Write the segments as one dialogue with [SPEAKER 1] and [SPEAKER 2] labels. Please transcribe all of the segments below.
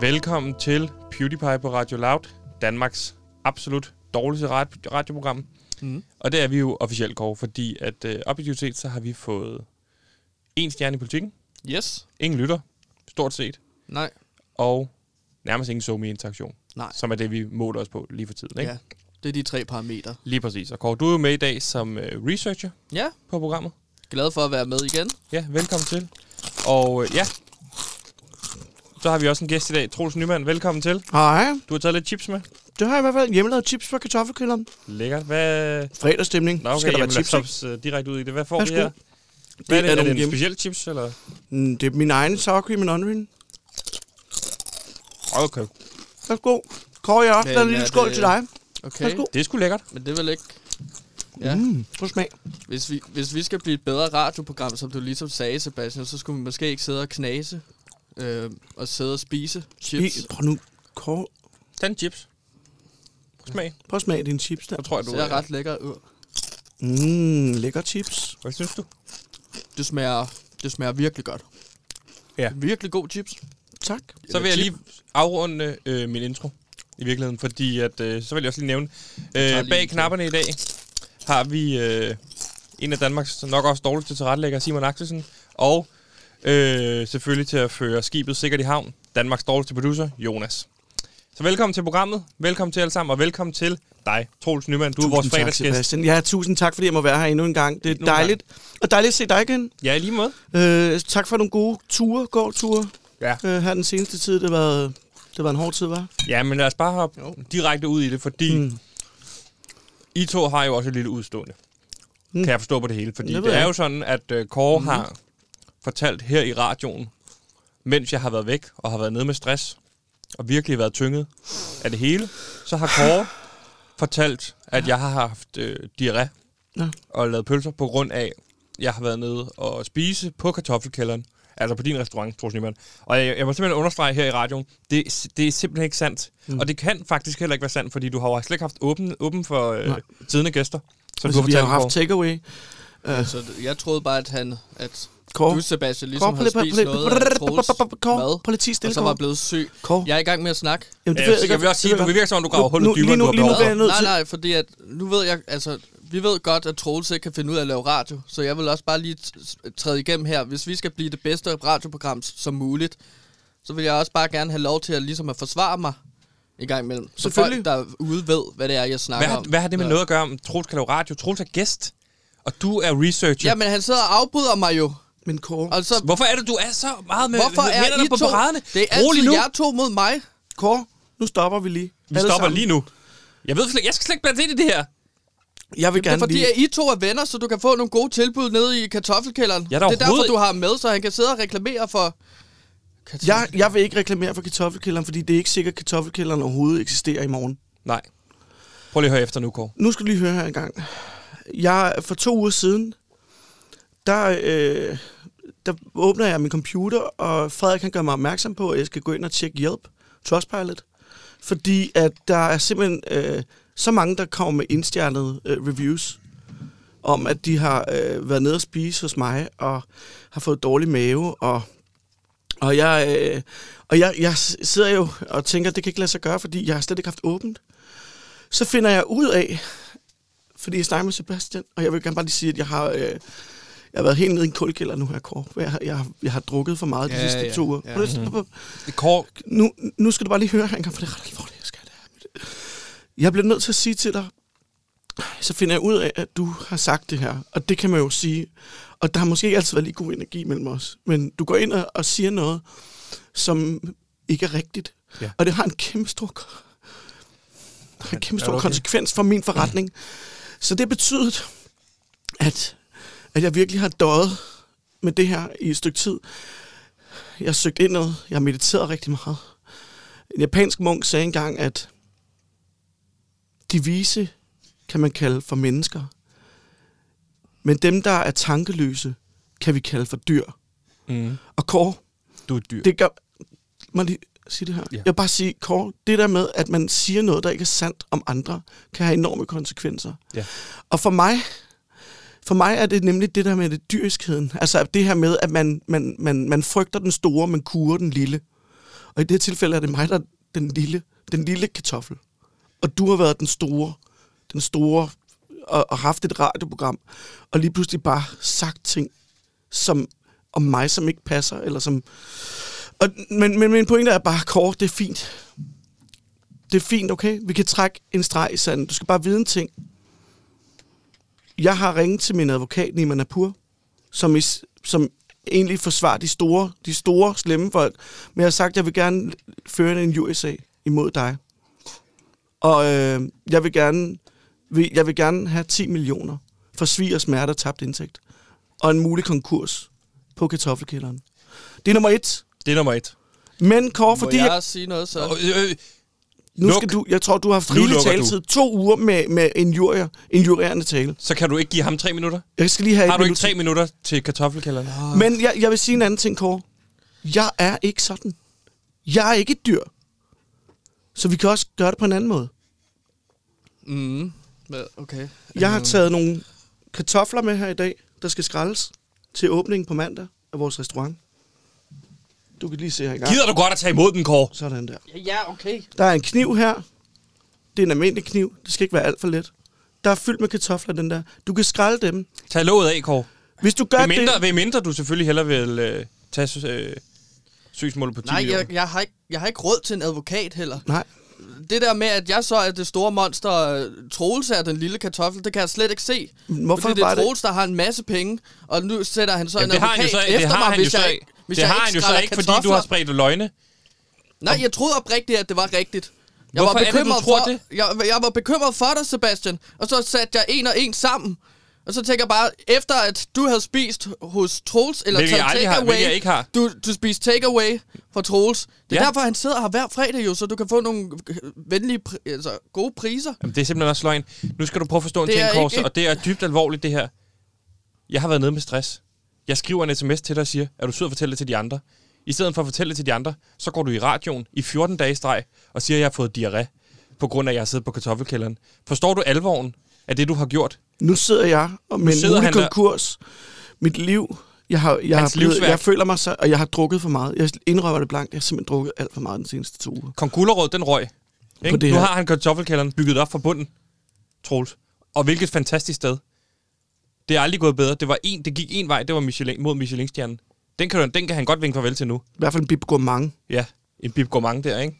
[SPEAKER 1] Velkommen til PewDiePie på Radio Loud, Danmarks absolut dårligste rad- radioprogram.
[SPEAKER 2] Mm.
[SPEAKER 1] Og det er vi jo officielt, Kåre, fordi at øh, objektivt set, så har vi fået en stjerne i politikken,
[SPEAKER 2] Yes.
[SPEAKER 1] ingen lytter, stort set,
[SPEAKER 2] Nej.
[SPEAKER 1] og nærmest ingen somi interaktion
[SPEAKER 2] Nej.
[SPEAKER 1] som er det, vi måler os på lige for tiden. Ikke?
[SPEAKER 2] Ja. Det er de tre parametre.
[SPEAKER 1] Lige præcis. Og Kåre, du er jo med i dag som øh, researcher
[SPEAKER 2] Ja.
[SPEAKER 1] på programmet.
[SPEAKER 2] Glad for at være med igen.
[SPEAKER 1] Ja, velkommen til. Og øh, ja, så har vi også en gæst i dag, Troels Nyman. Velkommen til.
[SPEAKER 3] Hej,
[SPEAKER 1] Du har taget lidt chips med.
[SPEAKER 3] det har jeg i hvert fald hjemmelavet chips fra kartoffelkælderen.
[SPEAKER 1] Lækkert. Hvad,
[SPEAKER 3] Fredagsstemning.
[SPEAKER 1] Nå, okay,
[SPEAKER 3] Skal der være
[SPEAKER 1] jamen,
[SPEAKER 3] chips,
[SPEAKER 1] lad
[SPEAKER 3] ikke?
[SPEAKER 1] os hoppe, øh, direkte ud i det. Hvad får vi
[SPEAKER 3] Værsgo.
[SPEAKER 1] her? Hvad er det, er,
[SPEAKER 3] er
[SPEAKER 1] det
[SPEAKER 3] nogle
[SPEAKER 1] en
[SPEAKER 3] hjem-
[SPEAKER 1] speciel chips, eller?
[SPEAKER 3] Mm, Det er min egen sour cream and onion.
[SPEAKER 1] Okay.
[SPEAKER 3] Værsgo. Kåre, jeg også
[SPEAKER 2] Men
[SPEAKER 3] lavet en lille
[SPEAKER 2] er
[SPEAKER 3] skål
[SPEAKER 2] det-
[SPEAKER 3] til dig.
[SPEAKER 2] Okay.
[SPEAKER 3] Værsgo.
[SPEAKER 1] Det er sgu lækkert.
[SPEAKER 2] Men det er vel ikke... Ja. Mm.
[SPEAKER 3] Mm, prøv smag.
[SPEAKER 2] Hvis, vi, hvis vi skal blive et bedre radioprogram, som du ligesom sagde, Sebastian, så skulle vi måske ikke sidde og knase øh, og sidde og spise chips.
[SPEAKER 3] I, prøv nu, Kåre,
[SPEAKER 1] Tag en chips. Prøv smag.
[SPEAKER 3] prøv at smage dine chips der.
[SPEAKER 1] Jeg tror, jeg,
[SPEAKER 2] Det
[SPEAKER 1] du øh?
[SPEAKER 2] ser ret Øh, lækker ud.
[SPEAKER 3] Mm, lækker chips.
[SPEAKER 1] Hvad synes du?
[SPEAKER 2] Det smager, det smager virkelig godt.
[SPEAKER 1] Ja.
[SPEAKER 2] Virkelig god chips.
[SPEAKER 3] Tak.
[SPEAKER 1] Så vil jeg lige afrunde øh, min intro, i virkeligheden, fordi at, øh, så vil jeg også lige nævne,
[SPEAKER 2] tager
[SPEAKER 1] øh,
[SPEAKER 2] lige
[SPEAKER 1] bag
[SPEAKER 2] en til.
[SPEAKER 1] knapperne i dag har vi øh, en af Danmarks nok også dårligste tilrettelægger, Simon Axelsen, og øh, selvfølgelig til at føre skibet sikkert i havn, Danmarks dårligste producer, Jonas. Så velkommen til programmet, velkommen til alle sammen, og velkommen til dig, Troels Nyman. Du er vores
[SPEAKER 3] Tusind tak,
[SPEAKER 1] fredagsgæst.
[SPEAKER 3] Sebastian. Ja, tusind tak, fordi jeg må være her endnu en gang. Det er
[SPEAKER 1] Endnu en gang.
[SPEAKER 3] dejligt. Og dejligt at se dig igen.
[SPEAKER 1] Ja, i lige måde.
[SPEAKER 3] Øh, tak for nogle gode ture, gåture.
[SPEAKER 1] Ja.
[SPEAKER 3] Øh, her den seneste tid, det var, det var en hård tid, var.
[SPEAKER 1] Ja, men lad os bare hoppe
[SPEAKER 2] Jo.
[SPEAKER 1] direkte ud i det, fordi mm.
[SPEAKER 3] Mm.
[SPEAKER 1] I to har jo også et lille udstående. Mm.
[SPEAKER 3] Mm.
[SPEAKER 1] Kan jeg forstå på det hele. Fordi
[SPEAKER 3] Det
[SPEAKER 1] det,
[SPEAKER 3] ved
[SPEAKER 1] det er
[SPEAKER 3] jeg. Mhm.
[SPEAKER 1] jo sådan, at uh, Kåre mm. har fortalt her i radioen, mens jeg har været væk og har været nede med stress, og virkelig været tynget af det hele, så har Kåre fortalt, at jeg har haft øh, diarré
[SPEAKER 3] Nå.
[SPEAKER 1] og lavet pølser på grund af, jeg har været nede og spise på kartoffelkælderen. Altså på din restaurant, Troels Niemann. Og jeg, jeg må simpelthen understrege her i radioen, det, det er simpelthen ikke sandt. Mm. Og det kan faktisk heller ikke være sandt, fordi du har jo slet ikke haft åben, åben for øh,
[SPEAKER 3] Nej.
[SPEAKER 1] tidende gæster. Som
[SPEAKER 3] Altså,
[SPEAKER 1] du
[SPEAKER 3] vi har jo
[SPEAKER 1] fortalt,
[SPEAKER 3] haft takeaway.
[SPEAKER 2] Så det- jeg troede bare, at han, at
[SPEAKER 3] Kåre,
[SPEAKER 2] du, Sebastian,
[SPEAKER 3] Kåre,
[SPEAKER 2] ligesom
[SPEAKER 3] prøv
[SPEAKER 2] havde
[SPEAKER 3] lige- prøv-
[SPEAKER 2] spist
[SPEAKER 3] prøv-
[SPEAKER 2] noget af
[SPEAKER 3] prøv-
[SPEAKER 2] Troels
[SPEAKER 3] prøv- prøv- Kåre,
[SPEAKER 2] mad,
[SPEAKER 3] prøv lige at tie stille,
[SPEAKER 2] og så var
[SPEAKER 3] Kåre.
[SPEAKER 2] blevet syg.
[SPEAKER 3] Kåre.
[SPEAKER 2] Jeg er i gang med at snakke.
[SPEAKER 3] Jamen, det
[SPEAKER 1] Ja,
[SPEAKER 3] ved
[SPEAKER 1] så
[SPEAKER 3] jeg
[SPEAKER 1] jeg vil
[SPEAKER 3] godt.
[SPEAKER 1] også sige,
[SPEAKER 3] Det ved
[SPEAKER 1] du
[SPEAKER 3] jeg
[SPEAKER 1] virker som om, du graver
[SPEAKER 3] Nu-
[SPEAKER 1] hullet
[SPEAKER 3] nu-
[SPEAKER 1] dybere,
[SPEAKER 3] lige nu-
[SPEAKER 1] end du
[SPEAKER 3] lige
[SPEAKER 1] har
[SPEAKER 3] nu
[SPEAKER 1] behov
[SPEAKER 3] bliver jeg nødt
[SPEAKER 2] Nej,
[SPEAKER 3] til-
[SPEAKER 2] nej, fordi at nu ved jeg, altså, vi ved godt, at Troels ikke kan finde ud af at lave radio, så jeg vil også bare lige t- træde igennem her. Hvis vi skal blive det bedste radioprogram s- som muligt, så vil jeg også bare gerne have lov til at, ligesom at forsvare mig i gang imellem. Så folk
[SPEAKER 3] Selvfølgelig.
[SPEAKER 2] derude ved, hvad det er, jeg snakker
[SPEAKER 1] Hvad har,
[SPEAKER 2] om.
[SPEAKER 1] hvad har det med
[SPEAKER 2] Nå.
[SPEAKER 1] noget at gøre om Troels kan lave radio? Troels er gæst, og du er researcher.
[SPEAKER 2] Jamen, han sidder og afbryder mig jo.
[SPEAKER 3] Men Kåre,
[SPEAKER 2] Altså,
[SPEAKER 1] Hvorfor er det, du er så meget med
[SPEAKER 2] hvorfor er
[SPEAKER 1] øh, hænderne
[SPEAKER 2] I
[SPEAKER 1] på
[SPEAKER 2] to?
[SPEAKER 1] paraderne?
[SPEAKER 2] Det er
[SPEAKER 1] Rolig
[SPEAKER 2] altid
[SPEAKER 1] nu.
[SPEAKER 2] jer to mod mig.
[SPEAKER 3] Kåre, nu stopper vi lige.
[SPEAKER 1] Vi stopper lige nu. Jeg ved slet ikke, jeg skal slet ikke blande ind i det her.
[SPEAKER 3] Jeg vil
[SPEAKER 2] Det er
[SPEAKER 3] gerne
[SPEAKER 2] fordi,
[SPEAKER 3] lige...
[SPEAKER 2] at I to er venner, så du kan få nogle gode tilbud nede i kartoffelkælderen.
[SPEAKER 1] Jeg er
[SPEAKER 2] det
[SPEAKER 1] da
[SPEAKER 2] er derfor,
[SPEAKER 1] overhovedet-
[SPEAKER 2] du har ham med, så han kan sidde og reklamere for...
[SPEAKER 3] Jeg, jeg vil ikke reklamere for kartoffelkælderen, fordi det er ikke sikkert, at kartoffelkælderen overhovedet eksisterer i morgen.
[SPEAKER 1] Nej. Prøv lige at høre efter nu, Kåre.
[SPEAKER 3] Nu skal du lige høre her en gang. Jeg, for to uger siden, der, øh, der åbner jeg min computer, og Frederik han gør mig opmærksom på, at jeg skal gå ind og tjekke hjælp, Trustpilot, fordi at der er simpelthen øh, så mange, der kommer med indstjernede øh, reviews om, at de har øh, været nede og spise hos mig, og har fået dårlig mave, og og jeg, øh, og jeg, jeg sidder jo og tænker, at det kan ikke lade sig gøre, fordi jeg har slet ikke haft åbent. Så finder jeg ud af, fordi jeg snakker med Sebastian, og jeg vil gerne bare lige sige, at jeg har, øh, jeg har været helt nede i en kulkælder nu her, Kåre. Jeg, har- jeg, har- jeg har drukket for meget de
[SPEAKER 2] Ja,
[SPEAKER 3] sidste
[SPEAKER 2] ja,
[SPEAKER 3] to uger.
[SPEAKER 2] ja.
[SPEAKER 3] Ja.
[SPEAKER 1] Kåre,
[SPEAKER 3] Nu, nu skal du bare lige høre her en gang, for det er ret alvorligt, jeg skal det her. Jeg bliver nødt til at sige til dig, så finder jeg ud af, at du har sagt det her, og det kan man jo sige. Og der har måske ikke altid været lige god energi mellem os, men du går ind og, og siger noget, som ikke er rigtigt.
[SPEAKER 1] Ja.
[SPEAKER 3] Ja. Og det har en kæmpe stor, det har en kæmpe
[SPEAKER 1] er
[SPEAKER 3] stor
[SPEAKER 1] du okay?
[SPEAKER 3] konsekvens for min forretning. Så det betyder, at, at jeg virkelig har døjet med det her i et stykke tid. Jeg har søgt indad, jeg har mediteret rigtig meget. En japansk munk sagde engang, at de vise kan man kalde for mennesker. Men dem, der er tankeløse, kan vi kalde for dyr.
[SPEAKER 1] mm.
[SPEAKER 3] Og Kåre,
[SPEAKER 1] du er et dyr.
[SPEAKER 3] det gør... Må jeg lige sige det her?
[SPEAKER 1] Ja.
[SPEAKER 3] Jeg vil bare sige, Kåre, det der med, at man siger noget, der ikke er sandt om andre, kan have enorme konsekvenser.
[SPEAKER 1] Ja.
[SPEAKER 3] Og for mig, for mig er det nemlig det der med det dyriskheden. Altså det her med, at man, man, man, man frygter den store, men kurer den lille. Og i det her tilfælde er det mig, der er den lille, den lille kartoffel. Og du har været den store, den store, og, og haft et radioprogram, og lige pludselig bare sagt ting som, om mig, som ikke passer, eller som... Og, men, men min pointe er bare kort, det er fint. Det er fint, okay? Vi kan trække en streg i sanden. Du skal bare vide en ting. Jeg har ringet til min advokat, Nima Napur, som, is, som egentlig forsvarer de store, de store slemme folk. Men jeg har sagt, at jeg vil gerne føre en USA imod dig. Og øh, jeg, vil gerne, vil, jeg vil gerne have 10 millioner for svig og smerte og tabt indtægt. Og en mulig konkurs på kartoffelkælderen. Det er nummer et.
[SPEAKER 1] Det er nummer et.
[SPEAKER 3] Men Kåre,
[SPEAKER 2] Må
[SPEAKER 3] fordi...
[SPEAKER 2] jeg
[SPEAKER 3] Jeg,
[SPEAKER 2] også sige noget så?
[SPEAKER 1] Og, øh, øh,
[SPEAKER 3] nu
[SPEAKER 1] luk.
[SPEAKER 3] skal du, jeg tror, du har haft
[SPEAKER 1] Nu
[SPEAKER 3] rigelig
[SPEAKER 1] lukker du.
[SPEAKER 3] taletid. To uger med, med en, jurier, en jurerende tale.
[SPEAKER 1] så kan du ikke give ham tre minutter?
[SPEAKER 3] Jeg skal lige have
[SPEAKER 1] Har
[SPEAKER 3] et
[SPEAKER 1] du ikke
[SPEAKER 3] minut
[SPEAKER 1] tre minutter til kartoffelkælderen?
[SPEAKER 3] Men jeg, jeg vil sige en anden ting, Kåre. Jeg er ikke sådan. Jeg er ikke et dyr. Så vi kan også gøre det på en anden måde.
[SPEAKER 2] Mm. Hvad- Okay.
[SPEAKER 3] Jeg
[SPEAKER 1] Mm.
[SPEAKER 3] har taget nogle kartofler med her i dag, der skal skraldes til åbningen på mandag af vores restaurant. Du kan lige se her i gang.
[SPEAKER 1] Gider du godt at tage imod den, Kåre?
[SPEAKER 3] Sådan der.
[SPEAKER 2] Ja, okay.
[SPEAKER 3] Der er en kniv her. Det er en almindelig kniv. Det skal ikke være alt for let. Der er fyldt med kartofler, den der. Du kan skralde dem.
[SPEAKER 1] Tag låget af, Kåre.
[SPEAKER 3] Hvis du gør
[SPEAKER 1] Ved mindre,
[SPEAKER 3] det...
[SPEAKER 1] ved mindre du selvfølgelig hellere vil øh, tage sy- øh, sygsmålet på 10
[SPEAKER 2] Nej,
[SPEAKER 1] millioner.
[SPEAKER 2] jeg, jeg, har ikke, jeg har ikke råd til en advokat heller.
[SPEAKER 3] Nej.
[SPEAKER 2] Det der med, at jeg så er det store monster, øh, Troels er den lille kartoffel, det kan jeg slet ikke se.
[SPEAKER 3] Hvorfor
[SPEAKER 2] Fordi det
[SPEAKER 3] var
[SPEAKER 2] er
[SPEAKER 3] det-
[SPEAKER 2] Troels, der har en masse penge, og nu sætter han så
[SPEAKER 1] Jamen,
[SPEAKER 2] en
[SPEAKER 1] det har
[SPEAKER 2] advokat
[SPEAKER 1] han jo så, det
[SPEAKER 2] efter
[SPEAKER 1] har
[SPEAKER 2] mig,
[SPEAKER 1] han jo
[SPEAKER 2] hvis
[SPEAKER 1] så
[SPEAKER 2] jeg
[SPEAKER 1] ikke.
[SPEAKER 2] ikke hvis
[SPEAKER 1] Det
[SPEAKER 2] jeg
[SPEAKER 1] har han jo så
[SPEAKER 2] skræller
[SPEAKER 1] ikke, fordi du har
[SPEAKER 2] kartofler.
[SPEAKER 1] spredt løgne.
[SPEAKER 2] Nej, jeg troede oprigtigt, at det var rigtigt. Jeg
[SPEAKER 1] Hvorfor er
[SPEAKER 2] var
[SPEAKER 1] det, du
[SPEAKER 2] bekymret
[SPEAKER 1] tror
[SPEAKER 2] for,
[SPEAKER 1] det?
[SPEAKER 2] Jeg, jeg var bekymret for dig, Sebastian. Og så satte jeg en og en sammen. Og så tænker jeg bare, efter at du havde spist hos Troels, eller
[SPEAKER 1] Hvilket jeg
[SPEAKER 2] taget
[SPEAKER 1] aldrig har,
[SPEAKER 2] takeaway,
[SPEAKER 1] hvilket jeg ikke har.
[SPEAKER 2] Du, du spiste takeaway fra Troels. Det er
[SPEAKER 1] Ja.
[SPEAKER 2] ja. derfor, han sidder her hver fredag jo, så du kan få nogle øh, venlige, pri- altså gode priser.
[SPEAKER 1] Jamen, det er simpelthen også løgn. Nu skal du prøve at forstå en
[SPEAKER 2] Det
[SPEAKER 1] ting,
[SPEAKER 2] er
[SPEAKER 1] Kåre,
[SPEAKER 2] ikke-
[SPEAKER 1] og det er dybt alvorligt, det her. Jeg har været nede med stress. Jeg skriver en sms til dig og siger, er du sød at fortælle det til de andre? I stedet for at fortælle det til de andre, så går du i radioen i 14 dage i streg og siger, at jeg har fået diarré, på grund af, at jeg har siddet på kartoffelkælderen. Forstår du alvoren af det, du har gjort?
[SPEAKER 3] Nu sidder jeg og med en
[SPEAKER 1] sidder
[SPEAKER 3] mulig
[SPEAKER 1] han der.
[SPEAKER 3] konkurs. Mit liv, jeg, har, jeg, har
[SPEAKER 1] Hans
[SPEAKER 3] blevet,
[SPEAKER 1] livsværk.
[SPEAKER 3] jeg føler mig så, og jeg har drukket for meget. Jeg indrømmer det blankt, jeg har simpelthen drukket alt for meget den seneste to uger.
[SPEAKER 1] Kong Gullerød, den røg. Ikke?
[SPEAKER 3] På det
[SPEAKER 1] Nu
[SPEAKER 3] her.
[SPEAKER 1] har han kartoffelkælderen bygget op fra bunden, Troels. Og hvilket fantastisk sted. Det er aldrig gået bedre. Det, var en, det gik en vej, det var Michelin, mod Michelin-stjernen. Den kan, du- den kan han godt vinke farvel til nu.
[SPEAKER 3] I hvert fald en bib gourmand.
[SPEAKER 1] Ja, en bib gourmand der, ikke?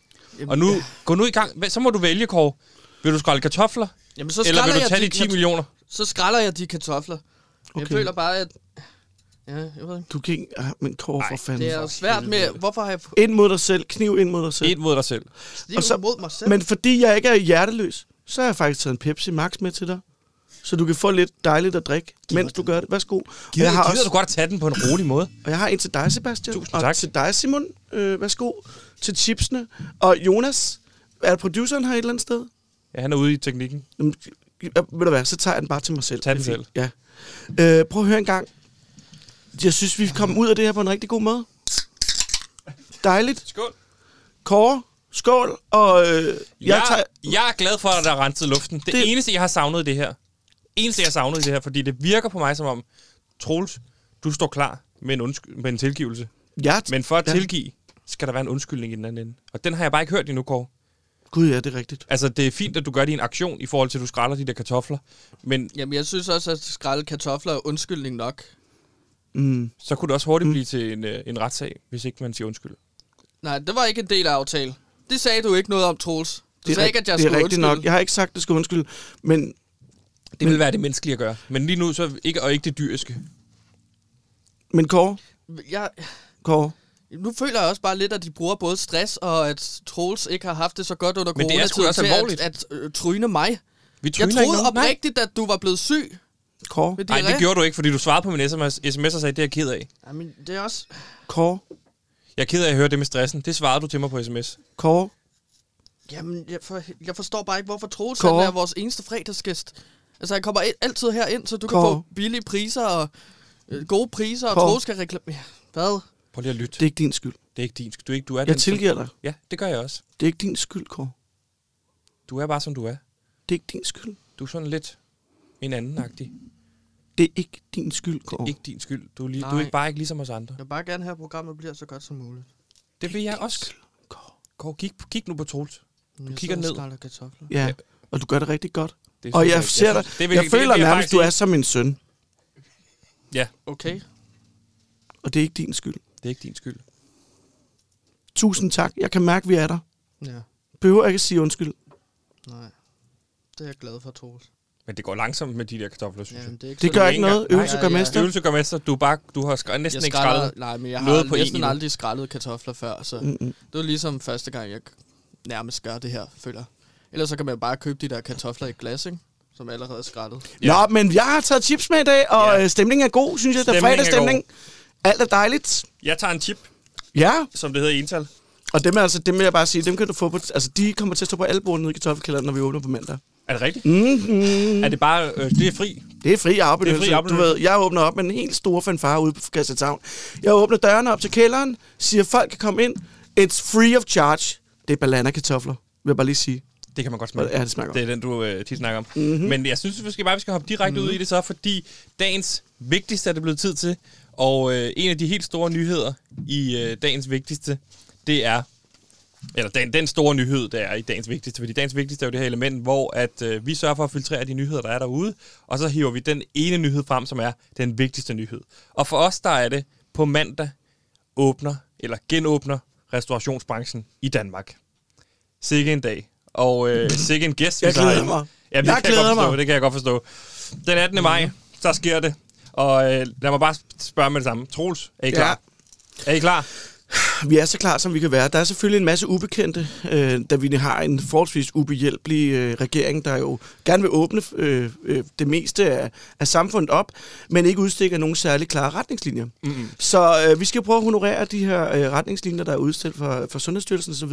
[SPEAKER 1] og nu, gå nu i gang. Hvad- Så må du vælge, Kåre. Vil du skrælle kartofler?
[SPEAKER 2] Jamen, så
[SPEAKER 1] Eller vil
[SPEAKER 2] skræller
[SPEAKER 1] du
[SPEAKER 2] jeg
[SPEAKER 1] tage de
[SPEAKER 2] de
[SPEAKER 1] 10
[SPEAKER 2] kart-
[SPEAKER 1] millioner?
[SPEAKER 2] Så skræller jeg de kartofler. Okay. Jeg
[SPEAKER 3] Okay.
[SPEAKER 2] føler bare, at... Ja, jeg ved ikke.
[SPEAKER 3] Du kan ikke... Ah, men Kåre, for fanden.
[SPEAKER 2] Det er jo svært med... Hvorfor har jeg fået
[SPEAKER 3] Ind mod dig selv, kniv ind mod dig selv.
[SPEAKER 1] Et mod dig selv.
[SPEAKER 2] det er
[SPEAKER 3] så-
[SPEAKER 2] jo mod mig selv?
[SPEAKER 3] Men fordi jeg ikke er hjerteløs, så har jeg faktisk taget en Pepsi Max med til dig. Så du kan få lidt dejligt at drikke, mens du gør det. Værsgo. Og
[SPEAKER 1] Gider,
[SPEAKER 3] jeg, har
[SPEAKER 1] gider
[SPEAKER 3] også,
[SPEAKER 1] du godt at tage den på en rolig måde?
[SPEAKER 3] og jeg har en til dig, Sebastian.
[SPEAKER 1] Tusind
[SPEAKER 3] og
[SPEAKER 1] tak.
[SPEAKER 3] til dig, Simon. Øh, værsgo. Til chipsene. Og Jonas, er produceren her et eller andet sted?
[SPEAKER 1] Ja, han er ude i teknikken.
[SPEAKER 3] Jamen, ja, ved du hvad, så tager jeg den bare til mig selv.
[SPEAKER 1] Tag den
[SPEAKER 3] Det er fint. Ja. Øh, prøv at høre en gang. Jeg synes, vi kom ud af det her på en rigtig god måde. Dejligt.
[SPEAKER 1] Skål.
[SPEAKER 3] Kåre, skål. Og øh, jeg,
[SPEAKER 1] Jeg,
[SPEAKER 3] tager...
[SPEAKER 1] jeg er glad for, at der er renset luften. Det, det
[SPEAKER 3] Det-
[SPEAKER 1] eneste, jeg har savnet i det her. Eneste, jeg har savnet i det her, fordi det virker på mig som om, Troels, du står klar med en, undsky- med en tilgivelse.
[SPEAKER 3] Jeg,
[SPEAKER 1] Men for at ja.
[SPEAKER 3] Ja.
[SPEAKER 1] tilgive, skal der være en undskyldning i den anden ende. Og den har jeg bare ikke hørt endnu, Kåre.
[SPEAKER 3] Gud, ja, det er rigtigt.
[SPEAKER 1] Altså, det er fint, at du gør din aktion i forhold til, at du skræller de der kartofler. Men
[SPEAKER 2] Jamen, jeg synes også, at skralde kartofler er undskyldning nok.
[SPEAKER 3] Mm.
[SPEAKER 1] så kunne det også hurtigt mm. blive til en, øh, en retssag, hvis ikke man siger undskyld.
[SPEAKER 2] Nej, det var ikke en del af aftalen. Det sagde du ikke noget om, Troels. Du
[SPEAKER 3] Det
[SPEAKER 2] sagde
[SPEAKER 3] er,
[SPEAKER 2] ikke, at jeg
[SPEAKER 3] det er
[SPEAKER 2] skulle
[SPEAKER 3] rigtigt
[SPEAKER 2] undskylde.
[SPEAKER 3] nok. Jeg har ikke sagt, at det skulle undskylde, men
[SPEAKER 1] Det vil være det menneskelige at gøre. Men lige nu, så ikke, og ikke det dyriske.
[SPEAKER 3] Men Kåre,
[SPEAKER 2] Jeg,
[SPEAKER 3] Kåre
[SPEAKER 2] nu føler jeg også bare lidt, at de bruger både stress og at Troels ikke har haft det så godt under
[SPEAKER 1] Men det er sgu
[SPEAKER 2] coronatiden
[SPEAKER 1] også
[SPEAKER 2] til
[SPEAKER 1] alvorligt.
[SPEAKER 2] at, at øh, tryne mig.
[SPEAKER 1] Vi
[SPEAKER 2] Jeg
[SPEAKER 1] tryner ikke
[SPEAKER 2] troede
[SPEAKER 1] nogen. Nej.
[SPEAKER 2] oprigtigt, at du var blevet syg.
[SPEAKER 3] Kåre,
[SPEAKER 2] Med
[SPEAKER 1] Nej,
[SPEAKER 2] diarré.
[SPEAKER 1] det gjorde du ikke, fordi du svarede på min sms, sms og sagde, det er jeg ked af.
[SPEAKER 2] Jamen, det er også...
[SPEAKER 3] Kåre,
[SPEAKER 1] Jeg er ked af at høre det med stressen. Det svarede du til mig på sms.
[SPEAKER 3] Kåre.
[SPEAKER 2] Jamen, jeg, for, jeg forstår bare ikke, hvorfor Troels han
[SPEAKER 3] Kåre.
[SPEAKER 2] er vores eneste fredagsgæst. Altså, han kommer i- altid herind, så du kan
[SPEAKER 3] Kåre.
[SPEAKER 2] få billige priser og øh, gode priser, og
[SPEAKER 3] Kåre.
[SPEAKER 2] Troels skal reklamere. Hvad?
[SPEAKER 1] Prøv lige at lytte.
[SPEAKER 3] Det er ikke din skyld.
[SPEAKER 1] Det er ikke din. Du er ikke, du er
[SPEAKER 3] Jeg
[SPEAKER 1] den, som-
[SPEAKER 3] tilgiver dig.
[SPEAKER 1] Ja, det gør jeg også.
[SPEAKER 3] Det er ikke din skyld, Kåre.
[SPEAKER 1] Du er bare, som du er.
[SPEAKER 3] Det er ikke din skyld.
[SPEAKER 1] Du er sådan lidt en anden-agtig.
[SPEAKER 3] Det er ikke din skyld, Kåre.
[SPEAKER 1] Ikke din skyld. Du er, lige, du er
[SPEAKER 2] Nej.
[SPEAKER 1] ikke bare ikke ligesom os andre.
[SPEAKER 2] Jeg vil bare gerne have, at programmet bliver så godt som muligt.
[SPEAKER 1] Det vil jeg også. Kåre, kig, kig nu på Troels.
[SPEAKER 2] Du
[SPEAKER 1] kigger ned.
[SPEAKER 2] Kartofler.
[SPEAKER 3] Ja, og du gør det rigtig godt.
[SPEAKER 1] Det
[SPEAKER 3] Og
[SPEAKER 1] synes
[SPEAKER 3] jeg
[SPEAKER 1] ikke.
[SPEAKER 3] ser dig,
[SPEAKER 1] synes- det
[SPEAKER 3] jeg,
[SPEAKER 1] vil-
[SPEAKER 3] jeg
[SPEAKER 1] det vil
[SPEAKER 3] føler
[SPEAKER 1] jeg
[SPEAKER 3] nærmest,
[SPEAKER 1] faktisk
[SPEAKER 3] du er
[SPEAKER 1] ikke.
[SPEAKER 3] som min søn,
[SPEAKER 1] Ja,
[SPEAKER 2] Okay.
[SPEAKER 3] og det er ikke din skyld.
[SPEAKER 1] det er ikke din skyld.
[SPEAKER 3] Tusind tak. Jeg kan mærke, vi er der.
[SPEAKER 2] Ja,
[SPEAKER 3] Behøver ikke at sige undskyld.
[SPEAKER 2] nej. Det er jeg glad for, Troels.
[SPEAKER 1] Men det går langsomt med de der kartofler, synes jeg.
[SPEAKER 2] Jamen, det er ikke
[SPEAKER 3] Det
[SPEAKER 2] så
[SPEAKER 3] gør
[SPEAKER 1] længe
[SPEAKER 3] ikke noget.
[SPEAKER 1] engang.
[SPEAKER 3] Øvelse
[SPEAKER 2] Nej,
[SPEAKER 3] gør
[SPEAKER 2] ja, ja.
[SPEAKER 3] mester.
[SPEAKER 1] Øvelse går med sig. Du, er bare, du har skr- næsten
[SPEAKER 2] jeg
[SPEAKER 1] ikke
[SPEAKER 2] skræller,
[SPEAKER 1] skrællet.
[SPEAKER 2] nej, men jeg
[SPEAKER 1] noget
[SPEAKER 2] har
[SPEAKER 1] på
[SPEAKER 2] på
[SPEAKER 1] én
[SPEAKER 2] næsten
[SPEAKER 1] endnu.
[SPEAKER 2] aldrig skrællet kartofler før, så
[SPEAKER 3] Mm-mm.
[SPEAKER 2] det var ligesom første gang, jeg nærmest gør det her, føler jeg. Ellers så kan man jo bare købe de der kartofler i glas, ikke? som allerede er skrællet.
[SPEAKER 1] Ja.
[SPEAKER 3] Nå, men jeg har taget chips med i dag, og
[SPEAKER 1] Ja.
[SPEAKER 3] ja. stemningen er god, synes jeg. Der er
[SPEAKER 1] Stemningen er
[SPEAKER 3] fredagsstemning. Alt er dejligt.
[SPEAKER 1] Jeg tager en chip,
[SPEAKER 3] Ja,
[SPEAKER 1] som det hedder i ental.
[SPEAKER 3] og dem, er altså, dem vil jeg bare sige, dem kan du få på... Altså, de kommer til at stå på alle bordene nede i kartoffelkælderen, når vi åbner på mandag.
[SPEAKER 1] Er det rigtigt?
[SPEAKER 3] Mm-hmm.
[SPEAKER 1] Er det bare, øh, det er fri?
[SPEAKER 3] Det er fri
[SPEAKER 1] Det
[SPEAKER 3] arbejdsbenyttelse.
[SPEAKER 1] er fri
[SPEAKER 3] Du ved, jeg åbner op med en helt stor fanfare ude på Christianshavn. Jeg åbner dørene op til kælderen, siger, at folk kan komme ind. It's free of charge. Det er balanakartofler, vil jeg bare lige sige.
[SPEAKER 1] Det kan man godt smage.
[SPEAKER 3] Ja, det smager
[SPEAKER 1] Det
[SPEAKER 3] godt. Mhm.
[SPEAKER 1] er den, du øh, tit snakker om. Mm-hmm. Men jeg synes, vi skal bare vi skal hoppe direkte mm-hmm. ud i det så, fordi dagens vigtigste er det blevet tid til. Og øh, en af de helt store nyheder i øh, dagens vigtigste, det er... Eller den, den store nyhed, der er i dagens vigtigste. Fordi dagens vigtigste er jo det her element, hvor at øh, vi sørger for at filtrere de nyheder, der er derude. Og så hiver vi den ene nyhed frem, som er den vigtigste nyhed. Og for os, der er det på mandag åbner, eller genåbner restaurationsbranchen i Danmark. Sikke en dag. Og øh, sikke en gæst, vi
[SPEAKER 3] Jeg
[SPEAKER 1] så har
[SPEAKER 3] glæder
[SPEAKER 1] inde.
[SPEAKER 3] mig.
[SPEAKER 1] Ja, det
[SPEAKER 3] Jeg
[SPEAKER 1] kan jeg
[SPEAKER 3] glæder
[SPEAKER 1] godt forstå,
[SPEAKER 3] mig. Mhm.
[SPEAKER 1] Det kan jeg godt forstå. Den 18. maj, så sker det. Og øh, lad mig bare spørge med det samme. Troels, er I
[SPEAKER 3] Ja.
[SPEAKER 1] klar? Ja. Er I klar?
[SPEAKER 3] Vi er så klar, som vi kan være. Der er selvfølgelig en masse ubekendte, øh, da vi har en forholdsvis ubehjælpelig øh, regering, der jo gerne vil åbne øh, øh, det meste af, af samfundet op, men ikke udstikker nogen særlig klare retningslinjer.
[SPEAKER 1] Mm-hmm.
[SPEAKER 3] Så øh, vi skal prøve at honorere de her øh, retningslinjer, der er udstillet fra, fra Sundhedsstyrelsen osv.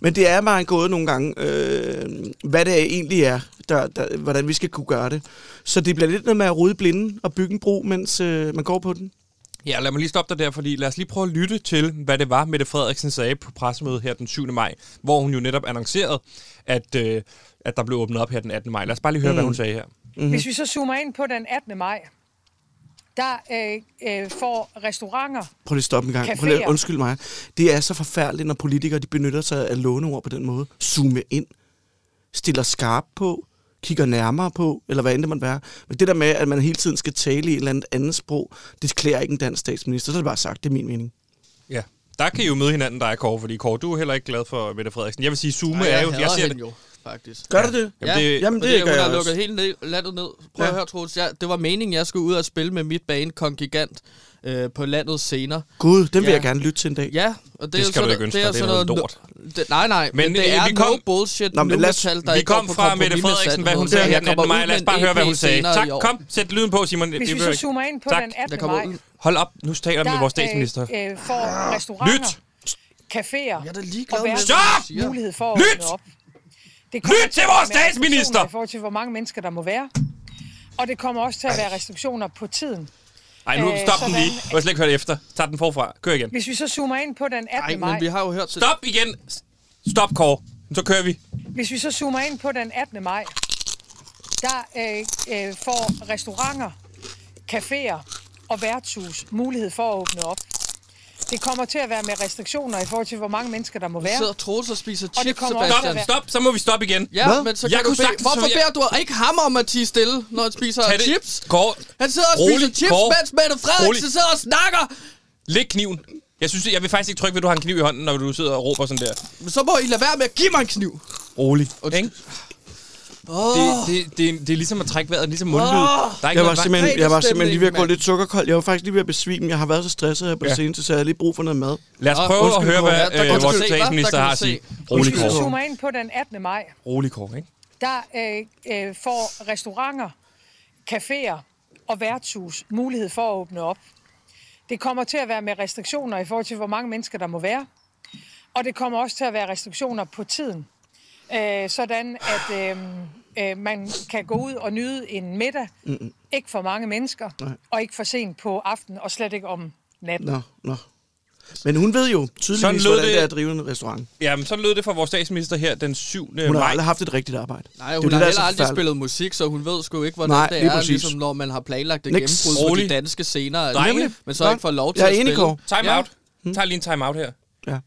[SPEAKER 3] Men det er bare en gåde nogle gange, øh, hvad det egentlig er, der, der, hvordan vi skal kunne gøre det. Så det bliver lidt noget med at rydde blinden og bygge en bro, mens øh, man går på den.
[SPEAKER 1] Ja, lad mig lige stoppe dig der, fordi lad os lige prøve at lytte til, hvad det var, Mette Frederiksen sagde på pressemødet her den 7. maj, hvor hun jo netop annoncerede, at, øh, at der blev åbnet op her den 18. maj. Lad os bare lige høre, mm. hvad hun sagde her.
[SPEAKER 4] Mm-hmm. Hvis vi så zoomer ind på den 18. maj, der øh, øh, får restauranter,
[SPEAKER 3] Prøv lige at stoppe en gang. Prøv lige,
[SPEAKER 4] Caféer.
[SPEAKER 3] undskyld mig. Det er så forfærdeligt, når politikere de benytter sig af låneord på den måde. Zoome ind. Stiller skarp på. Kigger nærmere på. Eller hvad end det måtte være. Men det der med, at man hele tiden skal tale i et eller andet andet sprog, det klæder ikke en dansk statsminister. Så er det bare sagt. Det er min mening.
[SPEAKER 1] Ja. Der kan I jo møde hinanden, der er Kåre, fordi Kåre, du er heller ikke glad for Mette Frederiksen. Jeg vil sige, Zoom
[SPEAKER 2] Ej,
[SPEAKER 1] er jo...
[SPEAKER 2] hader
[SPEAKER 1] Jeg ser
[SPEAKER 2] hende
[SPEAKER 1] det.
[SPEAKER 2] jo, faktisk.
[SPEAKER 3] Gør ja. du det?
[SPEAKER 1] Jamen, det-
[SPEAKER 3] Jamen,
[SPEAKER 2] og
[SPEAKER 3] det
[SPEAKER 2] det, er
[SPEAKER 3] gør
[SPEAKER 2] hun
[SPEAKER 3] jeg
[SPEAKER 2] har
[SPEAKER 3] også.
[SPEAKER 2] lukket helt ned, landet ned. Prøv ja.
[SPEAKER 3] Ja.
[SPEAKER 2] at høre, Troels. Jeg, det var meningen, jeg skulle ud og spille med mit band Kongigant øh, på landet senere.
[SPEAKER 3] Gud, den vil
[SPEAKER 2] Ja.
[SPEAKER 3] jeg gerne lytte til en dag.
[SPEAKER 2] Ja, og det,
[SPEAKER 1] Det
[SPEAKER 2] er
[SPEAKER 1] skal
[SPEAKER 2] jo
[SPEAKER 1] du
[SPEAKER 2] sådan,
[SPEAKER 1] ikke ønske dig,
[SPEAKER 2] jo
[SPEAKER 1] det er
[SPEAKER 2] sådan
[SPEAKER 1] noget
[SPEAKER 2] lort. Det, nej, nej, men,
[SPEAKER 1] Men,
[SPEAKER 2] men det
[SPEAKER 1] øh,
[SPEAKER 2] er
[SPEAKER 1] vi kom-
[SPEAKER 2] no bullshit,
[SPEAKER 3] Nå,
[SPEAKER 2] Nå,
[SPEAKER 3] men
[SPEAKER 2] men
[SPEAKER 3] lad os-
[SPEAKER 2] metal, der
[SPEAKER 1] Vi
[SPEAKER 2] ikke går
[SPEAKER 1] kom
[SPEAKER 2] på
[SPEAKER 1] fra
[SPEAKER 2] kompromis
[SPEAKER 1] Mette
[SPEAKER 2] med
[SPEAKER 1] Frederiksen, hvad hun
[SPEAKER 2] sandheden.
[SPEAKER 1] sagde her
[SPEAKER 2] Jeg
[SPEAKER 1] den
[SPEAKER 2] kommer
[SPEAKER 1] 18. maj. Lad
[SPEAKER 2] ud med
[SPEAKER 1] os
[SPEAKER 2] en
[SPEAKER 1] bare høre, hvad
[SPEAKER 2] EP
[SPEAKER 1] hun sagde.
[SPEAKER 2] senere
[SPEAKER 1] Tak,
[SPEAKER 2] i år.
[SPEAKER 1] kom, sæt lyden på, Simon.
[SPEAKER 4] hvis
[SPEAKER 1] Det
[SPEAKER 4] vi
[SPEAKER 1] behøver
[SPEAKER 4] så
[SPEAKER 1] ikke.
[SPEAKER 4] zoomer ind på
[SPEAKER 1] Tak.
[SPEAKER 4] den
[SPEAKER 2] Der
[SPEAKER 4] 18.
[SPEAKER 2] kommer
[SPEAKER 4] maj,
[SPEAKER 2] ud.
[SPEAKER 1] Hold op, nu taler vi
[SPEAKER 4] der
[SPEAKER 1] med vores statsminister.
[SPEAKER 4] øh, øh, får restauranter,
[SPEAKER 1] Lyt!
[SPEAKER 4] caféer
[SPEAKER 2] Jeg er da ligeglad
[SPEAKER 4] og
[SPEAKER 2] med,
[SPEAKER 4] værtshuse
[SPEAKER 2] hvad hun
[SPEAKER 1] Stop!
[SPEAKER 2] siger.
[SPEAKER 4] mulighed for at
[SPEAKER 1] Lyt!
[SPEAKER 4] åbne op. Det
[SPEAKER 1] Lyt til vores
[SPEAKER 4] at være restriktioner
[SPEAKER 1] statsminister!
[SPEAKER 4] I forhold til, hvor mange mennesker der må være. Og det kommer også til at være restriktioner på tiden.
[SPEAKER 1] Ej, nu
[SPEAKER 4] Øh,
[SPEAKER 1] stop den
[SPEAKER 4] sådan.
[SPEAKER 1] lige. Du har slet ikke hørt efter. Tag den forfra. Kør igen.
[SPEAKER 4] Hvis vi så zoomer ind på den 18.
[SPEAKER 2] Ej,
[SPEAKER 4] maj,
[SPEAKER 2] men vi har jo hørt til...
[SPEAKER 1] Stop igen. Stop, Kåre. Så kører vi.
[SPEAKER 4] Hvis vi så zoomer ind på den 18. maj, der øh, øh, får restauranter, caféer og værtshus mulighed for at åbne op. Det kommer til at være med restriktioner i forhold til, hvor mange mennesker der må være.
[SPEAKER 2] Sidder Troels og spiser
[SPEAKER 4] det
[SPEAKER 2] chips,
[SPEAKER 4] kommer også
[SPEAKER 1] Stop,
[SPEAKER 4] til at
[SPEAKER 2] Sebastian.
[SPEAKER 4] være-
[SPEAKER 1] stop. Så må vi stoppe igen.
[SPEAKER 2] Ja,
[SPEAKER 3] Hvad?
[SPEAKER 2] men så
[SPEAKER 1] Jeg
[SPEAKER 2] kan du
[SPEAKER 1] kunne
[SPEAKER 2] bede,
[SPEAKER 1] sagtens-
[SPEAKER 2] Hvorfor
[SPEAKER 1] jeg-
[SPEAKER 2] beder du ikke ham om at tige stille, når han spiser
[SPEAKER 1] Tag det.
[SPEAKER 2] chips?
[SPEAKER 1] Kåre,
[SPEAKER 2] Han sidder og spiser
[SPEAKER 1] Rolig,
[SPEAKER 2] chips,
[SPEAKER 1] Kåre.
[SPEAKER 2] mens Mette Frederiksen
[SPEAKER 1] Rolig.
[SPEAKER 2] sidder og snakker.
[SPEAKER 1] læg kniven. Jeg synes, jeg vil faktisk ikke trykke ved, at du har en kniv i hånden, når du sidder og råber sådan der.
[SPEAKER 2] Men så må I lade være med at give mig en kniv.
[SPEAKER 1] Rolig.
[SPEAKER 2] Undskyld.
[SPEAKER 1] Ikke?
[SPEAKER 2] Åh,
[SPEAKER 1] Det, det, det, er- det, er ligesom at trække vejret, ligesom mundlyd.
[SPEAKER 2] Åh.
[SPEAKER 1] Der er
[SPEAKER 3] Jeg
[SPEAKER 1] ikke
[SPEAKER 3] var,
[SPEAKER 1] noget vej-
[SPEAKER 3] simpelthen, jeg var simpelthen lige ved at gå
[SPEAKER 2] mand.
[SPEAKER 3] lidt sukkerkold. Jeg var faktisk lige ved at besvime. Jeg har været så stresset her på
[SPEAKER 1] Ja.
[SPEAKER 3] ja. scenen, så jeg har lige brug for noget mad.
[SPEAKER 1] Lad os
[SPEAKER 2] Åh,
[SPEAKER 1] prøve at
[SPEAKER 2] undskyld,
[SPEAKER 1] høre,
[SPEAKER 2] Kåre.
[SPEAKER 1] hvad
[SPEAKER 2] Ja, der kan
[SPEAKER 1] øh,
[SPEAKER 2] du
[SPEAKER 1] vores
[SPEAKER 2] se, hva'?
[SPEAKER 1] statsminister
[SPEAKER 2] Der kan
[SPEAKER 1] har at
[SPEAKER 2] du se.
[SPEAKER 1] sige. Rolig,
[SPEAKER 4] Hvis vi så
[SPEAKER 1] Kåre.
[SPEAKER 4] zoomer ind på den 18. maj,
[SPEAKER 1] Rolig, Kåre. Ikke?
[SPEAKER 4] der øh, øh, får restauranter, caféer og værtshus mulighed for at åbne op. Det kommer til at være med restriktioner i forhold til, hvor mange mennesker der må være. Og det kommer også til at være restriktioner på tiden. Øh, sådan at øh, øh, man kan gå ud og nyde en middag. Mm-mm. Ikke for mange mennesker, Nej. og ikke for sent på aftenen, og slet ikke om natten.
[SPEAKER 3] Nå, nå. Men hun ved jo
[SPEAKER 1] Sådan
[SPEAKER 3] tydeligvis,
[SPEAKER 1] lød
[SPEAKER 3] hvordan det
[SPEAKER 1] det.
[SPEAKER 3] er at drive en restaurant.
[SPEAKER 1] Jamen, så lød det fra vores statsminister her den 7.
[SPEAKER 3] Hun har
[SPEAKER 1] maj.
[SPEAKER 3] aldrig haft et rigtigt arbejde.
[SPEAKER 2] Øh, Nej,
[SPEAKER 3] Det er
[SPEAKER 2] hun
[SPEAKER 3] jo det,
[SPEAKER 2] har
[SPEAKER 3] der er
[SPEAKER 2] heller
[SPEAKER 3] så
[SPEAKER 2] aldrig
[SPEAKER 3] forfærdeligt.
[SPEAKER 2] spillet musik, så hun ved sgu ikke, hvordan
[SPEAKER 3] Nej,
[SPEAKER 2] det
[SPEAKER 3] lige
[SPEAKER 2] er,
[SPEAKER 3] præcis.
[SPEAKER 2] ligesom når man har planlagt et
[SPEAKER 3] Niks.
[SPEAKER 2] gennembrud på
[SPEAKER 1] Rolig.
[SPEAKER 2] de danske scener.
[SPEAKER 1] Drenge.
[SPEAKER 2] Nemlig. Men så ikke får lov til
[SPEAKER 3] Jeg
[SPEAKER 2] at
[SPEAKER 3] er enig,
[SPEAKER 2] spille.
[SPEAKER 3] Kåre.
[SPEAKER 1] Time out. Tag lige en time out her.
[SPEAKER 3] Ja.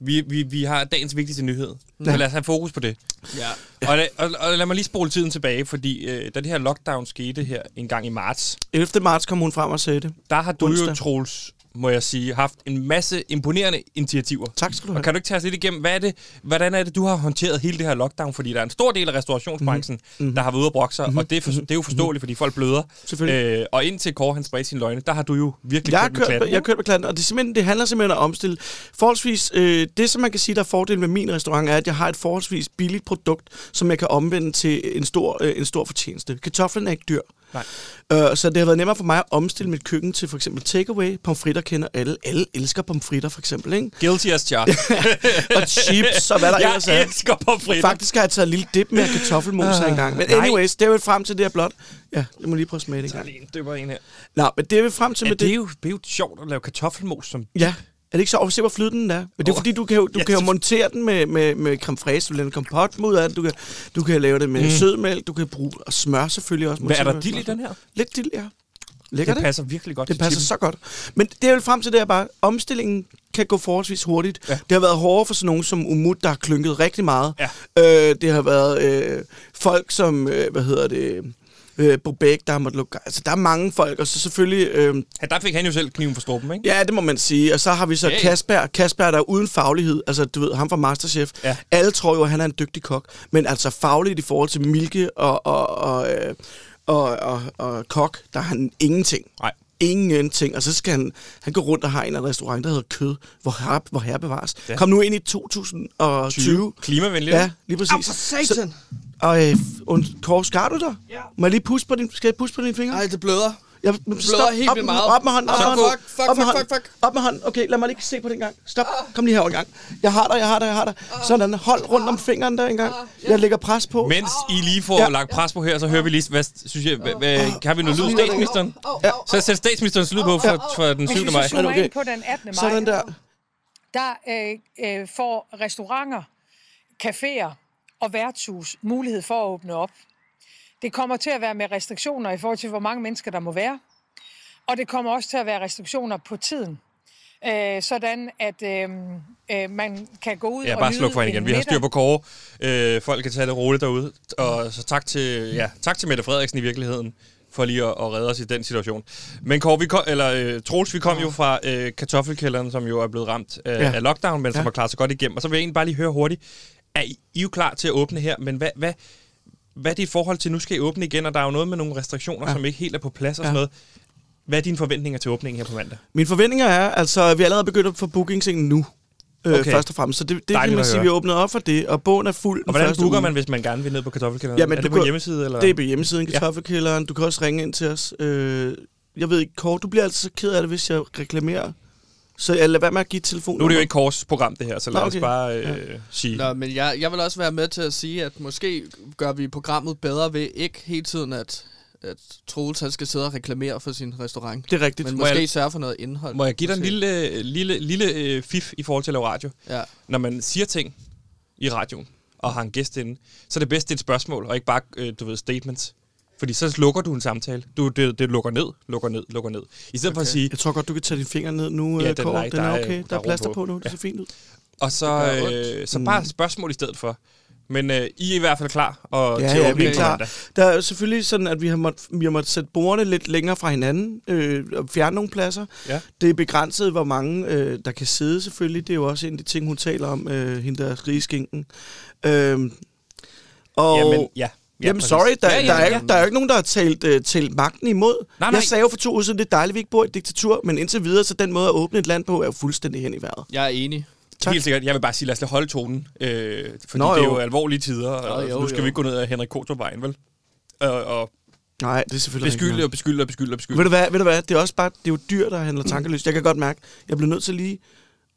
[SPEAKER 1] Vi, vi, vi har dagens vigtigste nyhed. Så lad os have fokus på det.
[SPEAKER 2] Ja.
[SPEAKER 1] Og, la, og, og lad mig lige spole tiden tilbage, fordi øh, da det her lockdown skete her en gang i marts,
[SPEAKER 3] 11. marts kom hun frem og sagde det.
[SPEAKER 1] der har du jo,
[SPEAKER 3] Onsdag.
[SPEAKER 1] Troels, må jeg sige, haft en masse imponerende initiativer.
[SPEAKER 3] Tak skal du
[SPEAKER 1] Og
[SPEAKER 3] have.
[SPEAKER 1] kan du ikke tage os lidt igennem, hvad er det, hvordan er det, du har håndteret hele det her lockdown? Fordi der er en stor del af restaurationsbranchen,
[SPEAKER 3] Mhm.
[SPEAKER 1] mm-hmm. der har været ude og brokke sig, mm-hmm. og det er, for, det er jo forståeligt, fordi folk bløder.
[SPEAKER 3] Selvfølgelig.
[SPEAKER 1] Øh, og indtil Kåre han spredte sine løgne, der har du jo virkelig
[SPEAKER 3] Jeg har
[SPEAKER 1] kørt med
[SPEAKER 3] kørt,
[SPEAKER 1] klatten.
[SPEAKER 3] med- jeg har kørt med klatten, og det, er simpelthen, det handler simpelthen om at omstille. Forholdsvis, øh, det som man kan sige, der er fordelen ved min restaurant, er, at jeg har et forholdsvis billigt produkt, som jeg kan omvende til en stor, øh, en stor fortjeneste. Kartoflen er ikke dyr.
[SPEAKER 1] Nej.
[SPEAKER 3] Øh, så det har været nemmere for mig at omstille mit køkken til for eksempel takeaway. Pomfritter kender alle. Alle elsker pomfritter for eksempel, ikke?
[SPEAKER 1] Guilty as charged.
[SPEAKER 3] Og chips og hvad der ellers
[SPEAKER 1] jeg
[SPEAKER 3] er.
[SPEAKER 1] elsker pomfritter.
[SPEAKER 3] Faktisk har jeg taget en lille dip med kartoffelmos her engang. Men
[SPEAKER 1] Ah, nej.
[SPEAKER 3] anyways, det er jo frem til det her blot. Ja, jeg må lige prøve at smage det engang.
[SPEAKER 1] Lige en døber en her.
[SPEAKER 3] Nej, men det er vel frem til
[SPEAKER 1] Ja,
[SPEAKER 3] med
[SPEAKER 1] det, er
[SPEAKER 3] det.
[SPEAKER 1] jo, det er jo sjovt at lave kartoffelmos som...
[SPEAKER 3] Ja. Er det ikke så Og Se, hvor flydende den er? Men det er
[SPEAKER 1] Åh.
[SPEAKER 3] fordi, du kan jo, du
[SPEAKER 1] Ja,
[SPEAKER 3] kan jo
[SPEAKER 1] det-
[SPEAKER 3] montere den med, med, med creme fraise, du laver en kompot mod af den, du kan, du kan lave det med mm. sødmælk, du kan bruge og smør selvfølgelig også.
[SPEAKER 1] Hvad er der
[SPEAKER 3] Montere
[SPEAKER 1] dild i
[SPEAKER 3] med smør.
[SPEAKER 1] den her?
[SPEAKER 3] Lidt dild, ja. Lækker
[SPEAKER 1] Det
[SPEAKER 3] det?
[SPEAKER 1] passer virkelig godt
[SPEAKER 3] Det
[SPEAKER 1] til
[SPEAKER 3] passer
[SPEAKER 1] chips.
[SPEAKER 3] så godt. Men det er vel frem til det her bare, omstillingen kan gå forholdsvis hurtigt. Ja. Det har været hårdere for sådan nogen som Umut, der har klynket rigtig meget.
[SPEAKER 1] Ja.
[SPEAKER 3] Øh, det har været øh, folk som, øh, hvad hedder det, øh, Bobæk, der har måttet lukke. Altså, der er mange folk, og så selvfølgelig... Øh,
[SPEAKER 1] Ja, der fik han jo selv kniven for struben, ikke?
[SPEAKER 3] Ja, det må man sige. Og så har vi så
[SPEAKER 1] Hey.
[SPEAKER 3] hey. Kasper. Kasper, der er uden faglighed. Altså, du ved, ham fra Masterchef.
[SPEAKER 1] Ja.
[SPEAKER 3] Alle tror jo, at han er en dygtig kok. Men altså fagligt i forhold til Milke og, og, og, øh, og, og, og kok, der er han ingenting.
[SPEAKER 1] Nej.
[SPEAKER 3] Ingenting. Og så skal han, han gå rundt og har en eller anden restaurant, der hedder Kød, hvor herre, hvor herre bevares.
[SPEAKER 1] Ja.
[SPEAKER 3] Ja. Kom nu ind i 2020.
[SPEAKER 1] Klimavenligt.
[SPEAKER 3] Ja, lige præcis.
[SPEAKER 2] Au, for satan.
[SPEAKER 3] og øh, und- Kåre, skar du dig? Ja. Må jeg lige pusse på din, skal jeg pusse på dine fingre?
[SPEAKER 2] Ej, det bløder.
[SPEAKER 3] Jeg
[SPEAKER 2] Bløder helt
[SPEAKER 3] op,
[SPEAKER 2] vildt meget.
[SPEAKER 3] Op med hånden. Op,
[SPEAKER 2] Stop.
[SPEAKER 3] med hånden.
[SPEAKER 2] Fuck, fuck,
[SPEAKER 3] op med
[SPEAKER 2] fuck,
[SPEAKER 3] hånden.
[SPEAKER 2] fuck, Ah.
[SPEAKER 3] Op med hånden. Okay, lad mig lige se på den gang. Stop. Kom lige herover en gang. Jeg har dig, jeg har dig, jeg har dig. Sådan. Hold rundt
[SPEAKER 2] Ah.
[SPEAKER 3] om fingeren der en gang. Jeg lægger pres på.
[SPEAKER 1] Mens I lige får ja.
[SPEAKER 3] Ja.
[SPEAKER 1] lagt pres på her, så hører vi lige, hvad synes jeg, hvad, hvad, har vi noget lyd statsministeren?
[SPEAKER 3] Ja.
[SPEAKER 1] Så sæt statsministerens lyd på for, for den
[SPEAKER 4] Men
[SPEAKER 1] 7.
[SPEAKER 4] hvis
[SPEAKER 1] maj.
[SPEAKER 4] du zoomer
[SPEAKER 3] Okay.
[SPEAKER 4] ind på den 18. maj,
[SPEAKER 3] Sådan der.
[SPEAKER 4] der øh, øh, får restauranter, caféer og værtshus mulighed for at åbne op. Det kommer til at være med restriktioner i forhold til, hvor mange mennesker der må være. Og det kommer også til at være restriktioner på tiden. Øh, sådan at øh, øh, man kan gå ud
[SPEAKER 1] Ja,
[SPEAKER 4] og
[SPEAKER 1] bare
[SPEAKER 4] nyde
[SPEAKER 1] sluk for hende
[SPEAKER 4] en
[SPEAKER 1] igen. Vi har
[SPEAKER 4] middag.
[SPEAKER 1] styr på Kåre. Øh, folk kan tage det roligt derude. Og så tak til, ja, tak til Mette Frederiksen i virkeligheden for lige at, at redde os i den situation. Men Kåre, vi kom, eller øh, Troels, vi kom jo fra øh, kartoffelkælderen, som jo er blevet ramt øh, ja.
[SPEAKER 3] Ja.
[SPEAKER 1] af lockdown, men som
[SPEAKER 3] Ja.
[SPEAKER 1] har klaret sig godt igennem. Og så vil jeg egentlig bare lige høre hurtigt, er I, I er jo klar til at åbne her, men hvad, hvad, hvad er dit forhold til, nu skal I åbne igen, og der er jo noget med nogle restriktioner, ja. som ikke helt er på plads og sådan
[SPEAKER 3] Ja.
[SPEAKER 1] noget. Hvad er dine forventninger til åbningen her på mandag?
[SPEAKER 3] Mine forventninger er, altså, at vi allerede begyndt at få bookingsingen nu. Øh,
[SPEAKER 1] Okay.
[SPEAKER 3] Først og fremmest. Så det, det
[SPEAKER 1] Dejligt
[SPEAKER 3] kan
[SPEAKER 1] at
[SPEAKER 3] man sige,
[SPEAKER 1] høre.
[SPEAKER 3] vi har åbnet op for det, og bogen er fuld den
[SPEAKER 1] Og hvordan
[SPEAKER 3] første
[SPEAKER 1] booker
[SPEAKER 3] uge.
[SPEAKER 1] man, hvis man gerne vil ned på kartoffelkælderen?
[SPEAKER 3] Jamen,
[SPEAKER 1] er
[SPEAKER 3] du
[SPEAKER 1] det på
[SPEAKER 3] kan-
[SPEAKER 1] hjemmeside? Eller?
[SPEAKER 3] Det er på hjemmesiden,
[SPEAKER 1] Ja.
[SPEAKER 3] kartoffelkælderen. Du kan også ringe ind til os. Øh, jeg ved ikke, Kåre, du bliver altså så ked af det, hvis jeg reklamerer. Så jeg lader være med at give telefonen.
[SPEAKER 1] Nu er det jo ikke Kors program, det her, så lad
[SPEAKER 3] Nå,
[SPEAKER 1] okay. os
[SPEAKER 3] okay.
[SPEAKER 1] bare øh, sige...
[SPEAKER 2] Nå, men jeg, jeg vil også være med til at sige, at måske gør vi programmet bedre ved ikke hele tiden, at, at Troels han skal sidde og reklamere for sin restaurant.
[SPEAKER 3] Det er rigtigt.
[SPEAKER 2] Men
[SPEAKER 1] Må jeg-
[SPEAKER 2] måske sørge for noget indhold.
[SPEAKER 1] Må jeg give dig en
[SPEAKER 2] Måske.
[SPEAKER 1] lille, øh, lille, lille øh, fif i forhold til at lave radio?
[SPEAKER 2] Ja.
[SPEAKER 1] Når man siger ting i radioen, og har en gæst inde, så er det bedst det er et spørgsmål, og ikke bare, øh, du ved, statements. Fordi så lukker du en samtale. Du, det, det lukker ned, lukker ned, lukker ned. I stedet okay. for at sige,
[SPEAKER 3] Jeg tror godt, du kan tage dine fingre ned nu,
[SPEAKER 1] Ja,
[SPEAKER 3] ja,
[SPEAKER 1] den er
[SPEAKER 3] Kåre.
[SPEAKER 1] ikke-
[SPEAKER 3] Den
[SPEAKER 1] der
[SPEAKER 3] er
[SPEAKER 1] er-
[SPEAKER 3] okay. Der,
[SPEAKER 1] der er
[SPEAKER 3] er plaster
[SPEAKER 1] ro
[SPEAKER 3] på
[SPEAKER 1] på.
[SPEAKER 3] nu. Det ser fint ud.
[SPEAKER 1] og så,
[SPEAKER 2] Det gør
[SPEAKER 1] øh, så
[SPEAKER 3] Mm.
[SPEAKER 1] bare spørgsmål i stedet for. Men øh, I er i hvert fald klar og
[SPEAKER 3] Ja,
[SPEAKER 1] til
[SPEAKER 3] ja, vi
[SPEAKER 1] åbningen
[SPEAKER 3] er
[SPEAKER 1] på mandag.
[SPEAKER 3] klar. Der er jo selvfølgelig sådan, at vi har måttet, vi har måttet sætte bordene lidt længere fra hinanden øh, og fjerne nogle pladser.
[SPEAKER 1] Ja.
[SPEAKER 3] Det er begrænset, hvor mange øh, der kan sidde selvfølgelig. Det er jo også en af de ting, hun taler om, øh, hende der rigeskinken. Øhm, og
[SPEAKER 1] Jamen, ja. ja
[SPEAKER 3] Jamen,
[SPEAKER 1] præcis.
[SPEAKER 3] sorry, der,
[SPEAKER 1] ja, ja,
[SPEAKER 3] der, er,
[SPEAKER 1] ja.
[SPEAKER 3] ikke- der er jo ikke nogen, der har talt, øh, talt magten imod.
[SPEAKER 1] Nej, nej.
[SPEAKER 3] Jeg sagde jo for to uger siden, det er dejligt, at vi ikke bor i et diktatur, men indtil videre, så den måde at åbne et land på, er jo fuldstændig hen i vejret.
[SPEAKER 2] Jeg er enig.
[SPEAKER 1] Tak.
[SPEAKER 3] Tak.
[SPEAKER 1] Helt sikkert. Jeg vil bare sige, lad os lige holde tonen. Øh, fordi Nå,
[SPEAKER 3] Nå,
[SPEAKER 1] det er jo
[SPEAKER 3] jo.
[SPEAKER 1] alvorlige tider, og
[SPEAKER 2] Nå,
[SPEAKER 1] jo,
[SPEAKER 2] jo,
[SPEAKER 1] nu skal
[SPEAKER 2] jo.
[SPEAKER 1] vi ikke gå ned ad Henrik Kotorvejen, vel? Og, og
[SPEAKER 3] Nej, det er selvfølgelig rigtigt nok.
[SPEAKER 1] beskylde og beskylde og beskylde og beskylde.
[SPEAKER 3] Ved du, hvad, ved du hvad, det er også bare, det er jo dyr, der
[SPEAKER 1] Mm.
[SPEAKER 3] handler tankeløst. Jeg kan godt mærke, jeg bliver nødt til lige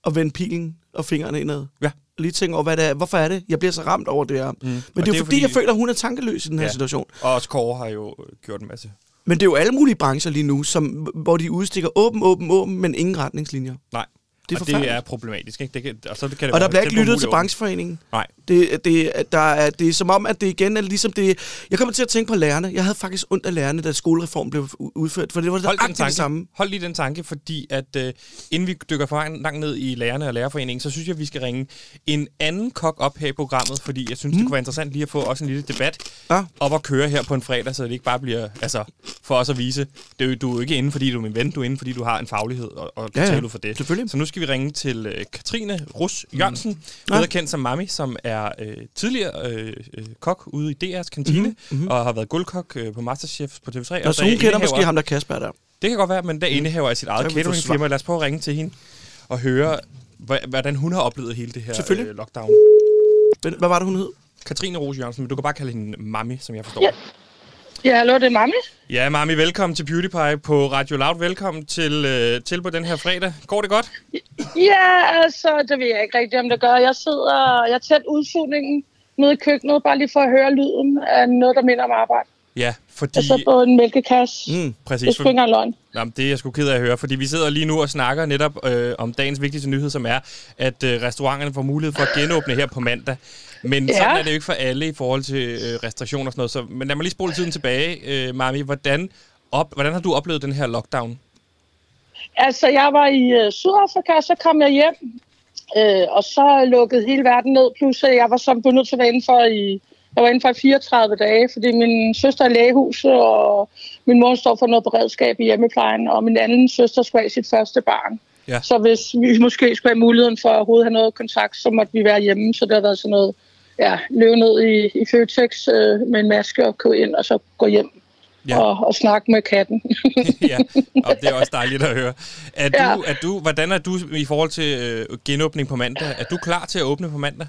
[SPEAKER 3] at vende pilen og fingrene indad.
[SPEAKER 1] Ja.
[SPEAKER 3] Lige tænke over, hvad det er. Hvorfor er det? Jeg bliver så ramt over det her. Mm. Men det er jo fordi, jeg føler, at hun er tankeløs i den her
[SPEAKER 1] Ja.
[SPEAKER 3] ja. situation.
[SPEAKER 1] Og også Kåre har jo øh, gjort en masse.
[SPEAKER 3] Men det er jo alle mulige brancher lige nu, som, hvor de udstikker åben, åben, åben, men ingen retningslinjer.
[SPEAKER 1] Nej.
[SPEAKER 3] Det er
[SPEAKER 1] og det
[SPEAKER 3] forfærdeligt.
[SPEAKER 1] er problematisk. Ikke? Det kan, og, så kan det
[SPEAKER 3] Og der
[SPEAKER 1] være-
[SPEAKER 3] bliver
[SPEAKER 1] det
[SPEAKER 3] ikke
[SPEAKER 1] er
[SPEAKER 3] lyttet
[SPEAKER 1] umuligt
[SPEAKER 3] til
[SPEAKER 1] at åbne.
[SPEAKER 3] brancheforeningen.
[SPEAKER 1] Nej.
[SPEAKER 3] Det, det, at der er, det er som om, at det igen er ligesom det... Jeg kommer til at tænke på lærerne. Jeg havde faktisk ondt af lærerne, da skolereformen blev u- udført, for det var
[SPEAKER 1] Hold, den
[SPEAKER 3] det, det
[SPEAKER 1] tanke, Altså,
[SPEAKER 3] samme.
[SPEAKER 1] hold lige den tanke, fordi at øh, inden vi dykker for langt langt ned i lærerne og lærerforeningen, så synes jeg, at vi skal ringe en anden kok op her i programmet, fordi jeg synes, mm. det kunne være interessant lige at få også en lille debat
[SPEAKER 3] Ja.
[SPEAKER 1] op at køre her på en fredag, så det ikke bare bliver, altså for os at vise, det er, jo- du er jo ikke inde, fordi du er min ven, du er inde, fordi du har en faglighed, og, og
[SPEAKER 3] Ja, ja.
[SPEAKER 1] ja, ja. for det.
[SPEAKER 3] Selvfølgelig.
[SPEAKER 1] Så nu skal vi ringe til øh, Katrine Rus Jørgensen, mm. bedre kendt som Mami, som er øh, tidligere øh, øh, kok ude i DR's kantine, mm-hmm. og har været guldkok øh, på Masterchef på TV3.
[SPEAKER 3] Og
[SPEAKER 1] og
[SPEAKER 3] så Altså, hun
[SPEAKER 1] er
[SPEAKER 3] kender
[SPEAKER 1] indehaver-
[SPEAKER 3] måske ham, der Kasper der.
[SPEAKER 1] det kan godt være, men der indehaver af sit
[SPEAKER 3] Mm. Så
[SPEAKER 1] eget
[SPEAKER 3] kan vi få
[SPEAKER 1] cateringfirma. Lad os prøve at ringe til hende og høre, hva- hvordan hun har oplevet hele det her
[SPEAKER 3] Selvfølgelig.
[SPEAKER 1] øh, lockdown.
[SPEAKER 3] Hvad- Hvad var det, hun hed?
[SPEAKER 1] Katrine Rose Jørgensen, men du kan bare kalde hende Mami, som jeg forstår.
[SPEAKER 5] Ja. Ja, hallo, det er Mami.
[SPEAKER 1] Ja, Mami, velkommen til Beauty Pie på Radio Loud. Velkommen til, øh, til på den her fredag. Går det godt?
[SPEAKER 5] Ja, altså, det ved jeg ikke rigtigt, om det gør. Jeg sidder, jeg er tæt udsugningen nede i køkkenet, bare lige for at høre lyden af noget, der minder om arbejde.
[SPEAKER 1] Ja, fordi...
[SPEAKER 5] Jeg sidder på en mælkekasse. Mm, det er
[SPEAKER 1] Præcis.
[SPEAKER 5] sgu ikke engang løgn.
[SPEAKER 1] Nå, men det er jeg sgu ked af at høre, fordi vi sidder lige nu og snakker netop øh, om dagens vigtigste nyhed, som er, at øh, restauranterne får mulighed for at genåbne her på mandag. Men ja.
[SPEAKER 5] Ja.
[SPEAKER 1] sådan er det jo ikke for alle i forhold til øh, restriktioner og sådan noget. Så, men lad mig lige spole tiden tilbage, øh, Mami. Hvordan, op, hvordan har du oplevet den her lockdown?
[SPEAKER 5] Altså, jeg var i øh, Sydafrika, så kom jeg hjem, øh, og så lukkede hele verden ned. Plus, at jeg var som bundet til at være indenfor i, jeg var indenfor i 34 dage, fordi min søster er i lægehuset, og min mor står for noget beredskab i hjemmeplejen, og min anden søster skulle have sit første barn.
[SPEAKER 1] Ja.
[SPEAKER 5] Så hvis vi måske skulle have muligheden for at overhovedet have noget kontakt, så måtte vi være hjemme. Så det har været sådan noget, ja, løbe ned i, i Føtex øh, med en maske og gå ind, og så gå hjem
[SPEAKER 1] Ja.
[SPEAKER 5] ja. og, og snakke med katten.
[SPEAKER 1] ja, og det er også dejligt at høre. Er
[SPEAKER 5] Ja.
[SPEAKER 1] du, er du, hvordan er du i forhold til øh, genåbning på mandag? Er du klar til at åbne på mandag?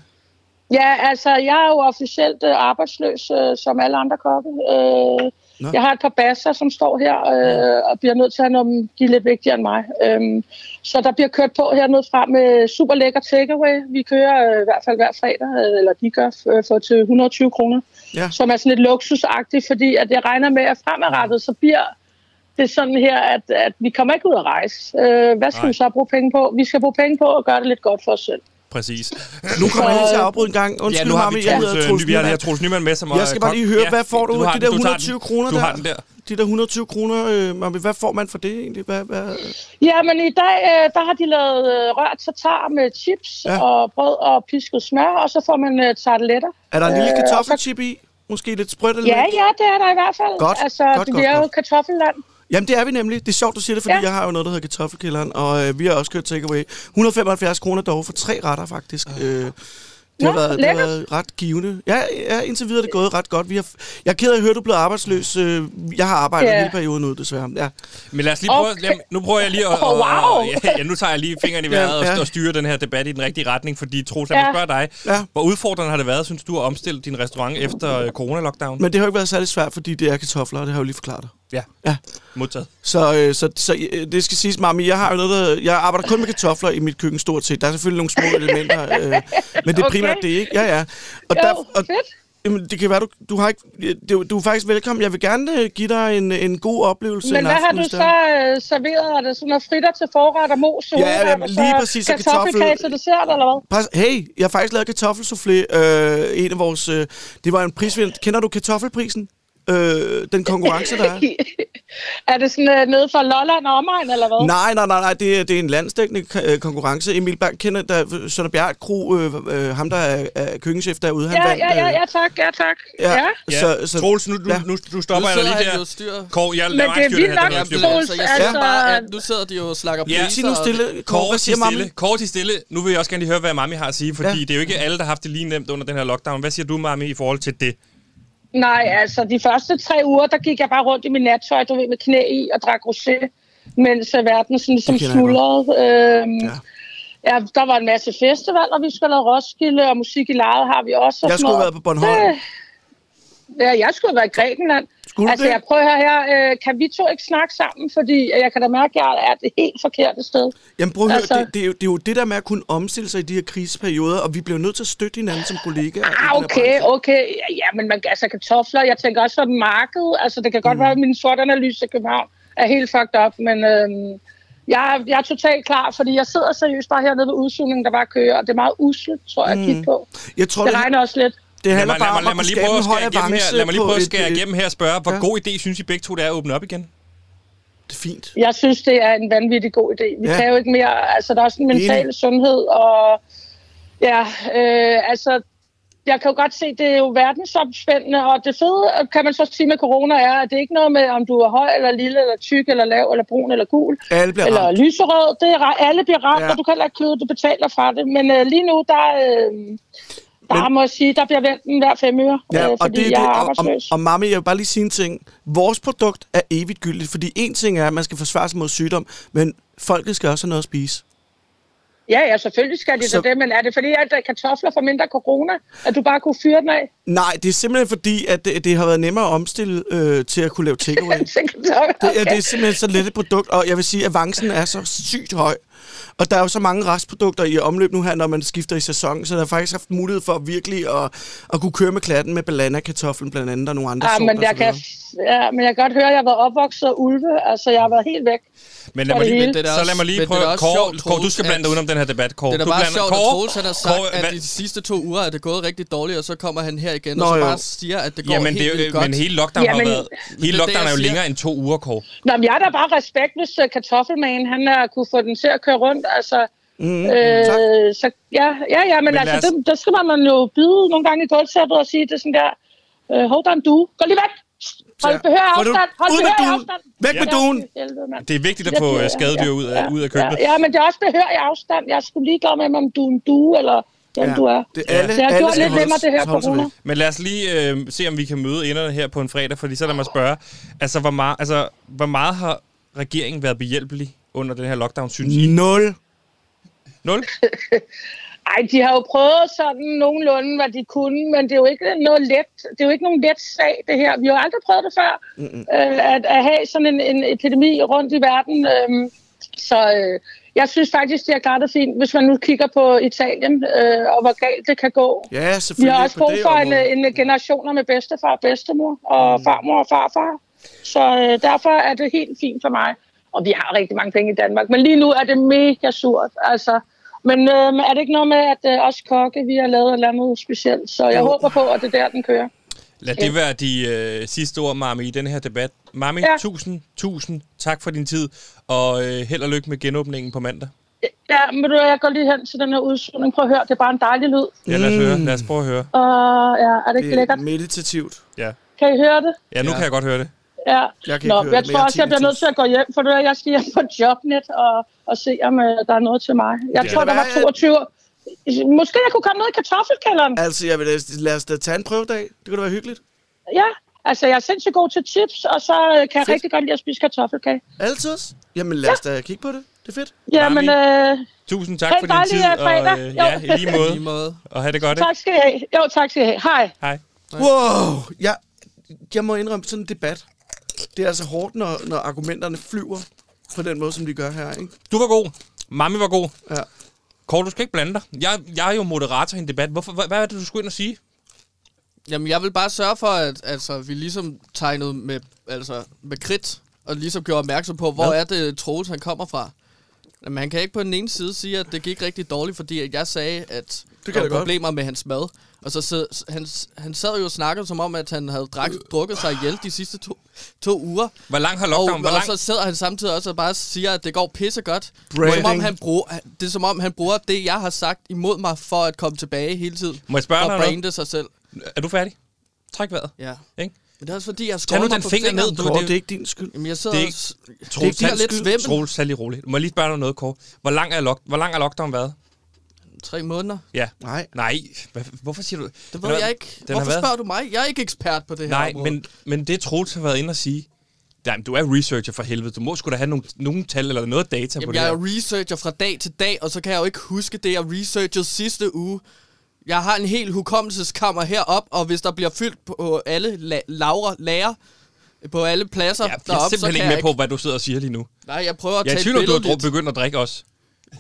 [SPEAKER 5] Ja, altså, jeg er jo officielt øh, arbejdsløs, øh, som alle andre kokke. Øh,
[SPEAKER 3] Nå.
[SPEAKER 5] jeg har et par basser, som står her øh, og bliver nødt til at have nogle, de er lidt vigtigere end mig. Øhm, så der bliver kørt på hernede fra med super lækker takeaway. Vi kører øh, i hvert fald hver fredag, øh, eller de gør, øh, for til 120 kroner.
[SPEAKER 3] Ja.
[SPEAKER 5] Som er sådan lidt luksusagtigt, fordi at jeg regner med, at fremadrettet, så bliver det er sådan her, at, at vi kommer ikke ud at rejse. Øh, hvad skal
[SPEAKER 1] Nej.
[SPEAKER 5] vi så bruge penge på? Vi skal bruge penge på at gøre det lidt godt for os selv.
[SPEAKER 1] Præcis.
[SPEAKER 3] Nu kommer jeg lige til at afbryde en gang. Undskyld,
[SPEAKER 1] ja, nu har vi
[SPEAKER 3] Mami, jeg
[SPEAKER 1] Troels,
[SPEAKER 3] hedder
[SPEAKER 1] øh,
[SPEAKER 3] Troels
[SPEAKER 1] Ny- vi har, vi har
[SPEAKER 3] Nyman.
[SPEAKER 1] Troels Nyman med, som er
[SPEAKER 3] Jeg skal bare
[SPEAKER 1] kok.
[SPEAKER 3] lige høre,
[SPEAKER 1] øh, Ja,
[SPEAKER 3] hvad får du,
[SPEAKER 1] har
[SPEAKER 3] de
[SPEAKER 1] den.
[SPEAKER 3] der
[SPEAKER 1] Du tager den.
[SPEAKER 3] 120 kroner
[SPEAKER 1] Du har
[SPEAKER 3] der?
[SPEAKER 1] den der.
[SPEAKER 3] De der 120 kroner, øh, Mami, hvad får man for det egentlig? Hvad, hvad?
[SPEAKER 5] Jamen i dag, øh, der har de lavet øh, rørt tartar med chips
[SPEAKER 3] Ja.
[SPEAKER 5] ja. og brød og pisket smør, og så får man øh, tarteletter.
[SPEAKER 3] Er der en lille
[SPEAKER 5] Øh,
[SPEAKER 3] kartoffelchip i? Måske lidt sprødt eller
[SPEAKER 5] Ja, ja, det er der i hvert fald.
[SPEAKER 3] Godt,
[SPEAKER 5] altså,
[SPEAKER 3] godt,
[SPEAKER 5] det
[SPEAKER 3] godt,
[SPEAKER 5] er jo
[SPEAKER 3] godt.
[SPEAKER 5] kartoffelland.
[SPEAKER 3] Jamen, det er vi nemlig. Det er sjovt, du siger det, fordi ja.
[SPEAKER 5] Ja.
[SPEAKER 3] jeg har jo noget, der hedder kartoffelkælderen, og øh, vi har også kørt takeaway. 175 kroner dog for tre retter, faktisk. Øh, det, har
[SPEAKER 5] Nå,
[SPEAKER 3] været, det har
[SPEAKER 5] lækkert.
[SPEAKER 3] været ret givende. Ja, ja, indtil videre er det gået ret godt. Vi har, jeg er ked af at høre, at du er blevet arbejdsløs. Øh, Jeg har arbejdet
[SPEAKER 5] Ja.
[SPEAKER 3] hele perioden ud, desværre. Ja.
[SPEAKER 1] Men lad os lige prøve,
[SPEAKER 5] Okay.
[SPEAKER 1] okay. nu prøver jeg lige at,
[SPEAKER 5] Oh, wow.
[SPEAKER 1] og- ja, ja, nu tager jeg lige fingeren i vejret
[SPEAKER 3] Ja,
[SPEAKER 1] ja,
[SPEAKER 3] ja.
[SPEAKER 1] ja. og styrer den her debat i den rigtige retning, fordi Troels, lad
[SPEAKER 5] Ja.
[SPEAKER 1] mig spørge dig,
[SPEAKER 3] Ja.
[SPEAKER 1] ja. hvor udfordrende har det været, synes du, at omstille din restaurant efter øh, corona-lockdown?
[SPEAKER 3] Men det har jo ikke været særlig svært, fordi det er kartofler, og det har jeg jo lige forklaret dig.
[SPEAKER 1] Ja,
[SPEAKER 3] Ja.
[SPEAKER 1] modtaget.
[SPEAKER 3] Så, øh, så, så øh, det skal siges, Mami, jeg har jo noget, der, jeg arbejder kun med kartofler i mit køkken stort set. Der er selvfølgelig nogle små elementer, øh, men det er
[SPEAKER 5] Okay.
[SPEAKER 3] primært det, ikke? Ja, ja. Og
[SPEAKER 5] Jo,
[SPEAKER 3] der, og,
[SPEAKER 5] fedt.
[SPEAKER 3] Jamen, det kan være, du, du har ikke... Du, du er faktisk velkommen. Jeg vil gerne øh, give dig en, en god oplevelse.
[SPEAKER 5] Men
[SPEAKER 3] en
[SPEAKER 5] hvad har
[SPEAKER 3] aften,
[SPEAKER 5] du
[SPEAKER 3] hvis det
[SPEAKER 5] så
[SPEAKER 3] er.
[SPEAKER 5] øh, serveret? Er det sådan noget fritter til forret og mos? til
[SPEAKER 3] Ja,
[SPEAKER 5] hovedret,
[SPEAKER 3] jamen,
[SPEAKER 5] og
[SPEAKER 3] lige præcis, så kartoffel-
[SPEAKER 5] Kartoffelkage til dessert, eller hvad?
[SPEAKER 3] Pas, hey, jeg har faktisk lavet kartoffelsoufflé. Øh, en af vores... Øh, det var en prisvind. Kender du kartoffelprisen? Øh, den konkurrence, der er?
[SPEAKER 5] er det sådan øh, nede fra Lolland og omegn, eller hvad?
[SPEAKER 3] Nej, nej, nej, nej. Det, er- det er en landstækkende k- øh, konkurrence. Emil Bang kender der, Sønder Bjerg Kro, øh, øh, ham der er, er køkkenchef derude. Han
[SPEAKER 5] ja,
[SPEAKER 3] vandt,
[SPEAKER 5] ja, ja,
[SPEAKER 3] øh,
[SPEAKER 5] ja, tak, ja, tak.
[SPEAKER 3] ja.
[SPEAKER 5] ja.
[SPEAKER 1] Ja.
[SPEAKER 3] Så, så,
[SPEAKER 1] Troels, nu, du,
[SPEAKER 3] ja.
[SPEAKER 1] ja. nu, nu
[SPEAKER 2] Nu
[SPEAKER 1] stopper jeg dig
[SPEAKER 2] sidder
[SPEAKER 1] lige
[SPEAKER 2] han jo og
[SPEAKER 1] der.
[SPEAKER 2] styrer.
[SPEAKER 1] Kår, jeg
[SPEAKER 5] Men
[SPEAKER 1] lader
[SPEAKER 5] det er
[SPEAKER 1] mig styre
[SPEAKER 5] vildt
[SPEAKER 1] det her.
[SPEAKER 5] nok,
[SPEAKER 1] den her
[SPEAKER 2] Ja,
[SPEAKER 1] styr
[SPEAKER 2] men
[SPEAKER 1] på.
[SPEAKER 5] Troels,
[SPEAKER 2] altså, jeg synes
[SPEAKER 5] altså,
[SPEAKER 2] bare, at
[SPEAKER 5] at-
[SPEAKER 2] nu sidder de jo og slakker
[SPEAKER 1] Ja.
[SPEAKER 3] Sig nu stille. Kåre, hvad
[SPEAKER 1] Kåre til
[SPEAKER 3] siger Mami?
[SPEAKER 1] stille. Kåre til stille. Nu vil jeg også gerne lige høre, hvad Mami har at sige, fordi
[SPEAKER 3] Ja.
[SPEAKER 1] ja. det er jo ikke alle, der har haft det lige nemt under den her lockdown. Hvad siger du, Mami, i forhold til det?
[SPEAKER 5] Nej, altså de første tre uger, der gik jeg bare rundt i min nattøj, du ved, med knæ i og drak rosé, mens øh, verden sådan ligesom
[SPEAKER 3] Det kender jeg godt.
[SPEAKER 5] smuldrede. Øhm,
[SPEAKER 3] Ja.
[SPEAKER 5] ja. ja. der var en masse festivaler, vi skulle have lavet Roskilde, og musik i lejet har vi også. og
[SPEAKER 3] Jeg
[SPEAKER 5] sådan
[SPEAKER 3] skulle have
[SPEAKER 5] noget.
[SPEAKER 3] været på Bornholm.
[SPEAKER 5] Det- Ja, jeg skulle have været i Grækenland.
[SPEAKER 3] Skulle du
[SPEAKER 5] altså,
[SPEAKER 3] det?
[SPEAKER 5] jeg prøver her, her øh, kan vi to ikke snakke sammen, fordi jeg kan da mærke, at jeg er det helt forkerte sted.
[SPEAKER 3] Jamen prøv at høre,
[SPEAKER 5] Altså-
[SPEAKER 3] det, det, er jo, det er jo det der med at kunne omstille sig i de her kriseperioder, og vi bliver jo nødt til at støtte hinanden som kollegaer. i den her
[SPEAKER 5] Ah, okay,
[SPEAKER 3] branche.
[SPEAKER 5] okay. Ja, Ja, men man, altså kartofler, jeg tænker også på markedet. Altså, det kan godt mm. være, at min sortanalyse i København er helt fucked up, men øhm, jeg, er- jeg er totalt klar, fordi jeg sidder seriøst bare hernede ved udsugningen, der bare kører, og det er meget uslet, tror jeg, at kigge på.
[SPEAKER 3] Jeg tror,
[SPEAKER 5] Det
[SPEAKER 3] det,
[SPEAKER 5] regner også lidt.
[SPEAKER 3] det
[SPEAKER 1] Lad
[SPEAKER 3] handler
[SPEAKER 1] mig, lad,
[SPEAKER 3] bare
[SPEAKER 1] mig,
[SPEAKER 3] om
[SPEAKER 1] lad
[SPEAKER 3] at
[SPEAKER 1] mig
[SPEAKER 3] kunne
[SPEAKER 1] lige
[SPEAKER 3] skabe
[SPEAKER 1] prøve at
[SPEAKER 3] en høj
[SPEAKER 1] skære igennem her.
[SPEAKER 3] avance
[SPEAKER 1] Lad mig lige
[SPEAKER 3] på
[SPEAKER 1] prøve at
[SPEAKER 3] et- øh,
[SPEAKER 1] skære
[SPEAKER 3] et-
[SPEAKER 1] igennem her og spørge, hvor
[SPEAKER 3] Ja.
[SPEAKER 1] god idé synes I begge to, det er at åbne op igen?
[SPEAKER 3] Det er fint.
[SPEAKER 5] Jeg synes, det er en vanvittig god idé. Vi
[SPEAKER 3] Ja.
[SPEAKER 5] ja. kan jo ikke mere. Altså, der er også en
[SPEAKER 3] Enig.
[SPEAKER 5] mental sundhed, og ja, øh, altså, jeg kan jo godt se, det er jo verdensomspændende, og det fede, kan man så sige med corona, er, at det er ikke noget med, om du er høj eller lille, eller tyk, eller lav, eller brun, eller gul,
[SPEAKER 3] Alle bliver
[SPEAKER 5] eller
[SPEAKER 3] ramt.
[SPEAKER 5] lyserød. Det er, ra- alle bliver ramt,
[SPEAKER 3] Ja.
[SPEAKER 5] ja. og du kan heller ikke kløde, du betaler fra det. Men øh, lige nu, der, øh, der
[SPEAKER 3] Men-
[SPEAKER 5] må jeg sige, der bliver vendt en hver fem øre, ja, øh, fordi jeg er
[SPEAKER 3] og, og,
[SPEAKER 5] arbejdsløs.
[SPEAKER 3] og mamma, jeg vil bare lige sige en ting. Vores produkt er evigt gyldigt, fordi en ting er, at man skal forsvare sig mod sygdom, men folket skal også have noget at spise.
[SPEAKER 5] Ja, ja, selvfølgelig skal de
[SPEAKER 3] Så-
[SPEAKER 5] så... det, men er det fordi, at der er kartofler for mindre corona, at du bare kunne fyre den af?
[SPEAKER 3] Nej, det er simpelthen fordi, at det, det har været nemmere at omstille øh, til at kunne lave takeaway.
[SPEAKER 5] Så kan du- okay.
[SPEAKER 3] Det, er, det er simpelthen så let et produkt, og jeg vil sige, at avancen er så sygt høj. Og der er jo så mange restprodukter i omløb nu her, når man skifter i sæson, så der har faktisk haft mulighed for virkelig at, at kunne køre med klatten med balana-kartoflen blandt andet, og nogle andre
[SPEAKER 5] Ja,
[SPEAKER 3] sorter
[SPEAKER 5] Ah, men jeg,
[SPEAKER 3] og så
[SPEAKER 5] kan,
[SPEAKER 3] videre.
[SPEAKER 5] ja, men jeg kan godt høre, at jeg har været opvokset af ulve. Altså, jeg har været helt væk.
[SPEAKER 1] Men lad
[SPEAKER 5] Ja,
[SPEAKER 1] mig
[SPEAKER 5] det
[SPEAKER 1] lige,
[SPEAKER 5] hele.
[SPEAKER 1] men,
[SPEAKER 2] Det er da
[SPEAKER 1] så lad
[SPEAKER 2] også-
[SPEAKER 1] mig lige
[SPEAKER 2] men det er
[SPEAKER 1] prøve...
[SPEAKER 2] da også
[SPEAKER 1] Kåre,
[SPEAKER 2] sjovt,
[SPEAKER 1] Kåre, du skal
[SPEAKER 2] Troels,
[SPEAKER 1] blande dig
[SPEAKER 2] at-
[SPEAKER 1] udenom den her debat, Kåre.
[SPEAKER 2] Det er da
[SPEAKER 1] Du
[SPEAKER 2] bare
[SPEAKER 1] blander-
[SPEAKER 2] sjovt, at
[SPEAKER 1] Kåre,
[SPEAKER 2] Troels han har sagt,
[SPEAKER 1] Kåre,
[SPEAKER 2] at
[SPEAKER 1] hvad-
[SPEAKER 2] i de sidste to uger er det gået rigtig dårligt, og så kommer han her igen,
[SPEAKER 3] Nå,
[SPEAKER 2] og så
[SPEAKER 3] jo.
[SPEAKER 2] bare siger, at det går
[SPEAKER 1] Jamen,
[SPEAKER 2] helt
[SPEAKER 1] det,
[SPEAKER 2] vildt
[SPEAKER 1] er jo-
[SPEAKER 2] godt.
[SPEAKER 1] men hele lockdown har jo
[SPEAKER 5] Jamen,
[SPEAKER 1] været...
[SPEAKER 2] det er
[SPEAKER 1] Hele
[SPEAKER 2] det,
[SPEAKER 1] lockdown
[SPEAKER 2] jeg
[SPEAKER 1] er jo
[SPEAKER 2] siger.
[SPEAKER 1] længere end to uger, Kåre.
[SPEAKER 5] Nå, men jeg er da bare respekt, hvis øh, kartoffelmagen, han har kunne få den til at køre rundt. Altså,
[SPEAKER 3] Mm, tak.
[SPEAKER 5] øh, så ja, ja, ja
[SPEAKER 1] Men
[SPEAKER 5] men, men
[SPEAKER 1] lad
[SPEAKER 5] altså,
[SPEAKER 1] os-
[SPEAKER 5] det, der skal man jo bide nogle gange i gulvsættet og sige, det er sådan der, øh, hold on du, gå lige væk, hold
[SPEAKER 3] Så-
[SPEAKER 5] behør
[SPEAKER 3] Får du-
[SPEAKER 5] afstand, hold
[SPEAKER 3] Ud med
[SPEAKER 5] behør
[SPEAKER 3] duen!
[SPEAKER 5] afstand.
[SPEAKER 3] Væk med duen!
[SPEAKER 5] Ja, helvede, mand.
[SPEAKER 1] Det er vigtigt at få øh, skadedyr ud af, ud af køkkenet.
[SPEAKER 5] Ja, ja, men det er også behør i afstand. Jeg skulle lige glad med, om du er en due, eller hvem ja. du er.
[SPEAKER 3] Det, alle,
[SPEAKER 5] Det har
[SPEAKER 3] alle
[SPEAKER 5] gjort
[SPEAKER 3] skal
[SPEAKER 5] lidt
[SPEAKER 3] holde-
[SPEAKER 5] nemmere, det her
[SPEAKER 3] holde sig
[SPEAKER 5] corona.
[SPEAKER 3] væk.
[SPEAKER 1] Men lad os lige øh, se, om vi kan møde enderne her på en fredag, fordi så lad mig spørge, altså hvor, meget, altså, hvor meget har regeringen været behjælpelig under den her lockdown, synes I?
[SPEAKER 3] Nul.
[SPEAKER 1] Nul?
[SPEAKER 5] Ej, de har jo prøvet sådan nogenlunde, hvad de kunne, men det er jo ikke noget let. Det er jo ikke nogen let sag, det her. Vi har jo aldrig prøvet det før, øh, at, at have sådan en, en epidemi rundt i verden. Øh, så øh, jeg synes faktisk, det har klaret det fint, hvis man nu kigger på Italien, øh, og hvor galt det kan gå.
[SPEAKER 3] Ja,
[SPEAKER 5] Vi
[SPEAKER 3] selvfølgelig.
[SPEAKER 5] har også
[SPEAKER 3] på
[SPEAKER 5] brug
[SPEAKER 3] det
[SPEAKER 5] for en,
[SPEAKER 3] område.
[SPEAKER 5] øh, en generationer med bedstefar og bedstemor, og mm. farmor og farfar. Så øh, derfor er det helt fint for mig. Og vi har rigtig mange penge i Danmark, men lige nu er det mega surt. Altså. Men øh, er det ikke noget med, at øh, os kokke, vi har lavet et eller andet specielt? Så jeg
[SPEAKER 3] Jo.
[SPEAKER 5] håber på, at det er der, den kører.
[SPEAKER 1] Lad det være de øh, sidste ord, Mami, i den her debat. Mami, ja.
[SPEAKER 5] Ja.
[SPEAKER 1] tusind, tusind tak for din tid, og øh, held og lykke med genåbningen på mandag.
[SPEAKER 5] Ja, men du, hvad, jeg går lige hen til den her udsugning. Prøv at høre, det er bare en dejlig lyd.
[SPEAKER 1] Ja, lad os, høre. Lad os prøve at høre.
[SPEAKER 5] Mm. Og ja, er det ikke
[SPEAKER 3] Det er
[SPEAKER 5] lækkert?
[SPEAKER 3] meditativt.
[SPEAKER 1] Ja,
[SPEAKER 5] Kan I høre det?
[SPEAKER 1] ja nu ja.
[SPEAKER 3] Ja.
[SPEAKER 1] kan jeg godt høre det.
[SPEAKER 5] Ja.
[SPEAKER 3] Jeg kan
[SPEAKER 5] Nå,
[SPEAKER 3] ikke høre
[SPEAKER 5] jeg
[SPEAKER 3] det, men
[SPEAKER 5] tror
[SPEAKER 3] jeg
[SPEAKER 5] også, jeg bliver nødt til at gå hjem, for det er, jeg skal hjem på jobnet og, og se, om øh, der er noget til mig. Jeg
[SPEAKER 1] Ja.
[SPEAKER 5] tror, der var
[SPEAKER 3] Hvad er-
[SPEAKER 5] 22 Måske jeg kunne komme ned i kartoffelkælderen.
[SPEAKER 3] Altså, jeg vil, da- lad os da tage en prøvedag. Det kunne da være hyggeligt.
[SPEAKER 5] Ja, altså jeg er sindssygt god til chips, og så øh, kan jeg
[SPEAKER 3] Fedt.
[SPEAKER 5] rigtig godt lide at spise kartoffelkage.
[SPEAKER 3] Altid. Jamen, lad os da kigge på det. Det er fedt.
[SPEAKER 5] Ja, men øh,
[SPEAKER 1] Tusind tak
[SPEAKER 5] Ha' en
[SPEAKER 1] for din
[SPEAKER 5] dejlig,
[SPEAKER 1] tid,
[SPEAKER 5] øh, fredag.
[SPEAKER 1] og øh,
[SPEAKER 5] Jo.
[SPEAKER 1] ja, i lige
[SPEAKER 2] Lige
[SPEAKER 1] måde.
[SPEAKER 2] måde.
[SPEAKER 1] Og have det godt. ikke?
[SPEAKER 5] øh, tak skal I have. Jo, tak skal I have. Hej.
[SPEAKER 1] Hej.
[SPEAKER 3] Wow! Jeg, jeg må indrømme sådan en debat. Det er altså hårdt, når, når argumenterne flyver på den måde, som de gør her, ikke?
[SPEAKER 1] Du var god. Mami var god.
[SPEAKER 3] Ja.
[SPEAKER 1] Kåre, du skal ikke blande dig. Jeg, jeg er jo moderator i en debat. Hvorfor, hvad, hvad er det, du skulle ind og sige?
[SPEAKER 2] Jamen, jeg vil bare sørge for, at altså, vi ligesom tegnede med, altså, med krit, og ligesom gjorde opmærksom på, hvor er det Troels, han kommer fra. Jamen, han kan ikke på den ene side sige, at det gik rigtig dårligt, fordi at jeg sagde, at
[SPEAKER 3] kan
[SPEAKER 2] der
[SPEAKER 3] jeg
[SPEAKER 2] var
[SPEAKER 3] godt.
[SPEAKER 2] problemer med hans mad. Og så sad, han, han sad jo og snakkede som om, at han havde drak, drukket sig ihjel de sidste to, to uger.
[SPEAKER 1] Hvor lang har
[SPEAKER 2] Og,
[SPEAKER 1] lockdown? Hvor
[SPEAKER 2] og
[SPEAKER 1] lang?
[SPEAKER 2] så sidder han samtidig også og bare siger, at det går pisse godt. Som om
[SPEAKER 3] Branding.
[SPEAKER 2] han bruger, det er som om, han bruger det, jeg har sagt imod mig, for at komme tilbage hele tiden.
[SPEAKER 1] Må jeg spørge dig
[SPEAKER 2] og
[SPEAKER 1] om noget?
[SPEAKER 2] brande sig selv.
[SPEAKER 1] Er du færdig? Træk vejret.
[SPEAKER 2] Ja.
[SPEAKER 1] Ikke?
[SPEAKER 2] Men det er også fordi, jeg
[SPEAKER 1] Tag nu
[SPEAKER 2] skruer mig
[SPEAKER 1] den
[SPEAKER 2] på
[SPEAKER 1] finger ned,
[SPEAKER 2] fingeren.
[SPEAKER 1] du.
[SPEAKER 2] Du.
[SPEAKER 1] Kåre,
[SPEAKER 3] Kåre,
[SPEAKER 1] det-
[SPEAKER 3] det er ikke din skyld.
[SPEAKER 2] Jamen, jeg sidder
[SPEAKER 1] Det er
[SPEAKER 2] og
[SPEAKER 1] ikke-
[SPEAKER 2] s-
[SPEAKER 1] Troels,
[SPEAKER 2] Det er lidt
[SPEAKER 1] skyld.
[SPEAKER 2] svimmen.
[SPEAKER 1] Troels, tag lige roligt. Må jeg lige spørge dig om noget, Kåre? Hvor lang, er lock, hvor lang er lockdown været?
[SPEAKER 2] tre måneder.
[SPEAKER 1] Ja.
[SPEAKER 3] Nej.
[SPEAKER 1] Nej. Hvad- Hvorfor siger du
[SPEAKER 2] Det
[SPEAKER 1] Den
[SPEAKER 2] ved
[SPEAKER 1] har-
[SPEAKER 2] jeg ikke.
[SPEAKER 1] Den
[SPEAKER 2] Hvorfor
[SPEAKER 1] har
[SPEAKER 2] spørger du mig? Jeg er ikke ekspert på det her
[SPEAKER 1] Nej,
[SPEAKER 2] område.
[SPEAKER 1] men, men det Troels har været inde og sige. Nej, men du er researcher for helvede. Du må sgu da have nogle, nogle tal eller noget data på
[SPEAKER 2] Jamen,
[SPEAKER 1] det
[SPEAKER 2] jeg er
[SPEAKER 1] her.
[SPEAKER 2] jo researcher fra dag til dag, og så kan jeg jo ikke huske det, jeg researchede sidste uge. Jeg har en hel hukommelseskammer herop, og hvis der bliver fyldt på alle la- lavre lager, på alle pladser
[SPEAKER 1] Jeg er
[SPEAKER 2] deroppe, så
[SPEAKER 1] simpelthen
[SPEAKER 2] kan
[SPEAKER 1] ikke
[SPEAKER 2] jeg
[SPEAKER 1] med på, hvad du sidder og siger lige nu.
[SPEAKER 2] Nej, jeg prøver at
[SPEAKER 1] Jeg er i
[SPEAKER 2] tage
[SPEAKER 1] tvivl
[SPEAKER 2] et
[SPEAKER 1] om, du
[SPEAKER 2] billede
[SPEAKER 1] har
[SPEAKER 2] lidt.
[SPEAKER 1] begyndt at drikke også.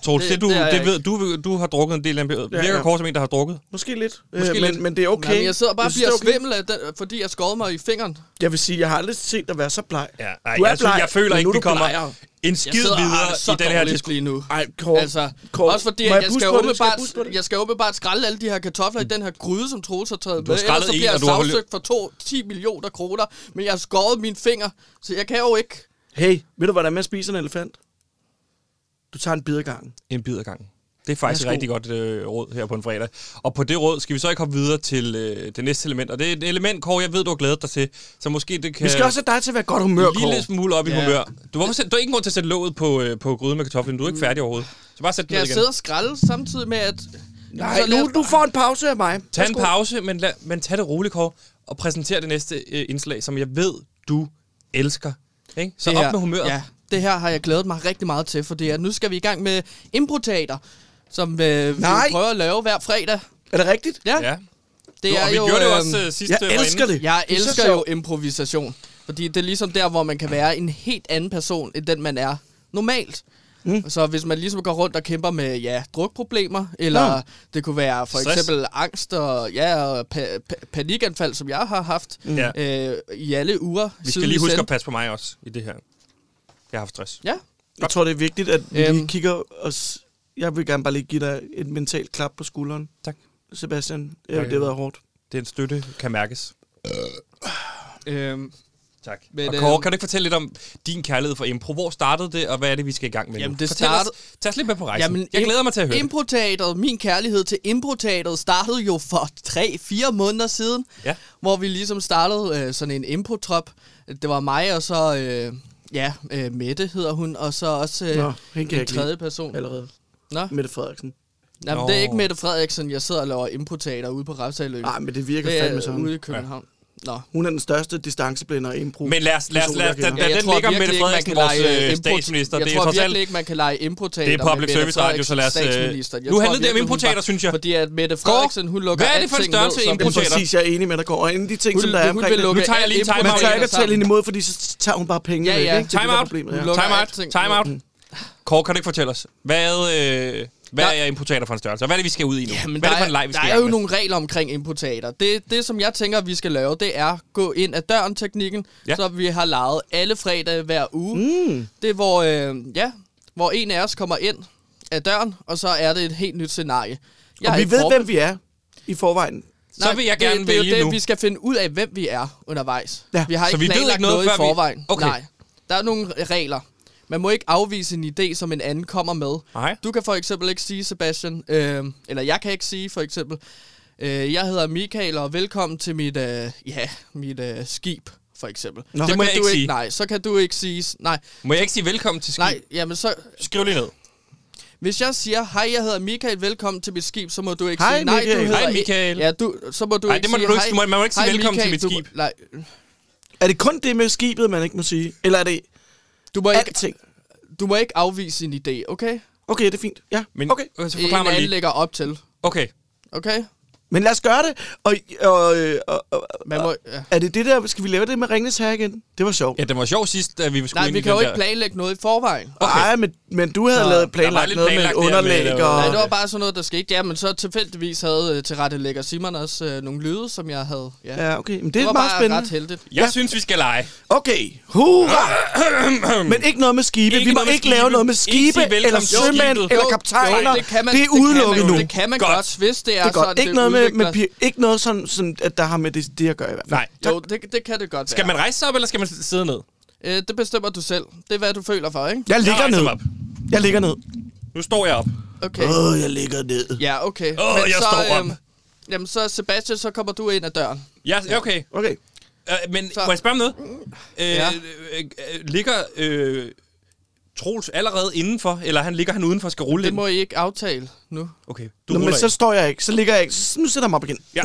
[SPEAKER 1] Troels, det,
[SPEAKER 2] Det-
[SPEAKER 1] det, du,
[SPEAKER 2] det er
[SPEAKER 1] det,
[SPEAKER 2] jeg
[SPEAKER 1] det ved, du, du har drukket en del af det. Virker ja, ja.
[SPEAKER 3] ja.
[SPEAKER 1] kort som en, der har drukket.
[SPEAKER 3] Måske lidt,
[SPEAKER 2] Måske
[SPEAKER 3] Måske øh, men,
[SPEAKER 2] lidt.
[SPEAKER 3] men det er okay.
[SPEAKER 2] Okay. Nej, men jeg sidder bare og
[SPEAKER 3] Jeg synes,
[SPEAKER 2] bliver
[SPEAKER 3] det er okay.
[SPEAKER 2] svimmel, af den, fordi jeg skovede mig i fingeren.
[SPEAKER 3] Jeg vil sige, jeg har aldrig set dig være så bleg.
[SPEAKER 1] Ja, ej,
[SPEAKER 3] Du er
[SPEAKER 1] jeg, synes,
[SPEAKER 3] bleg,
[SPEAKER 1] jeg føler
[SPEAKER 3] men
[SPEAKER 1] ikke,
[SPEAKER 3] nu er
[SPEAKER 1] vi
[SPEAKER 3] du
[SPEAKER 1] kommer
[SPEAKER 2] bleg.
[SPEAKER 1] en skid
[SPEAKER 2] sidder og har
[SPEAKER 1] videre
[SPEAKER 2] det så
[SPEAKER 1] i den her
[SPEAKER 2] dårligt
[SPEAKER 1] diskussion.
[SPEAKER 2] lige nu.
[SPEAKER 3] Ej, Kåre.
[SPEAKER 2] Altså,
[SPEAKER 3] Kåre,
[SPEAKER 2] også fordi,
[SPEAKER 3] må
[SPEAKER 2] at jeg,
[SPEAKER 3] puste
[SPEAKER 2] skal
[SPEAKER 3] på det? Skal jeg
[SPEAKER 2] åbenbart,
[SPEAKER 3] puste på det?
[SPEAKER 2] jeg skal åbenbart skralle alle de her kartofler i den her gryde, som Troels har taget
[SPEAKER 1] har
[SPEAKER 2] med. Ellers
[SPEAKER 1] skrællet
[SPEAKER 2] så
[SPEAKER 1] en,
[SPEAKER 2] bliver jeg
[SPEAKER 1] og du har holdt-
[SPEAKER 2] sagsøgt for to, 10 millioner kroner, men jeg har skåret mine fingre, så jeg kan jo ikke.
[SPEAKER 3] Hey, ved du, hvordan man spiser en elefant? Du tager en bid ad gangen.
[SPEAKER 1] En bid ad gangen. Det er faktisk et
[SPEAKER 3] Værsgo.
[SPEAKER 1] rigtig godt øh, råd her på en fredag. Og på det råd skal vi så ikke hoppe videre til øh, det næste element. Og det er et element, Kåre, jeg ved, du har glædet dig til. Så måske det kan...
[SPEAKER 3] Vi skal
[SPEAKER 2] Øh,
[SPEAKER 3] også have dig til at være godt humør,
[SPEAKER 1] en lille
[SPEAKER 3] Kåre.
[SPEAKER 1] smule op i
[SPEAKER 2] Ja.
[SPEAKER 1] humør. Du, hvorfor, sæt- du har ingen grund til at sætte låget på, øh, på gryden med kartoflen. Du er ikke færdig overhovedet. Så bare sæt den
[SPEAKER 2] Kan
[SPEAKER 1] ned
[SPEAKER 2] jeg
[SPEAKER 1] igen.
[SPEAKER 2] sidde og skralde samtidig med, at...
[SPEAKER 3] Nej,
[SPEAKER 2] Så lad
[SPEAKER 3] nu,
[SPEAKER 2] os-
[SPEAKER 3] du får en pause af mig.
[SPEAKER 1] Tag en
[SPEAKER 3] Værsgo.
[SPEAKER 1] pause, men, lad, men tag det roligt, Kåre, og præsenter det næste øh, indslag, som jeg ved, du elsker. Ikke? Så
[SPEAKER 2] det
[SPEAKER 1] op
[SPEAKER 2] her-
[SPEAKER 1] med humøret.
[SPEAKER 2] Ja, det her har jeg glædet mig rigtig meget til, fordi at nu skal vi i gang med improteater, som øh, vi
[SPEAKER 3] Nej.
[SPEAKER 2] prøver at lave hver fredag.
[SPEAKER 3] Er det rigtigt?
[SPEAKER 2] Ja,
[SPEAKER 1] ja.
[SPEAKER 2] det
[SPEAKER 1] Det
[SPEAKER 2] er
[SPEAKER 1] er vi
[SPEAKER 2] jo...
[SPEAKER 1] gjorde det jo
[SPEAKER 2] øhm,
[SPEAKER 1] også øh, sidste
[SPEAKER 3] Jeg
[SPEAKER 1] øh, var
[SPEAKER 3] elsker
[SPEAKER 1] inde.
[SPEAKER 3] det.
[SPEAKER 2] Jeg
[SPEAKER 3] Det er så
[SPEAKER 2] elsker jo
[SPEAKER 3] sjovt.
[SPEAKER 2] improvisation, fordi det er ligesom der, hvor man kan være en helt anden person, end den man er normalt. Mm. Så hvis man ligesom går rundt og kæmper med, ja, drukproblemer, eller
[SPEAKER 3] Ja.
[SPEAKER 2] det kunne være for
[SPEAKER 1] Stress.
[SPEAKER 2] Stress. eksempel angst og, ja, og pa- pa- panikanfald, som jeg har haft mm.
[SPEAKER 1] Ja.
[SPEAKER 2] øh, i alle uger.
[SPEAKER 1] Vi skal
[SPEAKER 2] siden
[SPEAKER 1] lige huske
[SPEAKER 2] sendte-
[SPEAKER 1] at passe på mig også i det her. Jeg har haft stress.
[SPEAKER 2] Ja,
[SPEAKER 3] Jeg tror, det er vigtigt, at vi
[SPEAKER 2] Øhm.
[SPEAKER 3] lige kigger os... Jeg vil gerne bare lige give dig et mentalt klap på skulderen,
[SPEAKER 1] Tak.
[SPEAKER 3] Sebastian. Ja,
[SPEAKER 1] Tak.
[SPEAKER 3] det har været hårdt.
[SPEAKER 1] Den støtte kan mærkes.
[SPEAKER 2] øhm,
[SPEAKER 1] Tak.
[SPEAKER 2] Men,
[SPEAKER 1] Men, og Kåre,
[SPEAKER 2] øh,
[SPEAKER 1] kan du ikke fortælle lidt om din kærlighed for impro? Hvor startede det, og hvad er det, vi skal i gang med
[SPEAKER 2] Jamen,
[SPEAKER 1] nu?
[SPEAKER 2] det
[SPEAKER 1] Fortæl Os,
[SPEAKER 2] startede-
[SPEAKER 1] tag os lidt med på rejsen. Jamen, Altså, jeg glæder mig til at høre det.
[SPEAKER 2] Improteateret, min kærlighed til Improteateret startede jo for 3-4 måneder siden,
[SPEAKER 1] Ja.
[SPEAKER 2] hvor vi ligesom startede øh, sådan en improtrop. Det var mig og så, øh, ja, øh, Mette hedder hun, og så også øh,
[SPEAKER 3] Nå, hende kan jeg
[SPEAKER 2] en
[SPEAKER 3] ikke lide
[SPEAKER 2] tredje person.
[SPEAKER 3] allerede.
[SPEAKER 2] Nå,
[SPEAKER 3] Mette Frederiksen.
[SPEAKER 2] Nå, men det er
[SPEAKER 1] Nå.
[SPEAKER 2] ikke Mette Frederiksen, jeg sidder og laver improteater ude på Refsaløen.
[SPEAKER 3] Nej, Ah, men det virker
[SPEAKER 2] det
[SPEAKER 3] fandme
[SPEAKER 2] er
[SPEAKER 3] sådan.
[SPEAKER 2] ude i København. Ja. Nå.
[SPEAKER 3] Hun er den største distanceblænder i impro.
[SPEAKER 1] Men lad os, lad os,
[SPEAKER 3] person,
[SPEAKER 1] lad
[SPEAKER 3] jeg
[SPEAKER 1] os,
[SPEAKER 3] kender.
[SPEAKER 1] den,
[SPEAKER 2] Ja,
[SPEAKER 1] den, den ligger med Mette Frederiksen, vores øh, statsminister.
[SPEAKER 2] Jeg
[SPEAKER 1] Det er
[SPEAKER 2] tror
[SPEAKER 1] trods alt
[SPEAKER 2] virkelig ikke, man kan lege improtater
[SPEAKER 1] Det er public service radio, så lad os, øh, nu handlede det om improteater, synes jeg.
[SPEAKER 2] Fordi at Mette Frederiksen, hun lukker
[SPEAKER 1] hvad er det for en
[SPEAKER 2] alting
[SPEAKER 1] størrelse
[SPEAKER 2] ned, som-
[SPEAKER 3] Jamen,
[SPEAKER 1] improteater?
[SPEAKER 3] præcis, jeg er enig med dig, Kåre. Og en af de ting,
[SPEAKER 2] Hun-
[SPEAKER 3] som der er
[SPEAKER 2] hun
[SPEAKER 3] omkring
[SPEAKER 2] vil
[SPEAKER 3] det,
[SPEAKER 2] lukke
[SPEAKER 1] Nu tager jeg lige
[SPEAKER 2] alt
[SPEAKER 1] time
[SPEAKER 3] man
[SPEAKER 1] out.
[SPEAKER 3] tør ikke at tale hende
[SPEAKER 2] sammen.
[SPEAKER 3] imod, fordi så tager hun bare penge
[SPEAKER 2] Ja,
[SPEAKER 3] væk,
[SPEAKER 2] ja.
[SPEAKER 3] ikke? Det er
[SPEAKER 1] Time
[SPEAKER 3] det, der er
[SPEAKER 1] out.
[SPEAKER 3] problemet,
[SPEAKER 2] Hun
[SPEAKER 3] ja.
[SPEAKER 2] lukker
[SPEAKER 1] Time out.
[SPEAKER 2] alting.
[SPEAKER 1] Time out. Kåre, kan du ikke fortælle os, hvad, øh, hvad
[SPEAKER 2] Der-
[SPEAKER 1] er importater for en størrelse? Og hvad er det, vi skal ud i nu?
[SPEAKER 2] Jamen,
[SPEAKER 1] hvad
[SPEAKER 2] der,
[SPEAKER 1] er det for
[SPEAKER 2] er,
[SPEAKER 1] en leg, vi
[SPEAKER 2] der
[SPEAKER 1] skal i
[SPEAKER 2] er
[SPEAKER 1] gang
[SPEAKER 2] jo
[SPEAKER 1] med?
[SPEAKER 2] nogle regler omkring improtater. Det, det, som jeg tænker, vi skal lave, det er gå ind ad døren-teknikken,
[SPEAKER 1] Ja.
[SPEAKER 2] ja. så vi har lejet alle fredage hver uge. Mm. Det er, hvor, øh, ja, hvor en af os kommer ind ad døren, og så er det et helt nyt scenarie. Jeg
[SPEAKER 3] Og
[SPEAKER 2] er
[SPEAKER 3] vi
[SPEAKER 2] ikke
[SPEAKER 3] ved,
[SPEAKER 2] forberedt.
[SPEAKER 3] hvem vi er i forvejen.
[SPEAKER 1] Så vil jeg
[SPEAKER 2] det,
[SPEAKER 1] gerne
[SPEAKER 2] det, er jo
[SPEAKER 1] vælge
[SPEAKER 2] det,
[SPEAKER 1] nu.
[SPEAKER 2] Vi skal finde ud af, hvem vi er undervejs.
[SPEAKER 3] Ja.
[SPEAKER 2] Vi har
[SPEAKER 1] Så
[SPEAKER 2] ikke
[SPEAKER 1] vi ved
[SPEAKER 2] planlagt
[SPEAKER 1] ikke noget,
[SPEAKER 2] i
[SPEAKER 1] før vi-
[SPEAKER 2] forvejen.
[SPEAKER 1] Okay.
[SPEAKER 2] Nej, der er nogle regler. Man må ikke afvise en idé, som en anden kommer med.
[SPEAKER 1] Nej.
[SPEAKER 2] Du kan for eksempel ikke sige, Sebastian, øh, eller jeg kan ikke sige for eksempel, øh, jeg hedder Michael, og velkommen til mit, øh, ja, mit øh, skib, for eksempel.
[SPEAKER 3] Nå.
[SPEAKER 2] Så
[SPEAKER 1] Det må
[SPEAKER 2] kan
[SPEAKER 1] jeg
[SPEAKER 2] du
[SPEAKER 1] ikke sige.
[SPEAKER 2] Nej, så kan du ikke sige, s- nej,
[SPEAKER 1] Må jeg ikke sige velkommen til skib?
[SPEAKER 2] nej, jamen så,
[SPEAKER 1] Skriv lige ned.
[SPEAKER 2] hvis jeg siger, hej, jeg hedder Michael, velkommen til mit skib, så må du ikke
[SPEAKER 3] Hej,
[SPEAKER 2] sige, nej, du
[SPEAKER 3] Michael.
[SPEAKER 2] hedder...
[SPEAKER 1] Hej, Michael.
[SPEAKER 2] Ja, du, så må du
[SPEAKER 1] Nej,
[SPEAKER 2] ikke
[SPEAKER 1] det må
[SPEAKER 2] sige,
[SPEAKER 1] du ikke-
[SPEAKER 2] hej,
[SPEAKER 1] du må- man må ikke sige
[SPEAKER 2] hej,
[SPEAKER 1] velkommen til
[SPEAKER 2] Michael,
[SPEAKER 1] mit
[SPEAKER 2] du, nej,
[SPEAKER 3] Er det kun det med skibet, man ikke må sige? Eller er det
[SPEAKER 2] du må, ikke,
[SPEAKER 3] alting?
[SPEAKER 2] du må ikke afvise en idé, okay?
[SPEAKER 3] Okay, det er fint. Ja,
[SPEAKER 1] Men,
[SPEAKER 3] okay.
[SPEAKER 1] øh, Så
[SPEAKER 2] En
[SPEAKER 1] forklar mig
[SPEAKER 2] anden
[SPEAKER 1] lige.
[SPEAKER 2] lægger op til,
[SPEAKER 1] Okay.
[SPEAKER 2] okay?
[SPEAKER 3] Men lad os gøre det. Og, og, øh, og, og,
[SPEAKER 2] Man må, ja.
[SPEAKER 3] er det det der, skal vi lave det med Ringnes her igen? Det var sjovt.
[SPEAKER 1] Ja, det var sjovt sidst, at vi skulle
[SPEAKER 2] Nej,
[SPEAKER 1] ind
[SPEAKER 2] vi
[SPEAKER 1] i
[SPEAKER 2] kan jo
[SPEAKER 1] den
[SPEAKER 2] ikke
[SPEAKER 1] der-
[SPEAKER 2] planlægge noget i forvejen.
[SPEAKER 3] Okay. Ej, men, men du havde
[SPEAKER 2] Nå,
[SPEAKER 3] lavet
[SPEAKER 1] der var
[SPEAKER 3] planlagt
[SPEAKER 1] lidt
[SPEAKER 3] noget med et
[SPEAKER 1] planlagt der med,
[SPEAKER 3] underlæg.
[SPEAKER 1] der
[SPEAKER 3] og...
[SPEAKER 1] var-
[SPEAKER 2] Nej, det var bare sådan noget, der skete. Ja, men så tilfældigvis havde øh, tilrettelægger Simon også øh, nogle lyde, som jeg havde. Ja.
[SPEAKER 3] Ja, okay. Men det,
[SPEAKER 2] det var
[SPEAKER 3] er meget
[SPEAKER 2] bare ret
[SPEAKER 3] spændende.
[SPEAKER 2] heldigt.
[SPEAKER 1] Jeg synes, vi skal lege.
[SPEAKER 3] Okay, hurra! Men ikke noget med skibe.
[SPEAKER 1] Ikke
[SPEAKER 3] Ikke vi må
[SPEAKER 1] noget med
[SPEAKER 3] ikke
[SPEAKER 1] skibe.
[SPEAKER 3] lave noget med
[SPEAKER 1] Ikke
[SPEAKER 3] skibe,
[SPEAKER 1] sige velkommen
[SPEAKER 3] eller
[SPEAKER 1] til
[SPEAKER 3] sømænd,
[SPEAKER 1] skibet.
[SPEAKER 3] eller
[SPEAKER 2] Jo,
[SPEAKER 3] kaptajner.
[SPEAKER 2] jo, det, kan man,
[SPEAKER 3] det er udelukket
[SPEAKER 2] kan man,
[SPEAKER 3] nu.
[SPEAKER 2] Det kan man
[SPEAKER 1] Godt.
[SPEAKER 2] godt, godt hvis det er,
[SPEAKER 3] Det er godt.
[SPEAKER 2] sådan,
[SPEAKER 3] Ikke noget, med, med
[SPEAKER 2] udvikler-
[SPEAKER 3] pi- ikke noget sådan, sådan, at der har med det, det at gøre i hvert fald.
[SPEAKER 1] Nej.
[SPEAKER 2] Jo, det, det kan det godt
[SPEAKER 1] Skal
[SPEAKER 2] være.
[SPEAKER 1] man rejse sig op, eller skal man sidde ned?
[SPEAKER 2] Øh, det bestemmer du selv. Det er, hvad du føler for, ikke?
[SPEAKER 3] Jeg ligger
[SPEAKER 1] rejser
[SPEAKER 3] ned.
[SPEAKER 1] mig op.
[SPEAKER 3] Jeg ligger ned.
[SPEAKER 1] Nu står jeg op.
[SPEAKER 2] Okay.
[SPEAKER 3] Åh, oh, jeg ligger ned.
[SPEAKER 2] Ja, okay. øhm,
[SPEAKER 1] Åh, jeg står op.
[SPEAKER 2] jamen, så Sebastian, så kommer du ind ad døren.
[SPEAKER 1] Ja, okay.
[SPEAKER 3] Okay.
[SPEAKER 1] Øh, men
[SPEAKER 2] Så-
[SPEAKER 1] må jeg spørge om noget? Øh,
[SPEAKER 2] Ja.
[SPEAKER 1] øh, øh, ligger øh, Troels allerede indenfor, eller han ligger han udenfor og skal rulle
[SPEAKER 2] Det
[SPEAKER 1] ind?
[SPEAKER 2] må I ikke aftale nu.
[SPEAKER 1] Okay, du
[SPEAKER 3] Nå, men
[SPEAKER 1] ruller
[SPEAKER 3] så
[SPEAKER 1] så...
[SPEAKER 3] står jeg ikke. Så ligger jeg ikke. Så, nu sætter jeg mig op igen.
[SPEAKER 1] Ja,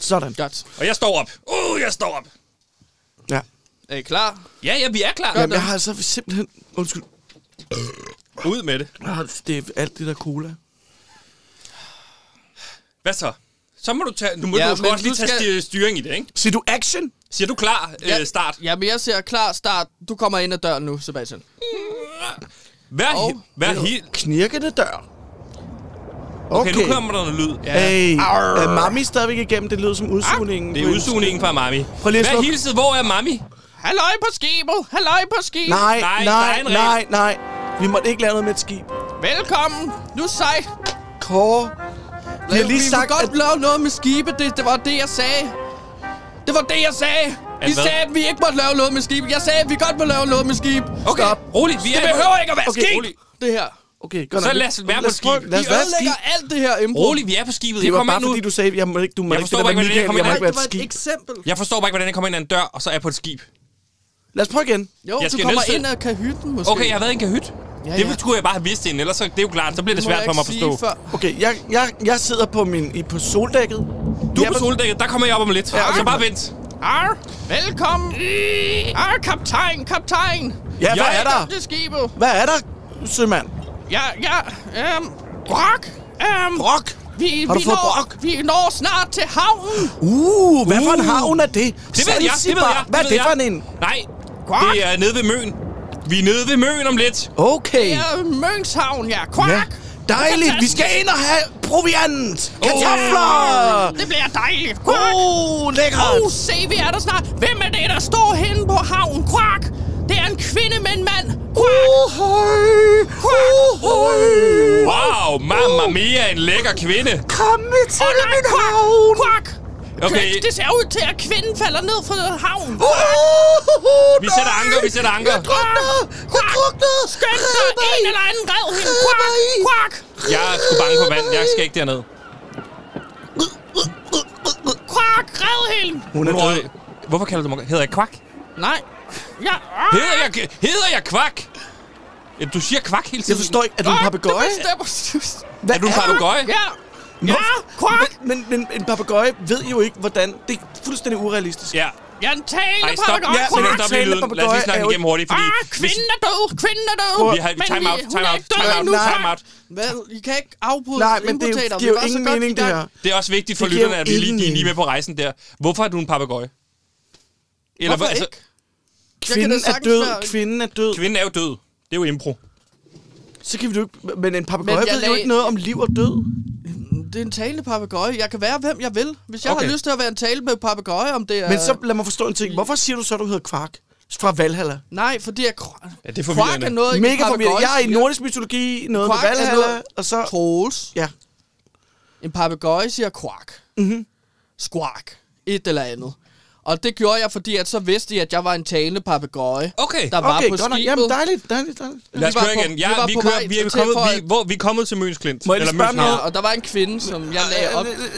[SPEAKER 3] Sådan.
[SPEAKER 2] Godt.
[SPEAKER 1] og jeg står op. Uh, jeg står op.
[SPEAKER 3] Ja.
[SPEAKER 2] Er I klar?
[SPEAKER 3] Øh,
[SPEAKER 1] Ja, ja, vi er klar.
[SPEAKER 3] Jamen, jeg har altså simpelthen... Undskyld.
[SPEAKER 1] Ud med det.
[SPEAKER 3] Ah, Det er alt det der cola.
[SPEAKER 1] Hvad så? Så må du tage, nu må
[SPEAKER 2] Ja,
[SPEAKER 1] ja, du sgu
[SPEAKER 2] men
[SPEAKER 1] også lige
[SPEAKER 2] du
[SPEAKER 1] tage
[SPEAKER 2] skal-
[SPEAKER 1] skal... styring i det, ikke?
[SPEAKER 3] Siger du action?
[SPEAKER 1] Siger du klar øh, start?
[SPEAKER 2] Jamen, jeg ser klar start. Du kommer ind ad døren nu, Sebastian.
[SPEAKER 1] Vær,
[SPEAKER 2] Og-
[SPEAKER 1] oh, vær helt...
[SPEAKER 3] Knirkende dør.
[SPEAKER 1] Okay, okay, nu kommer der noget lyd. Ja. Ah,
[SPEAKER 3] Hey, er mami stadigvæk igennem? Det lyder som udsugningen.
[SPEAKER 1] Det er udsugningen fra Mami.
[SPEAKER 3] Prøv lige at
[SPEAKER 1] Vær
[SPEAKER 3] sluk.
[SPEAKER 1] hilset, hvor er Mami?
[SPEAKER 2] Halløj på skibet! Halløj på skibet!
[SPEAKER 3] Nej,
[SPEAKER 1] Nej,
[SPEAKER 3] nej,
[SPEAKER 1] der er
[SPEAKER 3] nej,
[SPEAKER 1] en
[SPEAKER 3] nej, nej. Vi måtte ikke lave noget med et skib.
[SPEAKER 2] Velkommen! Nu sej!
[SPEAKER 3] Kåre, vi har lige
[SPEAKER 2] vi
[SPEAKER 3] sagt,
[SPEAKER 2] vil godt
[SPEAKER 3] at...
[SPEAKER 2] lave noget med skibe. Det, det var det, jeg sagde. Det var det, jeg sagde. Vi
[SPEAKER 1] hvad?
[SPEAKER 2] sagde, at vi ikke måtte lave noget med skib. Jeg sagde, at vi godt må lave noget med skib.
[SPEAKER 1] Okay,
[SPEAKER 2] Stop.
[SPEAKER 1] roligt. Vi
[SPEAKER 2] Det
[SPEAKER 1] er
[SPEAKER 2] behøver ikke at være
[SPEAKER 3] Okay,
[SPEAKER 2] skib,
[SPEAKER 1] rolig.
[SPEAKER 2] det her.
[SPEAKER 3] Okay, godt
[SPEAKER 1] Så
[SPEAKER 3] nok.
[SPEAKER 1] lad os være på
[SPEAKER 3] Lad
[SPEAKER 1] et skib.
[SPEAKER 3] Lad
[SPEAKER 2] Vi
[SPEAKER 3] os være på et
[SPEAKER 2] ødelægger
[SPEAKER 3] skib.
[SPEAKER 2] alt det her impro.
[SPEAKER 1] Roligt, vi er på skibet.
[SPEAKER 3] Det
[SPEAKER 1] Jeg
[SPEAKER 3] var
[SPEAKER 1] kommer
[SPEAKER 3] bare
[SPEAKER 1] ind nu.
[SPEAKER 3] fordi, du sagde, jeg må ikke, du må
[SPEAKER 1] Jeg
[SPEAKER 3] ikke,
[SPEAKER 1] forstår
[SPEAKER 3] det
[SPEAKER 1] bare
[SPEAKER 3] der
[SPEAKER 1] ikke,
[SPEAKER 3] med
[SPEAKER 1] hvordan det
[SPEAKER 3] Michael,
[SPEAKER 1] kommer
[SPEAKER 3] jeg må
[SPEAKER 1] ind.
[SPEAKER 3] ikke
[SPEAKER 2] Det
[SPEAKER 3] være
[SPEAKER 2] var
[SPEAKER 3] et
[SPEAKER 2] et
[SPEAKER 3] skib.
[SPEAKER 2] eksempel.
[SPEAKER 1] Jeg forstår bare ikke, hvordan jeg kommer ind ad en dør, og så er jeg på et skib.
[SPEAKER 3] Lad os prøve igen.
[SPEAKER 2] Jo,
[SPEAKER 1] Jeg
[SPEAKER 2] du
[SPEAKER 1] skal
[SPEAKER 2] kommer
[SPEAKER 1] nødt til-
[SPEAKER 2] ind og kan hytten måske.
[SPEAKER 1] Okay, jeg har været i en kahyt.
[SPEAKER 2] Ja,
[SPEAKER 1] Det
[SPEAKER 2] ja.
[SPEAKER 1] ville skulle jeg bare have vidst inden, ellers så, det er jo klart, så bliver det
[SPEAKER 2] Må
[SPEAKER 1] svært
[SPEAKER 2] jeg
[SPEAKER 1] for mig at
[SPEAKER 2] ikke
[SPEAKER 1] forstå.
[SPEAKER 2] sige før.
[SPEAKER 3] Okay, jeg, jeg, jeg sidder på, min, i, på soldækket.
[SPEAKER 1] Du er
[SPEAKER 3] Jeg
[SPEAKER 1] på soldækket, der kommer jeg op om lidt.
[SPEAKER 3] Ja,
[SPEAKER 1] Ja, så
[SPEAKER 3] okay.
[SPEAKER 1] bare vent.
[SPEAKER 2] Ar, velkommen. Ar, kaptajn, kaptajn.
[SPEAKER 3] Ja, hvad
[SPEAKER 1] Jeg
[SPEAKER 3] er der?
[SPEAKER 2] Det er skibet.
[SPEAKER 3] Hvad er der, sømand?
[SPEAKER 2] Ja, ja, øhm, brok, øhm,
[SPEAKER 3] Brok.
[SPEAKER 2] vi,
[SPEAKER 3] Har du
[SPEAKER 2] vi,
[SPEAKER 3] fået
[SPEAKER 2] når,
[SPEAKER 3] brok?
[SPEAKER 2] vi når snart til havnen.
[SPEAKER 3] Uh, hvad for en
[SPEAKER 1] Uh.
[SPEAKER 3] havn er det?
[SPEAKER 1] Det ved jeg, det ved jeg.
[SPEAKER 3] Hvad er
[SPEAKER 1] ved
[SPEAKER 3] det for
[SPEAKER 1] jeg.
[SPEAKER 3] en?
[SPEAKER 1] Nej, det er nede ved Møn. Vi er nede ved Møn om lidt.
[SPEAKER 3] Okay.
[SPEAKER 2] Ja, Øh, Mønshavn, ja, kvak.
[SPEAKER 3] Dejligt, vi skal ind og have proviant. Kartofler.
[SPEAKER 1] Oh.
[SPEAKER 2] Det bliver dejligt, kvak.
[SPEAKER 3] Uh,
[SPEAKER 2] Åh,
[SPEAKER 3] lækkert.
[SPEAKER 2] oh, se, vi er der snart. Hvem er det, der står henne på havnen? Kvak! Det er en kvinde med en mand. Kvak!
[SPEAKER 3] Uh,
[SPEAKER 1] Wow, mamma mia, en lækker kvinde.
[SPEAKER 3] Kom med til
[SPEAKER 2] Åh, nej, kvak! Kvak!
[SPEAKER 1] Okay.
[SPEAKER 2] Okay. Det ser ud til, at kvinden falder ned fra havnen.
[SPEAKER 1] Uh, Vi sætter anker, vi sætter anker.
[SPEAKER 2] drukner! Jeg drukner! Skøn dig! En eller anden red hende! Kvak! Kvak!
[SPEAKER 1] Jeg er sgu bange for vand. Jeg skal ikke derned.
[SPEAKER 2] Kvak! Red hende!
[SPEAKER 3] Hun er død.
[SPEAKER 1] Hvorfor kalder du mig? Hedder jeg kvak?
[SPEAKER 2] Nej. Ja.
[SPEAKER 1] Hedder jeg, hedder jeg kvak? Ja, Du siger kvak hele tiden.
[SPEAKER 3] Jeg forstår ikke, er du en papegøje?
[SPEAKER 1] Er du en papegøje?
[SPEAKER 2] Ja. Ja, kvak!
[SPEAKER 3] Men, men en papegøje ved jo ikke, hvordan... Det er fuldstændig urealistisk.
[SPEAKER 1] Ja.
[SPEAKER 2] Jeg er en talende
[SPEAKER 1] Ej, stop.
[SPEAKER 2] papegøje.
[SPEAKER 1] Ja,
[SPEAKER 3] Quack.
[SPEAKER 1] stop lige lyden. Lad os lige snakke
[SPEAKER 3] Papegøje er jo
[SPEAKER 1] igennem hurtigt, fordi...
[SPEAKER 2] Ah,
[SPEAKER 1] hvis-
[SPEAKER 2] kvinden er død, kvinden er død.
[SPEAKER 1] Vi har,
[SPEAKER 2] Men øh,
[SPEAKER 1] time out,
[SPEAKER 2] hun
[SPEAKER 1] time
[SPEAKER 2] er
[SPEAKER 1] out,
[SPEAKER 2] ikke død
[SPEAKER 1] time out,
[SPEAKER 2] endnu.
[SPEAKER 1] time out.
[SPEAKER 2] Hvad? I kan ikke afbryde
[SPEAKER 3] Nej, men det
[SPEAKER 2] indpotater. Vi
[SPEAKER 3] giver jo
[SPEAKER 2] var så
[SPEAKER 3] ingen
[SPEAKER 2] godt i
[SPEAKER 3] mening, det
[SPEAKER 2] gang.
[SPEAKER 3] her.
[SPEAKER 1] Det er også vigtigt for
[SPEAKER 3] Det giver
[SPEAKER 1] lytterne, at vi lige,
[SPEAKER 3] ingen
[SPEAKER 1] de er lige
[SPEAKER 3] mening.
[SPEAKER 1] med på rejsen der. Hvorfor er du en papegøje? Eller
[SPEAKER 2] Hvorfor
[SPEAKER 1] hvad- altså,
[SPEAKER 2] ikke? da
[SPEAKER 3] Kvinden er
[SPEAKER 2] sagtens
[SPEAKER 3] død,
[SPEAKER 2] være-
[SPEAKER 3] kvinden er død.
[SPEAKER 1] Kvinden er jo død. Det er jo impro.
[SPEAKER 3] Så kan vi jo ikke... Men Øh. en papegøje
[SPEAKER 2] Men jeg
[SPEAKER 3] ved jo
[SPEAKER 2] lag-
[SPEAKER 3] ikke noget om liv og død.
[SPEAKER 2] Det er en talende papegøje. Jeg kan være, hvem jeg vil. Hvis jeg
[SPEAKER 1] Okay.
[SPEAKER 2] har lyst til at være en talende papegøje, om det er...
[SPEAKER 3] Men så lad mig forstå en ting. Hvorfor siger du så, at du hedder Kvark? Fra Valhalla.
[SPEAKER 2] Nej, fordi jeg... Kr-
[SPEAKER 1] Ja, det er forvirrende.
[SPEAKER 2] Krak er noget, ikke en
[SPEAKER 3] Mega forvirret.
[SPEAKER 2] papegøje
[SPEAKER 3] Jeg er i
[SPEAKER 2] siger.
[SPEAKER 3] nordisk mytologi, noget med
[SPEAKER 2] Kvark er
[SPEAKER 3] Valhalla,
[SPEAKER 2] noget-
[SPEAKER 3] og så...
[SPEAKER 2] Troels.
[SPEAKER 3] Ja.
[SPEAKER 2] En papegøje siger kvak. Mm-hmm.
[SPEAKER 3] Mhm.
[SPEAKER 2] Squark. Et eller andet. Og det gjorde jeg, fordi at så vidste jeg, at jeg var en talende papegøje.
[SPEAKER 1] Okay.
[SPEAKER 2] Der var
[SPEAKER 3] Okay,
[SPEAKER 2] på
[SPEAKER 3] godt nok.
[SPEAKER 2] skibet.
[SPEAKER 3] Jamen, dejligt, dejligt, dejligt.
[SPEAKER 1] Lad os
[SPEAKER 2] vi var
[SPEAKER 1] køre
[SPEAKER 2] på-
[SPEAKER 1] igen.
[SPEAKER 2] vi
[SPEAKER 1] Ja,
[SPEAKER 2] var
[SPEAKER 1] vi,
[SPEAKER 2] på
[SPEAKER 1] kører,
[SPEAKER 2] vej
[SPEAKER 1] vi, er
[SPEAKER 2] til
[SPEAKER 1] kommet,
[SPEAKER 2] for
[SPEAKER 1] vi,
[SPEAKER 2] at-
[SPEAKER 1] hvor, vi er kommet til Mønsklint.
[SPEAKER 3] Må jeg lige spørge om
[SPEAKER 2] Ja,
[SPEAKER 1] Mønshavn.
[SPEAKER 3] noget?
[SPEAKER 2] og der var en kvinde, som jeg lagde op.
[SPEAKER 3] Øh, øh, øh,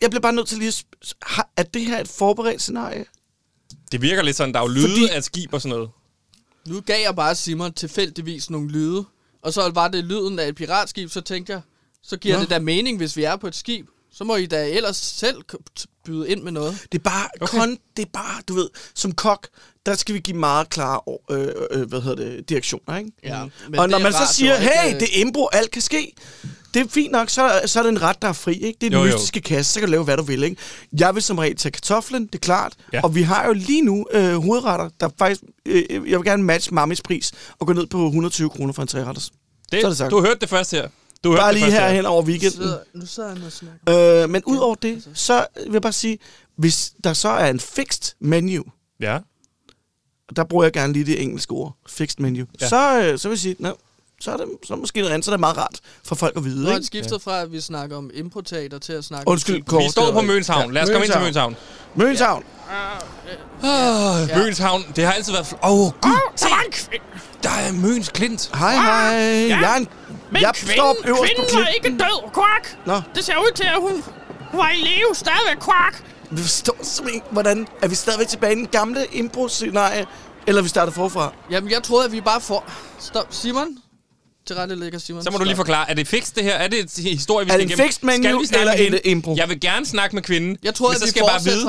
[SPEAKER 3] Jeg bliver bare nødt til lige at... sp- har- Er det her et forberedt scenarie?
[SPEAKER 1] Det virker lidt sådan, der er jo lyde
[SPEAKER 3] Fordi-
[SPEAKER 1] af skib og sådan noget.
[SPEAKER 2] Nu gav jeg bare Simon tilfældigvis nogle lyde, og så var det lyden af et piratskib, så tænkte jeg, så giver
[SPEAKER 3] Nå.
[SPEAKER 2] det da mening, hvis vi er på et skib. Så må I da ellers selv k- t- byde ind med noget.
[SPEAKER 3] Det er bare okay. kun... Det er bare, du ved, som kok, der skal vi give meget klare, øh, øh, hvad hedder det, direktioner, ikke? Mm.
[SPEAKER 2] Ja, men
[SPEAKER 3] og
[SPEAKER 2] det
[SPEAKER 3] når
[SPEAKER 2] er
[SPEAKER 3] man så
[SPEAKER 2] radio,
[SPEAKER 3] siger,
[SPEAKER 2] ikke,
[SPEAKER 3] hey,
[SPEAKER 2] øh,
[SPEAKER 3] det er impro, alt kan ske, det er fint nok, så, så er det en ret, der er fri, ikke? Det er den
[SPEAKER 1] Jo, jo.
[SPEAKER 3] mystiske kasse, så kan du lave, hvad du vil, ikke? Jeg vil som regel tage kartoflen, det er klart,
[SPEAKER 1] Ja.
[SPEAKER 3] ja. og vi har jo lige nu øh, hovedretter, der faktisk... Øh, jeg vil gerne matche mammis pris og gå ned på 120 kroner for en træretters.
[SPEAKER 1] Det,
[SPEAKER 3] Så er det sagt.
[SPEAKER 1] du hørte det først her. Du hørte
[SPEAKER 3] Bare
[SPEAKER 1] det
[SPEAKER 3] lige
[SPEAKER 1] først
[SPEAKER 3] her hen over weekenden.
[SPEAKER 2] Sidder, nu sidder han og snakker.
[SPEAKER 3] Øh, men udover det, så vil jeg bare sige, hvis der så er en fixed menu,
[SPEAKER 1] Ja.
[SPEAKER 3] og der bruger jeg gerne lige det engelske ord, fixed menu,
[SPEAKER 1] Ja.
[SPEAKER 3] ja. så, øh, så vil jeg sige, no, så er det så er det måske noget andet, så er det meget rart for folk at
[SPEAKER 2] Nu
[SPEAKER 3] vide.
[SPEAKER 2] har han
[SPEAKER 3] Ikke?
[SPEAKER 2] skiftet fra, at vi snakker om improtater til at snakke
[SPEAKER 3] Undskyld,
[SPEAKER 2] om...
[SPEAKER 3] Kåre.
[SPEAKER 1] Vi står på Mønshavn. Lad os komme ind til Mønshavn.
[SPEAKER 3] Mønshavn.
[SPEAKER 1] Ja. Mønshavn, Ah, det har altid været... fl- Åh, oh, gud, se! Der er Møns Klint.
[SPEAKER 3] Hej, hej. Ja. Jeg, er en,
[SPEAKER 6] Men
[SPEAKER 3] jeg står
[SPEAKER 6] kvinden,
[SPEAKER 3] øverst på
[SPEAKER 6] kvinden var
[SPEAKER 3] klippen.
[SPEAKER 6] ikke død, kvak.
[SPEAKER 3] Nå.
[SPEAKER 6] Det ser ud til, at hun hun var i live stadigvæk, kvak.
[SPEAKER 3] Vi forstår simpelthen ikke, hvordan... Er vi stadigvæk tilbage i den gamle impro-scenarie? Eller er vi starter forfra?
[SPEAKER 2] Jamen, jeg troede, at vi bare får... Stop, Simon. Til rette ligger Simon.
[SPEAKER 1] Så må du lige
[SPEAKER 2] Stop.
[SPEAKER 1] forklare, er det fix det her? Er det et historie, vi
[SPEAKER 3] Er
[SPEAKER 1] skal
[SPEAKER 3] det en
[SPEAKER 1] igennem?
[SPEAKER 3] fixed menu,
[SPEAKER 1] Skal vi snakke
[SPEAKER 3] eller
[SPEAKER 1] med hende?
[SPEAKER 3] en impro?
[SPEAKER 1] Jeg vil gerne snakke med kvinden,
[SPEAKER 2] Jeg troede,
[SPEAKER 1] men
[SPEAKER 2] at
[SPEAKER 1] så
[SPEAKER 2] vi
[SPEAKER 1] skal jeg bare
[SPEAKER 2] fortsatte
[SPEAKER 1] vide,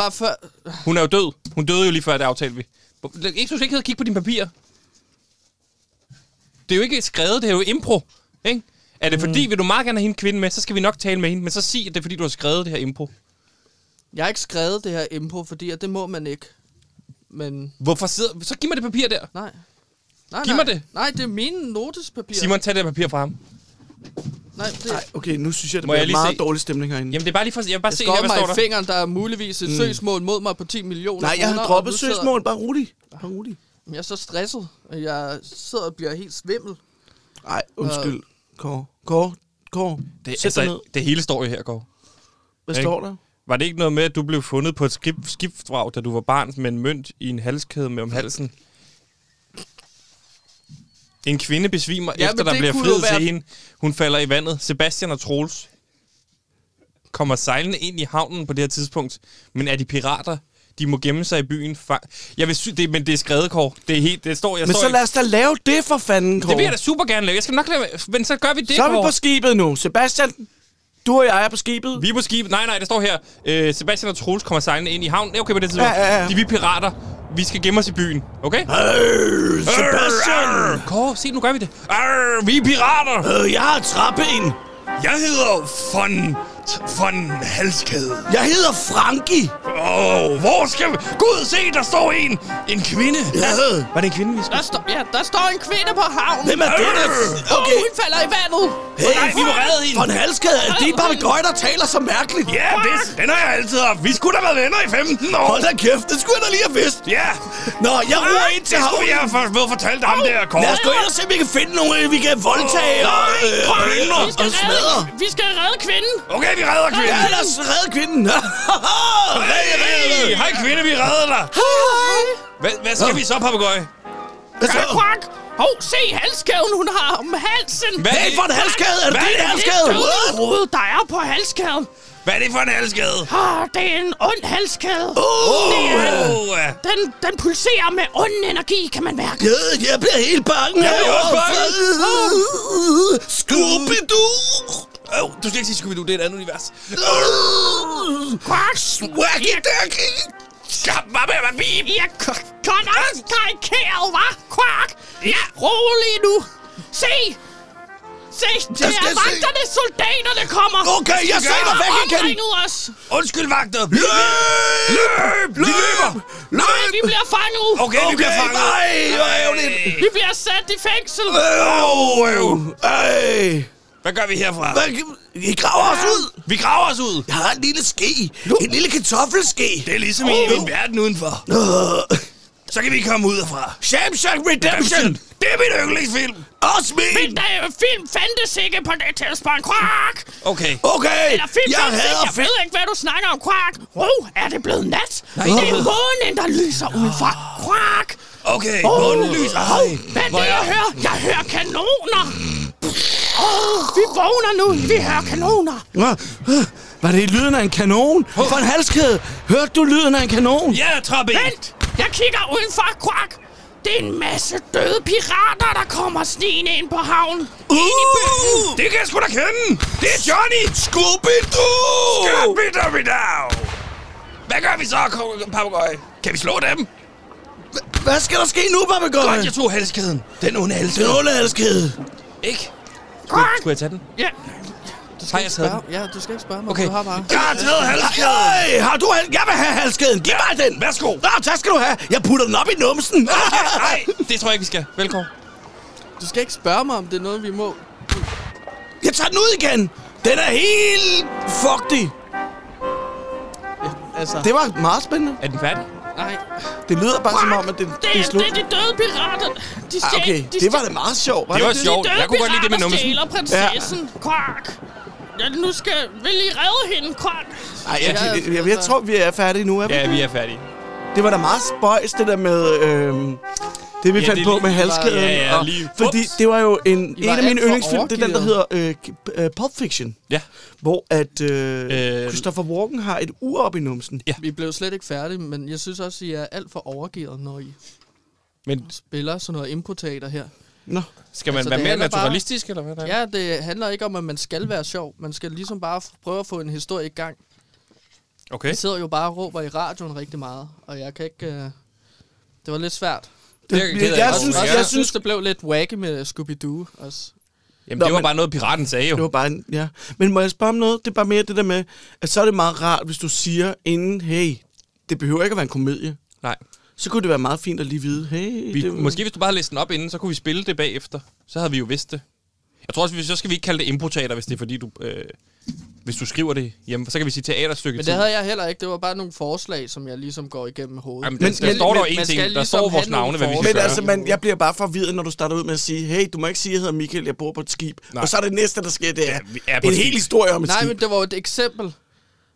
[SPEAKER 2] fra før...
[SPEAKER 1] hun er jo død. Hun døde jo lige før, det aftalte vi. Hvor- Jeg synes ikke, jeg havde kigge på dine papirer. Det er jo ikke skrevet, det er jo impro. Ikke? Er
[SPEAKER 3] Mm.
[SPEAKER 1] det fordi, vil du meget gerne have hende kvinden med, så skal vi nok tale med hende, men så sig, at det er fordi, du har skrevet det her impro.
[SPEAKER 2] Jeg har ikke skrevet det her impro, fordi at det må man ikke. Men
[SPEAKER 1] Hvorfor sidder... Så giv mig det papir der.
[SPEAKER 2] nej.
[SPEAKER 7] Nej,
[SPEAKER 1] Giv
[SPEAKER 7] nej.
[SPEAKER 1] mig det.
[SPEAKER 7] Nej, det er mine notespapirer.
[SPEAKER 1] Simon, tag det papir fra ham.
[SPEAKER 7] Nej, det,
[SPEAKER 3] Nej, okay, nu synes jeg, det
[SPEAKER 1] Må jeg
[SPEAKER 3] bliver
[SPEAKER 1] lige
[SPEAKER 3] meget
[SPEAKER 1] se?
[SPEAKER 3] dårlig stemning herinde.
[SPEAKER 1] Jamen, det er bare lige for... Jeg vil bare
[SPEAKER 7] jeg
[SPEAKER 1] se,
[SPEAKER 7] skår
[SPEAKER 1] her, hvad
[SPEAKER 7] mig
[SPEAKER 1] står
[SPEAKER 7] i
[SPEAKER 1] der.
[SPEAKER 7] fingeren, der er muligvis et mm. søgsmål mod mig på 10 millioner
[SPEAKER 3] Nej, jeg har
[SPEAKER 7] kroner,
[SPEAKER 3] droppet
[SPEAKER 7] og nu sidder-
[SPEAKER 3] søgsmål. Bare rolig. Bare rolig.
[SPEAKER 7] Jamen, Jeg er så stresset, at jeg sidder og bliver helt svimmel.
[SPEAKER 3] Nej, undskyld. Kåre. Kåre. Kåre.
[SPEAKER 1] Det,
[SPEAKER 3] Sæt dig ned.
[SPEAKER 1] altså, det hele står jo her, Kåre.
[SPEAKER 3] Hvad
[SPEAKER 1] ikke?
[SPEAKER 3] står der?
[SPEAKER 1] Var det ikke noget med, at du blev fundet på et skib- skibsvrag, da du var barn, med en mønt i en halskæde med om halsen? En kvinde besvimer,
[SPEAKER 7] Ja,
[SPEAKER 1] ja,
[SPEAKER 7] men
[SPEAKER 1] efter der
[SPEAKER 7] det
[SPEAKER 1] bliver
[SPEAKER 7] kunne
[SPEAKER 1] friet
[SPEAKER 7] jo være-
[SPEAKER 1] til hende. Hun falder i vandet. Sebastian og Troels kommer sejlende ind i havnen på det her tidspunkt. Men er de pirater? De må gemme sig i byen. Fa- jeg vil sy- det, men det er skrevet, Kåre. Det, er helt, det står, jeg
[SPEAKER 3] Men
[SPEAKER 1] står
[SPEAKER 3] så
[SPEAKER 1] ikke-
[SPEAKER 3] lad os da lave det for fanden, Kåre.
[SPEAKER 1] Det vil jeg da super gerne lave. Jeg skal nok lave... Men så gør vi det,
[SPEAKER 3] Så er vi
[SPEAKER 1] Kåre.
[SPEAKER 3] på skibet nu. Sebastian, du og jeg er på skibet.
[SPEAKER 1] Vi er på skibet. Nej, nej, det står her. Øh, Sebastian og Troels kommer sejlende ind i havnen. Ja, Okay, på det tidspunkt.
[SPEAKER 3] Ja, ja, ja.
[SPEAKER 1] De vi er pirater. Vi skal gemme os i byen. Okay?
[SPEAKER 3] Øh, Sebastian!
[SPEAKER 1] Arr, Kåre, se, nu gør vi det. Arr, vi er pirater.
[SPEAKER 3] Øh, jeg har trappen.
[SPEAKER 1] Jeg hedder Von... Von Halskæde.
[SPEAKER 3] Jeg hedder Frankie.
[SPEAKER 1] Åh, oh, hvor skal vi... Gud, se, der står en. En kvinde.
[SPEAKER 3] Ja.
[SPEAKER 1] Var det en kvinde, vi skulle...
[SPEAKER 7] Der, står, ja, der står en kvinde på havnen.
[SPEAKER 3] Hvem er det, der...
[SPEAKER 7] Okay.
[SPEAKER 3] Okay.
[SPEAKER 7] Hun falder i vandet.
[SPEAKER 3] Hey,
[SPEAKER 1] Nej, vi må redde hende.
[SPEAKER 3] For en halskæde. Det er bare gøj, der taler så mærkeligt.
[SPEAKER 1] Ja, det, den har jeg altid haft. Vi skulle da have været venner i 15 år.
[SPEAKER 3] Hold da kæft, det skulle jeg da lige have vidst.
[SPEAKER 1] Ja.
[SPEAKER 3] Nå, jeg roer ind til
[SPEAKER 1] Det skulle
[SPEAKER 3] havnen.
[SPEAKER 1] jeg have for- ved at fortælle dig ham der, Kåre.
[SPEAKER 3] Lad os gå ind og se, om vi kan finde nogen, vi kan voldtage
[SPEAKER 1] Åh,
[SPEAKER 3] og,
[SPEAKER 1] nej, prøv at hænge mig.
[SPEAKER 3] og, og smadre.
[SPEAKER 2] vi skal redde kvinden.
[SPEAKER 1] Okay, vi redder
[SPEAKER 3] Ja,
[SPEAKER 1] kvinden.
[SPEAKER 3] lad os redde kvinden. Red, red, red.
[SPEAKER 1] Hey, hej kvinde, vi redder dig.
[SPEAKER 3] Hej.
[SPEAKER 1] Hvad, hvad skal vi så, papegøj?
[SPEAKER 3] Hvad så?
[SPEAKER 2] Ja, Quack! Hov, se halskæden, hun har om halsen.
[SPEAKER 1] Hvad?
[SPEAKER 3] Hey, for en halskæde. Er det
[SPEAKER 1] Hvad
[SPEAKER 3] din
[SPEAKER 1] er det,
[SPEAKER 3] halskæde?
[SPEAKER 2] Det er
[SPEAKER 3] What?
[SPEAKER 2] den rode, der er på halskæden.
[SPEAKER 1] Hvad er det for en halskade?
[SPEAKER 2] Ah, det er en ond halskæde.
[SPEAKER 3] Uh.
[SPEAKER 1] Åh, ja.
[SPEAKER 2] Den, den pulserer med ond energi, kan man mærke.
[SPEAKER 3] Jeg, jeg bliver helt bange. Jeg
[SPEAKER 1] bliver også bange.
[SPEAKER 3] Scooby-Doo.
[SPEAKER 1] Øv, du skal ikke sige Scooby-Doo, det er et andet univers.
[SPEAKER 2] Quack!
[SPEAKER 3] Wacky ducky.
[SPEAKER 1] Skab mig med mig, bim!
[SPEAKER 2] Jeg k- godt nok karikeret, hva? Quack! Ja, rolig nu. Se! Se, det
[SPEAKER 3] Jeg
[SPEAKER 2] er
[SPEAKER 3] skal se.
[SPEAKER 2] vagterne, soldaterne kommer.
[SPEAKER 3] Okay, jeg
[SPEAKER 2] De
[SPEAKER 3] sejler
[SPEAKER 2] har
[SPEAKER 3] væk igen.
[SPEAKER 2] omringet os.
[SPEAKER 1] Undskyld, vagter! Løb! Løb! Vi løber!
[SPEAKER 2] Nej, vi bliver fanget.
[SPEAKER 1] Okay, vi bliver fanget.
[SPEAKER 3] nej, hvor ærgerligt.
[SPEAKER 2] Vi bliver sat i fængsel.
[SPEAKER 3] Øh.
[SPEAKER 1] Øv, øv.
[SPEAKER 3] Ej.
[SPEAKER 1] Hvad gør vi herfra?
[SPEAKER 3] Hvad, I graver os ud.
[SPEAKER 1] Vi graver os ud.
[SPEAKER 3] Jeg har en lille ske. En lille kartoffelske.
[SPEAKER 1] Det er ligesom i min verden udenfor.
[SPEAKER 3] Uh.
[SPEAKER 1] Så kan vi komme ud herfra.
[SPEAKER 3] Shawshank Redemption.
[SPEAKER 1] Redemption! Det er min yndlingsfilm!
[SPEAKER 3] Også min.
[SPEAKER 2] Men der er film fandtes ikke på det tidspunkt. Quark!
[SPEAKER 1] Okay.
[SPEAKER 3] Okay,
[SPEAKER 2] Eller film
[SPEAKER 3] jeg
[SPEAKER 2] fandtes ikke.
[SPEAKER 3] hader
[SPEAKER 2] Jeg
[SPEAKER 3] film.
[SPEAKER 2] ved ikke, hvad du snakker om. Quark! Oh, er det blevet nat? Nej, det er månen, der lyser ud fra.
[SPEAKER 3] Ah.
[SPEAKER 2] Quark!
[SPEAKER 1] Okay,
[SPEAKER 2] Åh,
[SPEAKER 1] månelyser.
[SPEAKER 2] åh, Hvad er det, jeg hører? Jeg hører kanoner. Oh, vi vågner nu. Vi hører kanoner.
[SPEAKER 3] Nå, øh, Var det lyden af en kanon? For en halskæde. Hørte du lyden af en kanon?
[SPEAKER 1] Ja, trappe!
[SPEAKER 2] Vent! Jeg kigger udenfor. Quark! Det er en masse døde pirater, der kommer snigende ind på havnen.
[SPEAKER 3] Uh!
[SPEAKER 1] Det kan jeg sgu da kende! Det er Johnny!
[SPEAKER 3] Scooby-Doo!
[SPEAKER 1] Scooby-Dooby-Dow! Hvad gør vi så, ko- papegøj? Kan vi slå dem?
[SPEAKER 3] Hvad skal der ske nu, papegøje?
[SPEAKER 1] Godt, jeg tog halskæden. Den onde
[SPEAKER 3] Den
[SPEAKER 1] halskæde.
[SPEAKER 3] onde halskæde.
[SPEAKER 1] Ikke?
[SPEAKER 2] Quark!
[SPEAKER 1] Skulle jeg tage den?
[SPEAKER 2] Ja,
[SPEAKER 7] Du skal
[SPEAKER 1] Har jeg taget
[SPEAKER 7] ikke spørge, ja, du skal ikke spørge mig,
[SPEAKER 1] Okay.
[SPEAKER 7] du har bare.
[SPEAKER 3] Jeg har taget halskæden. Hey, har du hal- Jeg vil have halskæden. Giv mig den.
[SPEAKER 1] Værsgo.
[SPEAKER 3] Nå, tak skal du have. Jeg putter den op i numsen.
[SPEAKER 1] Nej, det tror jeg ikke, vi skal. Velkommen.
[SPEAKER 7] Du skal ikke spørge mig, om det er noget, vi må.
[SPEAKER 3] Jeg tager den ud igen. Den er helt fugtig.
[SPEAKER 7] Altså,
[SPEAKER 3] Det var meget spændende.
[SPEAKER 1] Er den færdig?
[SPEAKER 7] nej.
[SPEAKER 3] Det lyder bare som om, at det,
[SPEAKER 2] det, er, det er de døde pirater. De
[SPEAKER 3] Ah,
[SPEAKER 2] stjæl,
[SPEAKER 3] okay,
[SPEAKER 2] de
[SPEAKER 3] det var
[SPEAKER 2] stjæl-
[SPEAKER 3] da meget sjovt. Var
[SPEAKER 1] Det var
[SPEAKER 3] det?
[SPEAKER 1] sjovt.
[SPEAKER 2] Døde
[SPEAKER 1] Jeg kunne godt lide det med
[SPEAKER 2] pirater
[SPEAKER 1] numsen.
[SPEAKER 2] stjæler prinsessen. Ja. Quark! Ja, nu skal... Vil I redde hende, Quark?
[SPEAKER 3] Ej, jeg,
[SPEAKER 7] Ja,
[SPEAKER 3] jeg, jeg, jeg tror, vi er færdige nu. Er vi?
[SPEAKER 1] Ja, vi er færdige.
[SPEAKER 3] Det var da meget spøjs, det der med... Øhm, det vi
[SPEAKER 1] Ja,
[SPEAKER 3] ja, fandt
[SPEAKER 1] det
[SPEAKER 3] på
[SPEAKER 1] lige-
[SPEAKER 3] med halskæden.
[SPEAKER 1] Ja, ja,
[SPEAKER 3] og-
[SPEAKER 1] lige-
[SPEAKER 3] fordi
[SPEAKER 1] Ups.
[SPEAKER 3] det var jo en,
[SPEAKER 7] var
[SPEAKER 3] en af mine
[SPEAKER 7] alt for
[SPEAKER 3] yndlingsfilm, det er den, der hedder
[SPEAKER 7] overgivet.
[SPEAKER 3] øh, k- øh, Pulp Fiction.
[SPEAKER 1] Ja.
[SPEAKER 3] Hvor at øh,
[SPEAKER 1] Øh,
[SPEAKER 3] øh, Christopher Walken har et ur op i numsen.
[SPEAKER 1] Ja.
[SPEAKER 7] Vi blev slet ikke færdige, men jeg synes også, I er alt for overgivet, når I
[SPEAKER 1] Men
[SPEAKER 7] spiller sådan noget improteater her.
[SPEAKER 3] Nå.
[SPEAKER 1] skal man
[SPEAKER 7] Altså,
[SPEAKER 1] være
[SPEAKER 7] det
[SPEAKER 1] mere
[SPEAKER 7] handler bare-
[SPEAKER 1] naturalistisk, eller hvad der
[SPEAKER 7] Ja, det handler ikke om, at man skal være sjov. Man skal ligesom bare f- prøve at få en historie i gang.
[SPEAKER 1] Okay.
[SPEAKER 7] Jeg sidder jo bare og råber i radioen rigtig meget, og jeg kan ikke... Øh... Det var lidt svært.
[SPEAKER 1] Det er jeg ked af,
[SPEAKER 3] jeg,
[SPEAKER 1] Kåre.
[SPEAKER 3] jeg, synes,
[SPEAKER 1] Ja.
[SPEAKER 7] også,
[SPEAKER 3] jeg synes,
[SPEAKER 7] det blev lidt wacky med Scooby-Doo også.
[SPEAKER 1] Jamen,
[SPEAKER 3] Nå,
[SPEAKER 1] det var
[SPEAKER 3] men-
[SPEAKER 1] bare noget, piraten sagde jo.
[SPEAKER 3] det var bare en, ja. Men må jeg spørge om noget? Det er bare mere det der med, at så er det meget rart, hvis du siger inden, hey, det behøver ikke at være en komedie.
[SPEAKER 1] Nej.
[SPEAKER 3] så kunne det være meget fint at lige vide, hey,
[SPEAKER 1] Vi,
[SPEAKER 3] det,
[SPEAKER 1] Måske hvis du bare læste den op inden, så kunne vi spille det bagefter. Så havde vi jo vidst det. Jeg tror også, vi, så skal vi ikke kalde det improteater, hvis det er fordi, du... Øh, hvis du skriver det hjemme, så kan vi sige teaterstykke
[SPEAKER 7] Men det havde jeg heller ikke. Det var bare nogle forslag, som jeg ligesom går igennem hovedet.
[SPEAKER 1] Jamen, der, men,
[SPEAKER 3] Men-
[SPEAKER 1] der
[SPEAKER 3] men-
[SPEAKER 1] står dog
[SPEAKER 7] men-
[SPEAKER 1] en
[SPEAKER 7] man
[SPEAKER 1] ting.
[SPEAKER 7] skal
[SPEAKER 1] der
[SPEAKER 7] ligesom
[SPEAKER 1] står vores
[SPEAKER 7] have nogle
[SPEAKER 1] navne, hvad vi skal
[SPEAKER 7] forslag.
[SPEAKER 3] Men
[SPEAKER 1] gøre.
[SPEAKER 3] altså, man, jeg bliver bare forvirret, når du starter ud med at sige, hey, du må ikke sige, at jeg hedder Michael, jeg bor på et skib. Nej. Og så er det næste, der sker, det er,
[SPEAKER 1] vi er
[SPEAKER 3] ja,
[SPEAKER 1] på
[SPEAKER 3] en
[SPEAKER 1] et
[SPEAKER 3] hel
[SPEAKER 1] skib.
[SPEAKER 3] historie om et
[SPEAKER 7] Nej,
[SPEAKER 3] skib.
[SPEAKER 7] men det var jo et eksempel.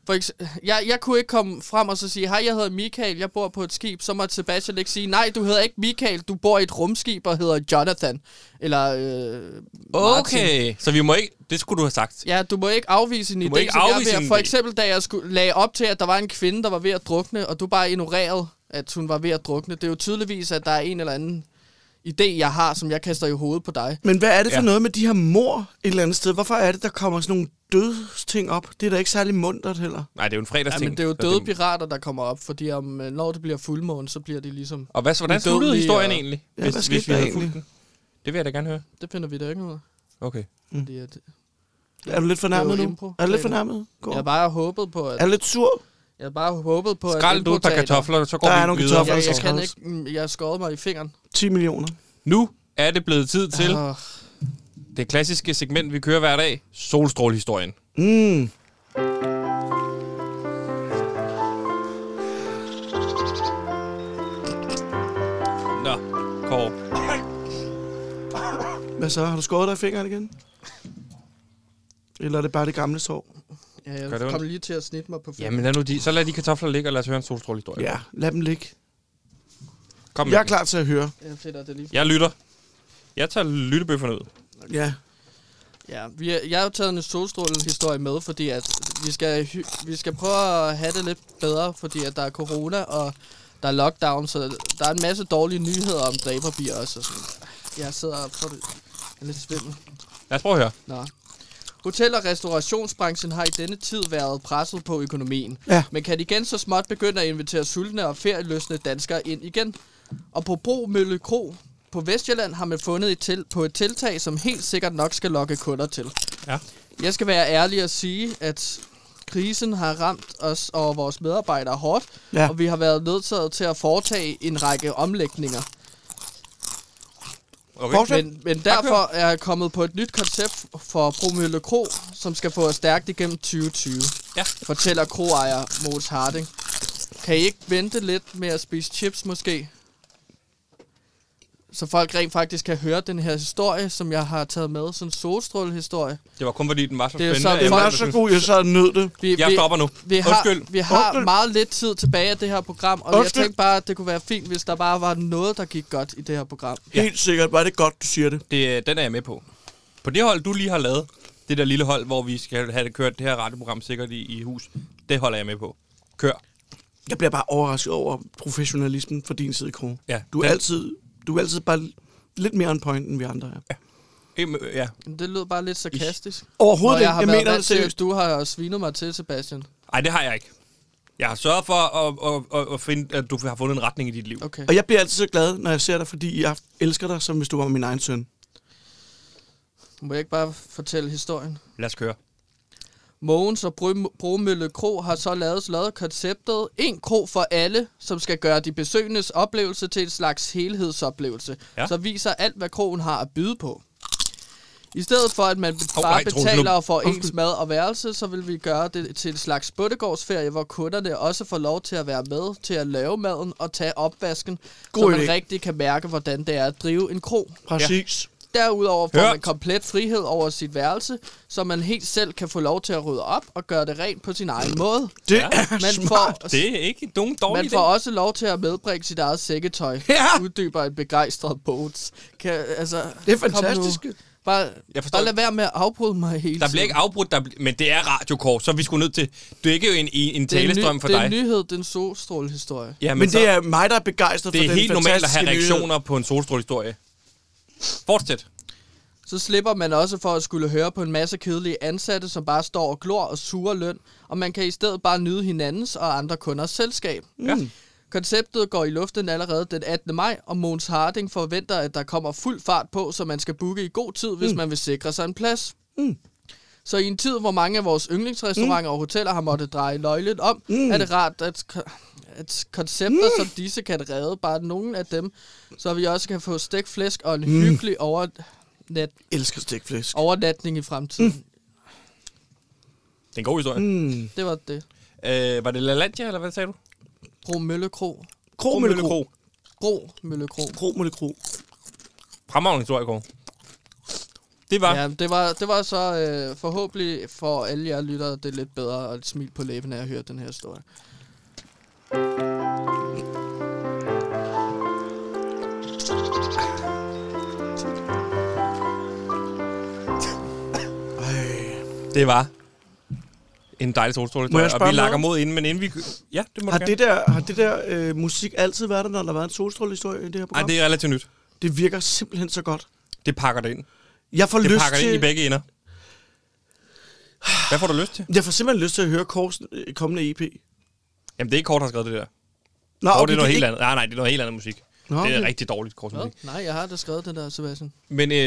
[SPEAKER 7] For ekse- jeg, jeg kunne ikke komme frem og så sige, hej, jeg hedder Michael, jeg bor på et skib. Så måtte Sebastian ikke sige, nej, du hedder ikke Michael, du bor i et rumskib og hedder Jonathan. Eller øh, Martin.
[SPEAKER 1] Okay, så vi må ikke... Det skulle du have sagt.
[SPEAKER 7] Ja, du må ikke afvise en
[SPEAKER 1] Du må
[SPEAKER 7] idé,
[SPEAKER 1] ikke
[SPEAKER 7] som
[SPEAKER 1] afvise
[SPEAKER 7] jeg er
[SPEAKER 1] en
[SPEAKER 7] ved at, For
[SPEAKER 1] idé.
[SPEAKER 7] eksempel, da jeg skulle, lagde op til, at der var en kvinde, der var ved at drukne, og du bare ignorerede, at hun var ved at drukne. Det er jo tydeligvis, at der er en eller anden idé, jeg har, som jeg kaster i hovedet på dig.
[SPEAKER 3] Men hvad er det for
[SPEAKER 1] Ja.
[SPEAKER 3] ja. noget med de her mor et eller andet sted? Hvorfor er det, der kommer sådan nogle dødsting op? Det er da ikke særlig mundtet heller.
[SPEAKER 1] Nej, det er jo en
[SPEAKER 7] Ja,
[SPEAKER 1] fredagsting.
[SPEAKER 7] men det er jo
[SPEAKER 1] Så
[SPEAKER 7] døde pirater, der kommer op, fordi om, øh, når det bliver fuldmåne, så bliver de ligesom...
[SPEAKER 1] Og hvad, hvordan
[SPEAKER 7] Udødelige
[SPEAKER 1] sluttede historien
[SPEAKER 7] og-
[SPEAKER 1] egentlig?
[SPEAKER 3] Ja, hvad skete
[SPEAKER 1] vi
[SPEAKER 3] der
[SPEAKER 1] havde fulgt
[SPEAKER 3] egentlig?
[SPEAKER 1] den? Det vil jeg da gerne høre.
[SPEAKER 7] Det finder vi da ikke noget.
[SPEAKER 1] Okay.
[SPEAKER 7] Fordi at,
[SPEAKER 3] Er du lidt fornærmet
[SPEAKER 7] Det er jo
[SPEAKER 3] nu?
[SPEAKER 7] impro.
[SPEAKER 3] Er du lidt
[SPEAKER 7] Det er det.
[SPEAKER 3] fornærmet? Går.
[SPEAKER 7] jeg bare håbet på, at...
[SPEAKER 3] Er du lidt sur?
[SPEAKER 7] Jeg bare håbet på, at...
[SPEAKER 1] Skrald du et par
[SPEAKER 7] improteater-
[SPEAKER 1] kartofler, så går
[SPEAKER 3] Der
[SPEAKER 1] vi
[SPEAKER 3] er nogle
[SPEAKER 1] videre.
[SPEAKER 3] kartofler.
[SPEAKER 7] Jeg,
[SPEAKER 3] så
[SPEAKER 7] jeg kan
[SPEAKER 3] skraldes.
[SPEAKER 7] ikke... mm, Jeg har skåret mig i fingeren.
[SPEAKER 3] 10 millioner.
[SPEAKER 1] Nu er det blevet tid til
[SPEAKER 7] Åh,
[SPEAKER 1] det klassiske segment, vi kører hver dag. Solstrålehistorien.
[SPEAKER 3] Mm.
[SPEAKER 1] Nå, Kåre.
[SPEAKER 3] Hvad så? Har du skåret dig i fingeren igen? Eller er det bare det gamle sår?
[SPEAKER 7] ja,
[SPEAKER 1] Gør det
[SPEAKER 7] jeg kom lige til at snitte mig på fingeren.
[SPEAKER 1] Jamen lad nu de, så lad de kartofler ligge, og lad os høre en solstrålehistorie.
[SPEAKER 3] Ja, lad dem ligge.
[SPEAKER 1] Kom med
[SPEAKER 3] Jeg er
[SPEAKER 1] den.
[SPEAKER 3] klar til at høre.
[SPEAKER 7] Jeg finder det lige.
[SPEAKER 1] Jeg lytter. Jeg tager lyttebøfferne ud.
[SPEAKER 3] Ja.
[SPEAKER 7] Ja, vi er, jeg har jo taget en solstrålehistorie med, fordi at vi skal, hy- vi skal prøve at have det lidt bedre, fordi at der er corona, og der er lockdown, så der er en masse dårlige nyheder om dræberbier også. Og sådan. Jeg sidder og får det jeg er lidt svimmel.
[SPEAKER 1] Lad os prøve at høre.
[SPEAKER 7] Nå. Hotel- og restaurationsbranchen har i denne tid været presset på økonomien.
[SPEAKER 3] Ja.
[SPEAKER 7] Men kan igen så småt begynde at invitere sultne og ferieløsne danskere ind igen. Og på Bro Mølle Kro på Vestjylland har man fundet et til på et tiltag, som helt sikkert nok skal lokke kunder til.
[SPEAKER 1] Ja.
[SPEAKER 7] Jeg skal være ærlig og sige, at krisen har ramt os og vores medarbejdere hårdt,
[SPEAKER 3] Ja.
[SPEAKER 7] ja. og vi har været nødsaget til at foretage en række omlægninger.
[SPEAKER 1] Okay.
[SPEAKER 7] Men, men derfor er jeg kommet på et nyt koncept for Bromølle Kro, som skal få os stærkt igennem 2020,
[SPEAKER 1] Ja.
[SPEAKER 7] fortæller kroejer Mogens Harding. Kan I ikke vente lidt med at spise chips måske? Så folk rent faktisk kan høre den her historie, som jeg har taget med, sådan en solstrålehistorie.
[SPEAKER 1] Det var kun fordi, den var så
[SPEAKER 7] Det er jo
[SPEAKER 1] spændende.
[SPEAKER 7] så-
[SPEAKER 1] at
[SPEAKER 3] Den
[SPEAKER 1] jeg
[SPEAKER 3] var
[SPEAKER 1] var-
[SPEAKER 3] så god, jeg så nød det.
[SPEAKER 7] Vi,
[SPEAKER 1] Jeg stopper nu.
[SPEAKER 7] Vi har,
[SPEAKER 1] Undskyld.
[SPEAKER 7] Vi har
[SPEAKER 3] Undskyld.
[SPEAKER 7] meget lidt tid tilbage af det her program, og
[SPEAKER 3] Undskyld.
[SPEAKER 7] jeg tænkte bare, at det kunne være fint, hvis der bare var noget, der gik godt i det her program.
[SPEAKER 3] Helt sikkert. Var det godt, du siger det.
[SPEAKER 1] Det, øh, den er jeg med på. På det hold, du lige har lavet, det der lille hold, hvor vi skal have det kørt det her radioprogram sikkert i, i hus, det holder jeg med på. Kør.
[SPEAKER 3] Jeg bliver bare overrasket over professionalismen fra din side, Kro.
[SPEAKER 1] Ja.
[SPEAKER 3] Du er
[SPEAKER 1] Den-
[SPEAKER 3] altid, du er altid bare lidt mere on point, end vi andre er. Ja.
[SPEAKER 1] Em- Ja.
[SPEAKER 7] Men Det lød bare lidt sarkastisk.
[SPEAKER 3] Overhovedet
[SPEAKER 7] Når
[SPEAKER 3] ikke.
[SPEAKER 7] jeg
[SPEAKER 3] Jeg,
[SPEAKER 7] har været
[SPEAKER 3] mener det
[SPEAKER 7] vant til,
[SPEAKER 3] seriøst.
[SPEAKER 7] at du har svinet mig til, Sebastian.
[SPEAKER 1] Ej, det har jeg ikke. Jeg har sørget for at, at, at, at, finde, at du har fundet en retning i dit liv.
[SPEAKER 7] Okay.
[SPEAKER 3] Og jeg bliver altid så glad, når jeg ser dig, fordi jeg elsker dig, som hvis du var min egen søn.
[SPEAKER 7] Må jeg ikke bare fortælle historien?
[SPEAKER 1] Lad os køre.
[SPEAKER 7] Mogens og Bry- Bromølle Kro har så lavet, lavet konceptet En Kro for alle, som skal gøre de besøgendes oplevelse til en slags helhedsoplevelse,
[SPEAKER 1] Ja.
[SPEAKER 7] ja. så viser alt, hvad kroen har at byde på. I stedet for, at man
[SPEAKER 1] Hov,
[SPEAKER 7] bare
[SPEAKER 1] nej,
[SPEAKER 7] nej,
[SPEAKER 1] Troels, nu-
[SPEAKER 7] betaler for
[SPEAKER 1] Undskyld.
[SPEAKER 7] ens mad og værelse, så vil vi gøre det til en slags buttegårdsferie, hvor kunderne også får lov til at være med til at lave maden og tage opvasken, God så
[SPEAKER 3] God
[SPEAKER 7] man
[SPEAKER 3] idé.
[SPEAKER 7] rigtig kan mærke, hvordan det er at drive en kro.
[SPEAKER 3] Præcis. Ja.
[SPEAKER 7] Derudover får
[SPEAKER 1] Hørt.
[SPEAKER 7] man komplet frihed over sit værelse, så man helt selv kan få lov til at rydde op og gøre det rent på sin egen måde.
[SPEAKER 3] Det ja. er
[SPEAKER 7] Man
[SPEAKER 3] smart.
[SPEAKER 7] får,
[SPEAKER 1] Det er ikke nogen dårlig
[SPEAKER 7] man
[SPEAKER 1] idé.
[SPEAKER 7] får også lov til at medbringe sit eget sækketøj,
[SPEAKER 3] Ja.
[SPEAKER 7] uddyber en begejstret Bones. Kan, altså,
[SPEAKER 3] Det er
[SPEAKER 7] kom nu.
[SPEAKER 3] fantastisk.
[SPEAKER 7] Bare,
[SPEAKER 1] Jeg forstår
[SPEAKER 7] bare lad
[SPEAKER 1] ikke.
[SPEAKER 7] være med at afbryde mig hele
[SPEAKER 1] Der bliver
[SPEAKER 7] tiden.
[SPEAKER 1] ikke afbrudt, der bl- men det er radiokår, så vi skulle nødt til... Det er ikke jo en, en, en
[SPEAKER 7] det er en,
[SPEAKER 1] talestrøm for
[SPEAKER 7] det er
[SPEAKER 1] dig.
[SPEAKER 7] en nyhed, det er en solstrålehistorie.
[SPEAKER 1] ja,
[SPEAKER 3] Men
[SPEAKER 1] så,
[SPEAKER 3] det er mig, der er begejstret
[SPEAKER 1] det
[SPEAKER 3] for
[SPEAKER 1] er
[SPEAKER 3] den
[SPEAKER 1] helt normalt at
[SPEAKER 3] fantastiske
[SPEAKER 1] have reaktioner på en solstrålehistorie. Fortsæt.
[SPEAKER 7] Så slipper man også for at skulle høre på en masse kedelige ansatte, som bare står og glor og suger løn, og man kan i stedet bare nyde hinandens og andre kunders selskab.
[SPEAKER 1] Ja.
[SPEAKER 3] Mm.
[SPEAKER 7] Konceptet går i luften allerede den 18. maj, og Mogens Harding forventer, at der kommer fuld fart på, så man skal booke i god tid, hvis mm. man vil sikre sig en plads. Mm. Så i en tid, hvor mange af vores yndlingsrestauranter mm. og hoteller har måttet dreje nøglen om, mm. er det rart at, at koncepter mm. som disse kan redde bare nogle af dem, så vi også kan få stegt flæsk og en mm. hyggelig overnat,
[SPEAKER 3] Elsker stikflæsk.
[SPEAKER 7] overnatning i fremtiden. Mm.
[SPEAKER 1] Det er en god historie. Mm.
[SPEAKER 7] Det var det.
[SPEAKER 1] Øh, var det LaLandia, eller hvad sagde du?
[SPEAKER 7] Bro Møllekro.
[SPEAKER 3] Kro, mølle, kro.
[SPEAKER 7] Bro Møllekro.
[SPEAKER 3] Kro, mølle, kro.
[SPEAKER 1] Fremragende historie, Kåre. Det var...
[SPEAKER 7] Ja, det var, det var så øh, forhåbentlig for alle jer lyttere, det er lidt bedre at smil på læben, når jeg hører den her historie.
[SPEAKER 1] Det var en dejlig solstråle.
[SPEAKER 3] Må jeg
[SPEAKER 1] Og
[SPEAKER 3] spørge
[SPEAKER 1] vi
[SPEAKER 3] om
[SPEAKER 1] lakker
[SPEAKER 3] noget?
[SPEAKER 1] mod inden, men inden vi... Ja, det må
[SPEAKER 3] Har
[SPEAKER 1] du
[SPEAKER 3] det der, har det der øh, musik altid været der, når der har været en solstrålehistorie i det her
[SPEAKER 1] Nej,
[SPEAKER 3] program?
[SPEAKER 1] det er relativt nyt.
[SPEAKER 3] det virker simpelthen så godt.
[SPEAKER 1] Det pakker det ind.
[SPEAKER 3] Jeg får,
[SPEAKER 1] Det
[SPEAKER 3] lyst
[SPEAKER 1] pakker det
[SPEAKER 3] til,
[SPEAKER 1] ind i begge ender. Hvad får du lyst til?
[SPEAKER 3] jeg får simpelthen lyst til at høre Kors øh, kommende EP. Nå,
[SPEAKER 1] Jamen, det er ikke Kort, han har skrevet det der.
[SPEAKER 3] Ah, okay,
[SPEAKER 1] Kort, det er noget helt
[SPEAKER 3] ikke-
[SPEAKER 1] andet. Nej, nej, det er noget helt andet musik.
[SPEAKER 3] Nå,
[SPEAKER 1] Det er
[SPEAKER 3] okay.
[SPEAKER 1] rigtig dårligt, Kort
[SPEAKER 7] Hvad?
[SPEAKER 1] musik.
[SPEAKER 7] Nej, jeg har da skrevet den der, Sebastian.
[SPEAKER 1] Men øh,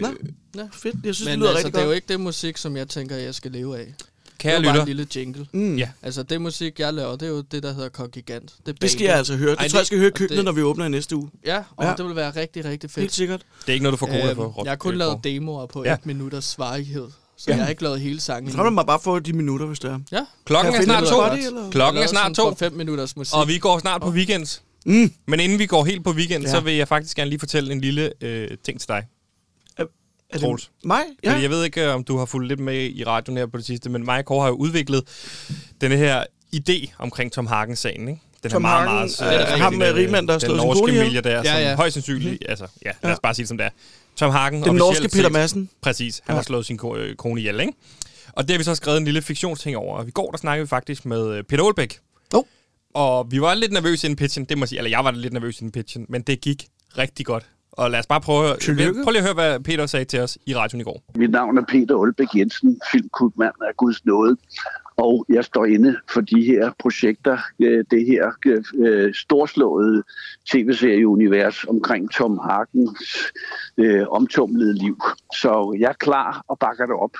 [SPEAKER 3] Nå,
[SPEAKER 7] Ja.
[SPEAKER 3] fedt. Jeg synes,
[SPEAKER 7] Men
[SPEAKER 3] det lyder
[SPEAKER 7] altså,
[SPEAKER 3] rigtig
[SPEAKER 7] det er jo
[SPEAKER 3] godt.
[SPEAKER 7] ikke det musik, som jeg tænker, jeg skal leve af.
[SPEAKER 1] kære
[SPEAKER 7] det var bare
[SPEAKER 1] lytter...
[SPEAKER 7] en lille jingle.
[SPEAKER 3] Mm.
[SPEAKER 1] Ja.
[SPEAKER 7] Altså, det musik, jeg laver, det er jo det, der hedder Kongigant. Det, er
[SPEAKER 3] Det skal jeg
[SPEAKER 7] baby.
[SPEAKER 3] altså høre. Det
[SPEAKER 1] Ej,
[SPEAKER 3] tror jeg,
[SPEAKER 1] det-
[SPEAKER 3] jeg skal høre i
[SPEAKER 7] og
[SPEAKER 3] køkkenet,
[SPEAKER 7] det-
[SPEAKER 3] når vi åbner i næste uge.
[SPEAKER 7] Ja, og
[SPEAKER 3] Ja.
[SPEAKER 7] det vil være rigtig, rigtig
[SPEAKER 3] Helt
[SPEAKER 7] fedt. Øhm,
[SPEAKER 3] sikkert.
[SPEAKER 1] Det er ikke noget, du får cola for. Rob-
[SPEAKER 7] jeg har kun
[SPEAKER 1] øh,
[SPEAKER 7] lavet
[SPEAKER 1] Kåre.
[SPEAKER 7] demoer på
[SPEAKER 1] Ja.
[SPEAKER 7] ja. et minutters varighed, så
[SPEAKER 3] Ja.
[SPEAKER 7] ja. jeg har ikke lavet hele sangen
[SPEAKER 3] Så kan
[SPEAKER 1] Mm.
[SPEAKER 7] endnu.
[SPEAKER 3] man bare få de minutter, hvis det er.
[SPEAKER 7] Ja,
[SPEAKER 1] Klokken
[SPEAKER 3] Kan
[SPEAKER 1] er
[SPEAKER 3] jeg
[SPEAKER 1] snart
[SPEAKER 3] finde
[SPEAKER 1] to.
[SPEAKER 3] noget godt i, eller?
[SPEAKER 1] Klokken er snart to.
[SPEAKER 7] 5 minutters musik.
[SPEAKER 1] Og vi går snart på weekend.
[SPEAKER 3] Mm.
[SPEAKER 1] Men inden vi går helt på weekend,
[SPEAKER 3] Ja.
[SPEAKER 1] så vil jeg faktisk gerne lige fortælle en lille øh, ting til dig.
[SPEAKER 3] Er
[SPEAKER 1] Troels.
[SPEAKER 3] det mig?
[SPEAKER 1] Ja.
[SPEAKER 3] Ja.
[SPEAKER 1] Fordi jeg ved ikke, øh, om du har fulgt lidt med i radioen her på det sidste, men mig og Kåre har jo udviklet den her idé omkring Tom Hagen-sagen, ikke? Den
[SPEAKER 3] Tom
[SPEAKER 1] er meget,
[SPEAKER 3] Hagen,
[SPEAKER 1] meget... altså,
[SPEAKER 3] øh, ham med rigmanden, der har slået
[SPEAKER 1] Den
[SPEAKER 3] sin
[SPEAKER 1] norske
[SPEAKER 3] kone ihjel.
[SPEAKER 1] milliardær, ja,
[SPEAKER 7] Ja,
[SPEAKER 1] ja.
[SPEAKER 7] ja.
[SPEAKER 1] som højst sandsynligt... Altså, ja, lad os bare sige det, som det er. Tom Hagen...
[SPEAKER 3] Mm-hmm. Den
[SPEAKER 1] officielt
[SPEAKER 3] norske Peter
[SPEAKER 1] set-
[SPEAKER 3] Madsen.
[SPEAKER 1] Præcis, han ja. har slået sin ko- øh, kone ihjel, ikke? Og det har vi så skrevet en lille fiktionsting over. Og i går, der snakkede vi faktisk med øh, Peter Olbæk.
[SPEAKER 3] Jo.
[SPEAKER 1] Og vi var lidt nervøse inden pitchen, det må jeg sige. Eller jeg var lidt nervøs inden pitchen, men det gik rigtig godt. Og lad os bare prøve, at-
[SPEAKER 3] Tillykke.
[SPEAKER 1] prøv lige at høre, hvad Peter sagde til os i radioen i går.
[SPEAKER 8] Mit navn er Peter Olbæk Jensen, filmkubmand af Guds nåde, og jeg står inde for de her projekter, øh, det her øh, storslåede tv-serieunivers omkring Tom Harkens øh, omtumlede liv. Så jeg er klar og bakker det op.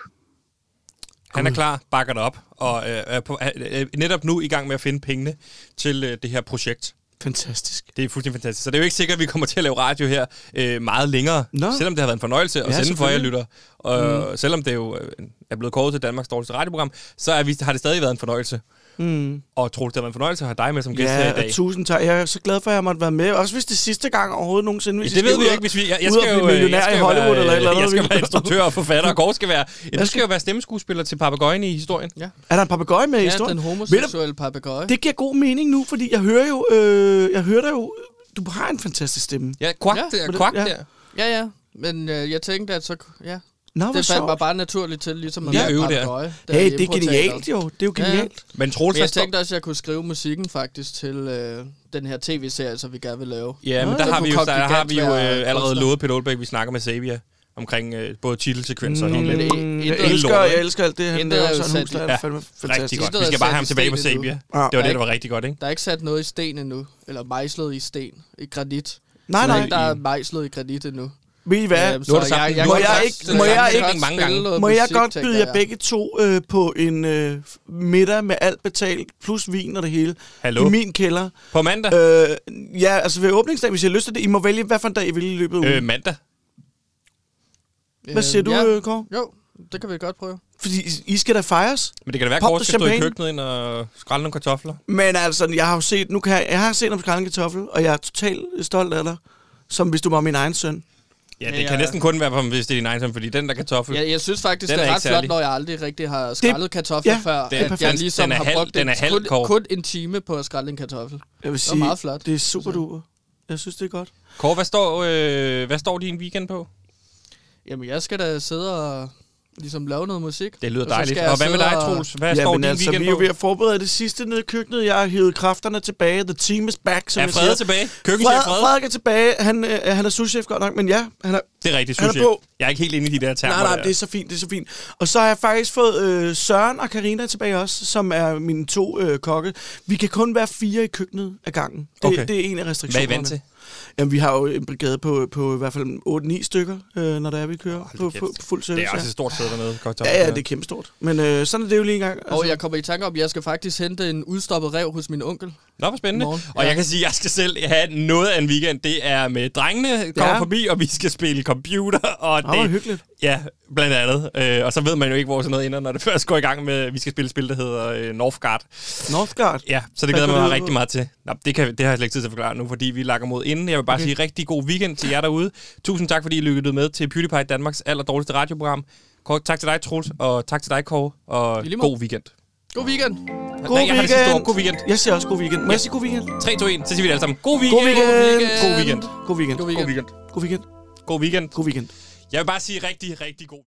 [SPEAKER 1] Han er klar, bakker det op, og øh, er på, er, er netop nu i gang med at finde pengene til øh, det her projekt.
[SPEAKER 3] Fantastisk.
[SPEAKER 1] Det er fuldstændig fantastisk. Så det er jo ikke sikkert, at vi kommer til at lave radio her øh, meget længere,
[SPEAKER 3] Nå.
[SPEAKER 1] selvom det har været en fornøjelse at
[SPEAKER 3] Ja,
[SPEAKER 1] sende for jer
[SPEAKER 3] selvfølgelig.
[SPEAKER 1] lytter. Og mm. selvom det jo øh, er blevet kåret til Danmarks dårligste radioprogram, så er vi, har det stadig været en fornøjelse.
[SPEAKER 3] Mm. Og
[SPEAKER 1] Og Troels, det har været en fornøjelse at have dig med som gæst her i
[SPEAKER 3] ja,
[SPEAKER 1] dag.
[SPEAKER 3] og tusind tak. Jeg er så glad for, at jeg måtte være med. Også hvis det er sidste gang overhovedet nogensinde. Hvis
[SPEAKER 1] Ja, det
[SPEAKER 3] jeg
[SPEAKER 1] ved
[SPEAKER 3] skal
[SPEAKER 1] vi
[SPEAKER 3] ud og-
[SPEAKER 1] ikke, hvis vi... Jeg, jeg
[SPEAKER 3] ud og
[SPEAKER 1] skal jo,
[SPEAKER 3] blive
[SPEAKER 1] øh,
[SPEAKER 3] millionær
[SPEAKER 1] jeg skal
[SPEAKER 3] i
[SPEAKER 1] jo
[SPEAKER 3] Hollywood
[SPEAKER 1] være,
[SPEAKER 3] eller et eller andet.
[SPEAKER 1] Jeg skal være instruktør og forfatter, og Gård skal være... Ja, du skal jo være stemmeskuespiller til Papagøjen i historien.
[SPEAKER 3] Er der en papegøje med i
[SPEAKER 7] ja,
[SPEAKER 3] historien?
[SPEAKER 7] den
[SPEAKER 3] Ved du,
[SPEAKER 7] homoseksuelle papegøje.
[SPEAKER 3] det giver god mening nu, fordi jeg hører jo, øh, jeg hører dig jo, du har en fantastisk stemme.
[SPEAKER 1] Ja, kvak
[SPEAKER 7] Ja,
[SPEAKER 1] der,
[SPEAKER 3] men det-
[SPEAKER 1] kvak
[SPEAKER 3] ja.
[SPEAKER 1] der.
[SPEAKER 7] Ja, ja. Men øh, jeg tænkte, at så... Ja.
[SPEAKER 3] Nå, hvor
[SPEAKER 7] Det faldt mig
[SPEAKER 3] sjovt.
[SPEAKER 7] bare naturligt til, ligesom at
[SPEAKER 1] Ja,
[SPEAKER 7] være
[SPEAKER 1] øv der.
[SPEAKER 7] papegøje.
[SPEAKER 3] Hey, det er genialt jo. Det er jo
[SPEAKER 7] Ja, ja.
[SPEAKER 3] genialt.
[SPEAKER 1] Men Troels,
[SPEAKER 7] Men
[SPEAKER 1] hvad
[SPEAKER 7] jeg
[SPEAKER 1] står-
[SPEAKER 7] tænkte også, at jeg kunne skrive musikken faktisk til øh, den her tv-serie, som vi gerne vil lave.
[SPEAKER 1] Ja, men
[SPEAKER 7] Så
[SPEAKER 1] der har,
[SPEAKER 7] kunne
[SPEAKER 1] vi jo, der,
[SPEAKER 7] Kongigant
[SPEAKER 1] har vi jo øh,
[SPEAKER 7] være
[SPEAKER 1] allerede
[SPEAKER 7] kunstner.
[SPEAKER 1] lovet Peter Olbæk, vi snakker med Sabia omkring øh, både titelsekvenser og
[SPEAKER 7] Nå,
[SPEAKER 1] hele
[SPEAKER 7] men
[SPEAKER 1] det.
[SPEAKER 7] det-
[SPEAKER 3] Mm,
[SPEAKER 7] intet
[SPEAKER 3] jeg
[SPEAKER 7] er
[SPEAKER 3] elsker,
[SPEAKER 1] lort, ikke?
[SPEAKER 3] jeg elsker alt det, han
[SPEAKER 7] Intet er
[SPEAKER 3] laver,
[SPEAKER 7] jo
[SPEAKER 3] Søren
[SPEAKER 7] sat i-
[SPEAKER 3] Husler.
[SPEAKER 1] Ja,
[SPEAKER 3] Ja, fandme
[SPEAKER 1] Rigtig
[SPEAKER 3] fantastisk.
[SPEAKER 1] godt.
[SPEAKER 7] Det
[SPEAKER 1] Vi
[SPEAKER 7] er
[SPEAKER 1] skal bare
[SPEAKER 7] sat
[SPEAKER 1] have
[SPEAKER 7] i
[SPEAKER 1] ham tilbage på
[SPEAKER 7] sten
[SPEAKER 1] Sabia.
[SPEAKER 7] nu.
[SPEAKER 1] Det var
[SPEAKER 3] Ah,
[SPEAKER 1] det,
[SPEAKER 7] Ja,
[SPEAKER 1] der var rigtig godt, ikke?
[SPEAKER 7] Der er ikke sat noget i sten endnu, eller mejslet i sten, i granit.
[SPEAKER 3] Nej,
[SPEAKER 7] Der er
[SPEAKER 3] nej.
[SPEAKER 7] ikke, der er mejslet i granit endnu.
[SPEAKER 3] Ved I hvad?
[SPEAKER 7] Øhm,
[SPEAKER 1] Nu har du sagt det. Må
[SPEAKER 7] kan
[SPEAKER 1] jeg
[SPEAKER 7] godt-
[SPEAKER 1] ikke-
[SPEAKER 7] så
[SPEAKER 1] må
[SPEAKER 7] kan
[SPEAKER 1] jeg
[SPEAKER 7] godt
[SPEAKER 1] ikke-
[SPEAKER 7] spille
[SPEAKER 1] mange gange.
[SPEAKER 7] noget
[SPEAKER 3] Må jeg
[SPEAKER 7] musik,
[SPEAKER 3] godt
[SPEAKER 7] tænker
[SPEAKER 3] byde jer
[SPEAKER 7] jeg.
[SPEAKER 3] begge to øh, på en øh, middag med alt betalt, plus vin og det hele,
[SPEAKER 1] Hallo?
[SPEAKER 3] i min kælder?
[SPEAKER 1] På mandag?
[SPEAKER 3] Øh, ja, altså ved åbningsdag, hvis I har lyst til det, I må vælge, hvad for en dag I vil i løbet af
[SPEAKER 1] Øh,
[SPEAKER 3] ugen.
[SPEAKER 1] mandag.
[SPEAKER 3] Hvad siger
[SPEAKER 7] Øhm,
[SPEAKER 3] du,
[SPEAKER 7] ja.
[SPEAKER 3] øh, Kåre?
[SPEAKER 7] Jo, det kan vi godt prøve.
[SPEAKER 3] Fordi I- I skal da fejres.
[SPEAKER 1] Men det kan da være, at
[SPEAKER 3] Pop
[SPEAKER 1] Kåre
[SPEAKER 3] og
[SPEAKER 1] skal stå i
[SPEAKER 3] champagne.
[SPEAKER 1] køkkenet ind og skrælle nogle kartofler.
[SPEAKER 3] Men altså, jeg har jo set, nu kan jeg, jeg har set om Skrællen Kartoffel, og jeg er totalt stolt af dig, som hvis du var min egen søn.
[SPEAKER 1] Ja,
[SPEAKER 7] Ja,
[SPEAKER 1] det
[SPEAKER 7] ja.
[SPEAKER 1] kan næsten kun være, for, hvis det er din egen søn, fordi den der kartoffel,
[SPEAKER 7] Jeg, jeg synes faktisk,
[SPEAKER 1] Den
[SPEAKER 7] det
[SPEAKER 1] er
[SPEAKER 7] er,
[SPEAKER 1] ikke
[SPEAKER 7] ret flot,
[SPEAKER 1] særlig.
[SPEAKER 7] når jeg aldrig rigtig har skrællet kartofler
[SPEAKER 3] ja,
[SPEAKER 7] før.
[SPEAKER 1] det er
[SPEAKER 7] at jeg
[SPEAKER 1] perfekt.
[SPEAKER 7] ligesom
[SPEAKER 1] Den er
[SPEAKER 7] har
[SPEAKER 1] halv-
[SPEAKER 7] brugt
[SPEAKER 1] den er
[SPEAKER 7] en-
[SPEAKER 1] halv,
[SPEAKER 7] kun,
[SPEAKER 1] Kåre.
[SPEAKER 7] kun en time på at skrælle en kartoffel.
[SPEAKER 3] Jeg vil sige,
[SPEAKER 7] meget flot.
[SPEAKER 3] det er super duper. Jeg synes, det er godt.
[SPEAKER 1] Kåre, hvad står, øh, hvad står din weekend på?
[SPEAKER 7] Jamen, jeg skal da sidde og ligesom lave noget musik.
[SPEAKER 1] Det lyder
[SPEAKER 7] Og så
[SPEAKER 1] dejligt.
[SPEAKER 7] skal jeg
[SPEAKER 1] Og hvad med
[SPEAKER 7] sidde
[SPEAKER 1] dig,
[SPEAKER 7] og-
[SPEAKER 1] Troels? Hvad står din
[SPEAKER 3] altså, vi er
[SPEAKER 1] weekend
[SPEAKER 3] jo
[SPEAKER 1] på?
[SPEAKER 3] ved at forberede det sidste nede i køkkenet. Jeg har hævet kræfterne tilbage. The team is back, som
[SPEAKER 1] Er
[SPEAKER 3] jeg
[SPEAKER 1] Frede
[SPEAKER 3] siger.
[SPEAKER 1] tilbage?
[SPEAKER 3] Frede,
[SPEAKER 1] Køkkenchef Frede?
[SPEAKER 3] Frederik er tilbage. Han, øh, han er souschef godt nok, men ja, han er
[SPEAKER 1] Det er rigtigt,
[SPEAKER 3] Han er
[SPEAKER 1] sushi.
[SPEAKER 3] på.
[SPEAKER 1] Jeg er ikke helt inde i de der termer.
[SPEAKER 3] Nej, nej,
[SPEAKER 1] der.
[SPEAKER 3] det er så fint, det er så fint. Og så har jeg faktisk fået øh, Søren og Karina tilbage også, som er mine to øh, kokke. Vi kan kun være fire i køkkenet ad gangen. Det,
[SPEAKER 1] Okay.
[SPEAKER 3] okay. det er en af
[SPEAKER 1] Hvad er
[SPEAKER 3] restriktionerne.
[SPEAKER 1] I vant til?
[SPEAKER 3] Jamen, vi har jo en brigade på, på i hvert fald 8-9 stykker, øh, når der er, vi kører
[SPEAKER 1] Hold da
[SPEAKER 3] på,
[SPEAKER 1] kæft.
[SPEAKER 3] på, på fuld
[SPEAKER 1] Det er
[SPEAKER 3] service.
[SPEAKER 1] også et stort sted dernede. Godt
[SPEAKER 3] ja. ja, ja, det er kæmpestort. Men øh, sådan er det jo lige engang.
[SPEAKER 2] Og jeg kommer i tanke om, at jeg skal faktisk hente en udstoppet rev hos min onkel.
[SPEAKER 1] Nå, hvor spændende.
[SPEAKER 2] Morgen.
[SPEAKER 1] Og
[SPEAKER 2] Ja.
[SPEAKER 1] jeg kan sige, at jeg skal selv have noget af en weekend. Det er med drengene, kommer
[SPEAKER 3] Ja.
[SPEAKER 1] forbi, og vi skal spille computer. Og
[SPEAKER 3] Nå, hvor
[SPEAKER 1] det,
[SPEAKER 3] hyggeligt.
[SPEAKER 1] Ja, blandt andet. Øh, og så ved man jo ikke, hvor sådan noget ender, når det først går i gang med, vi skal spille et spil, der hedder øh, Northgard.
[SPEAKER 3] Northgard.
[SPEAKER 1] Ja, så det
[SPEAKER 3] Hvad
[SPEAKER 1] glæder
[SPEAKER 3] går
[SPEAKER 1] jeg mig
[SPEAKER 3] det ud på?
[SPEAKER 1] rigtig meget til. Nå, det, kan, det har jeg slet ikke tid til at forklare nu, fordi vi lakker mod inden. Jeg vil bare okay. sige rigtig god weekend til jer derude. Tusind tak, fordi I lykkede med til PewDiePie, Danmarks aller dårligste radioprogram. Kåre, tak til dig, Troels, og tak til dig, Kåre, og
[SPEAKER 2] I lige måde.
[SPEAKER 1] god weekend.
[SPEAKER 2] God weekend!
[SPEAKER 3] God
[SPEAKER 1] Nej, jeg har det sidste
[SPEAKER 3] weekend.
[SPEAKER 1] ord. God weekend.
[SPEAKER 3] Jeg siger også god weekend. Må jeg sige god weekend?
[SPEAKER 1] 3, 2, 1, så siger vi det alle sammen. God weekend!
[SPEAKER 3] God weekend.
[SPEAKER 1] God weekend.
[SPEAKER 3] God weekend.
[SPEAKER 2] God weekend.
[SPEAKER 3] God weekend.
[SPEAKER 1] God weekend.
[SPEAKER 3] God weekend.
[SPEAKER 1] Jeg vil bare sige rigtig, rigtig god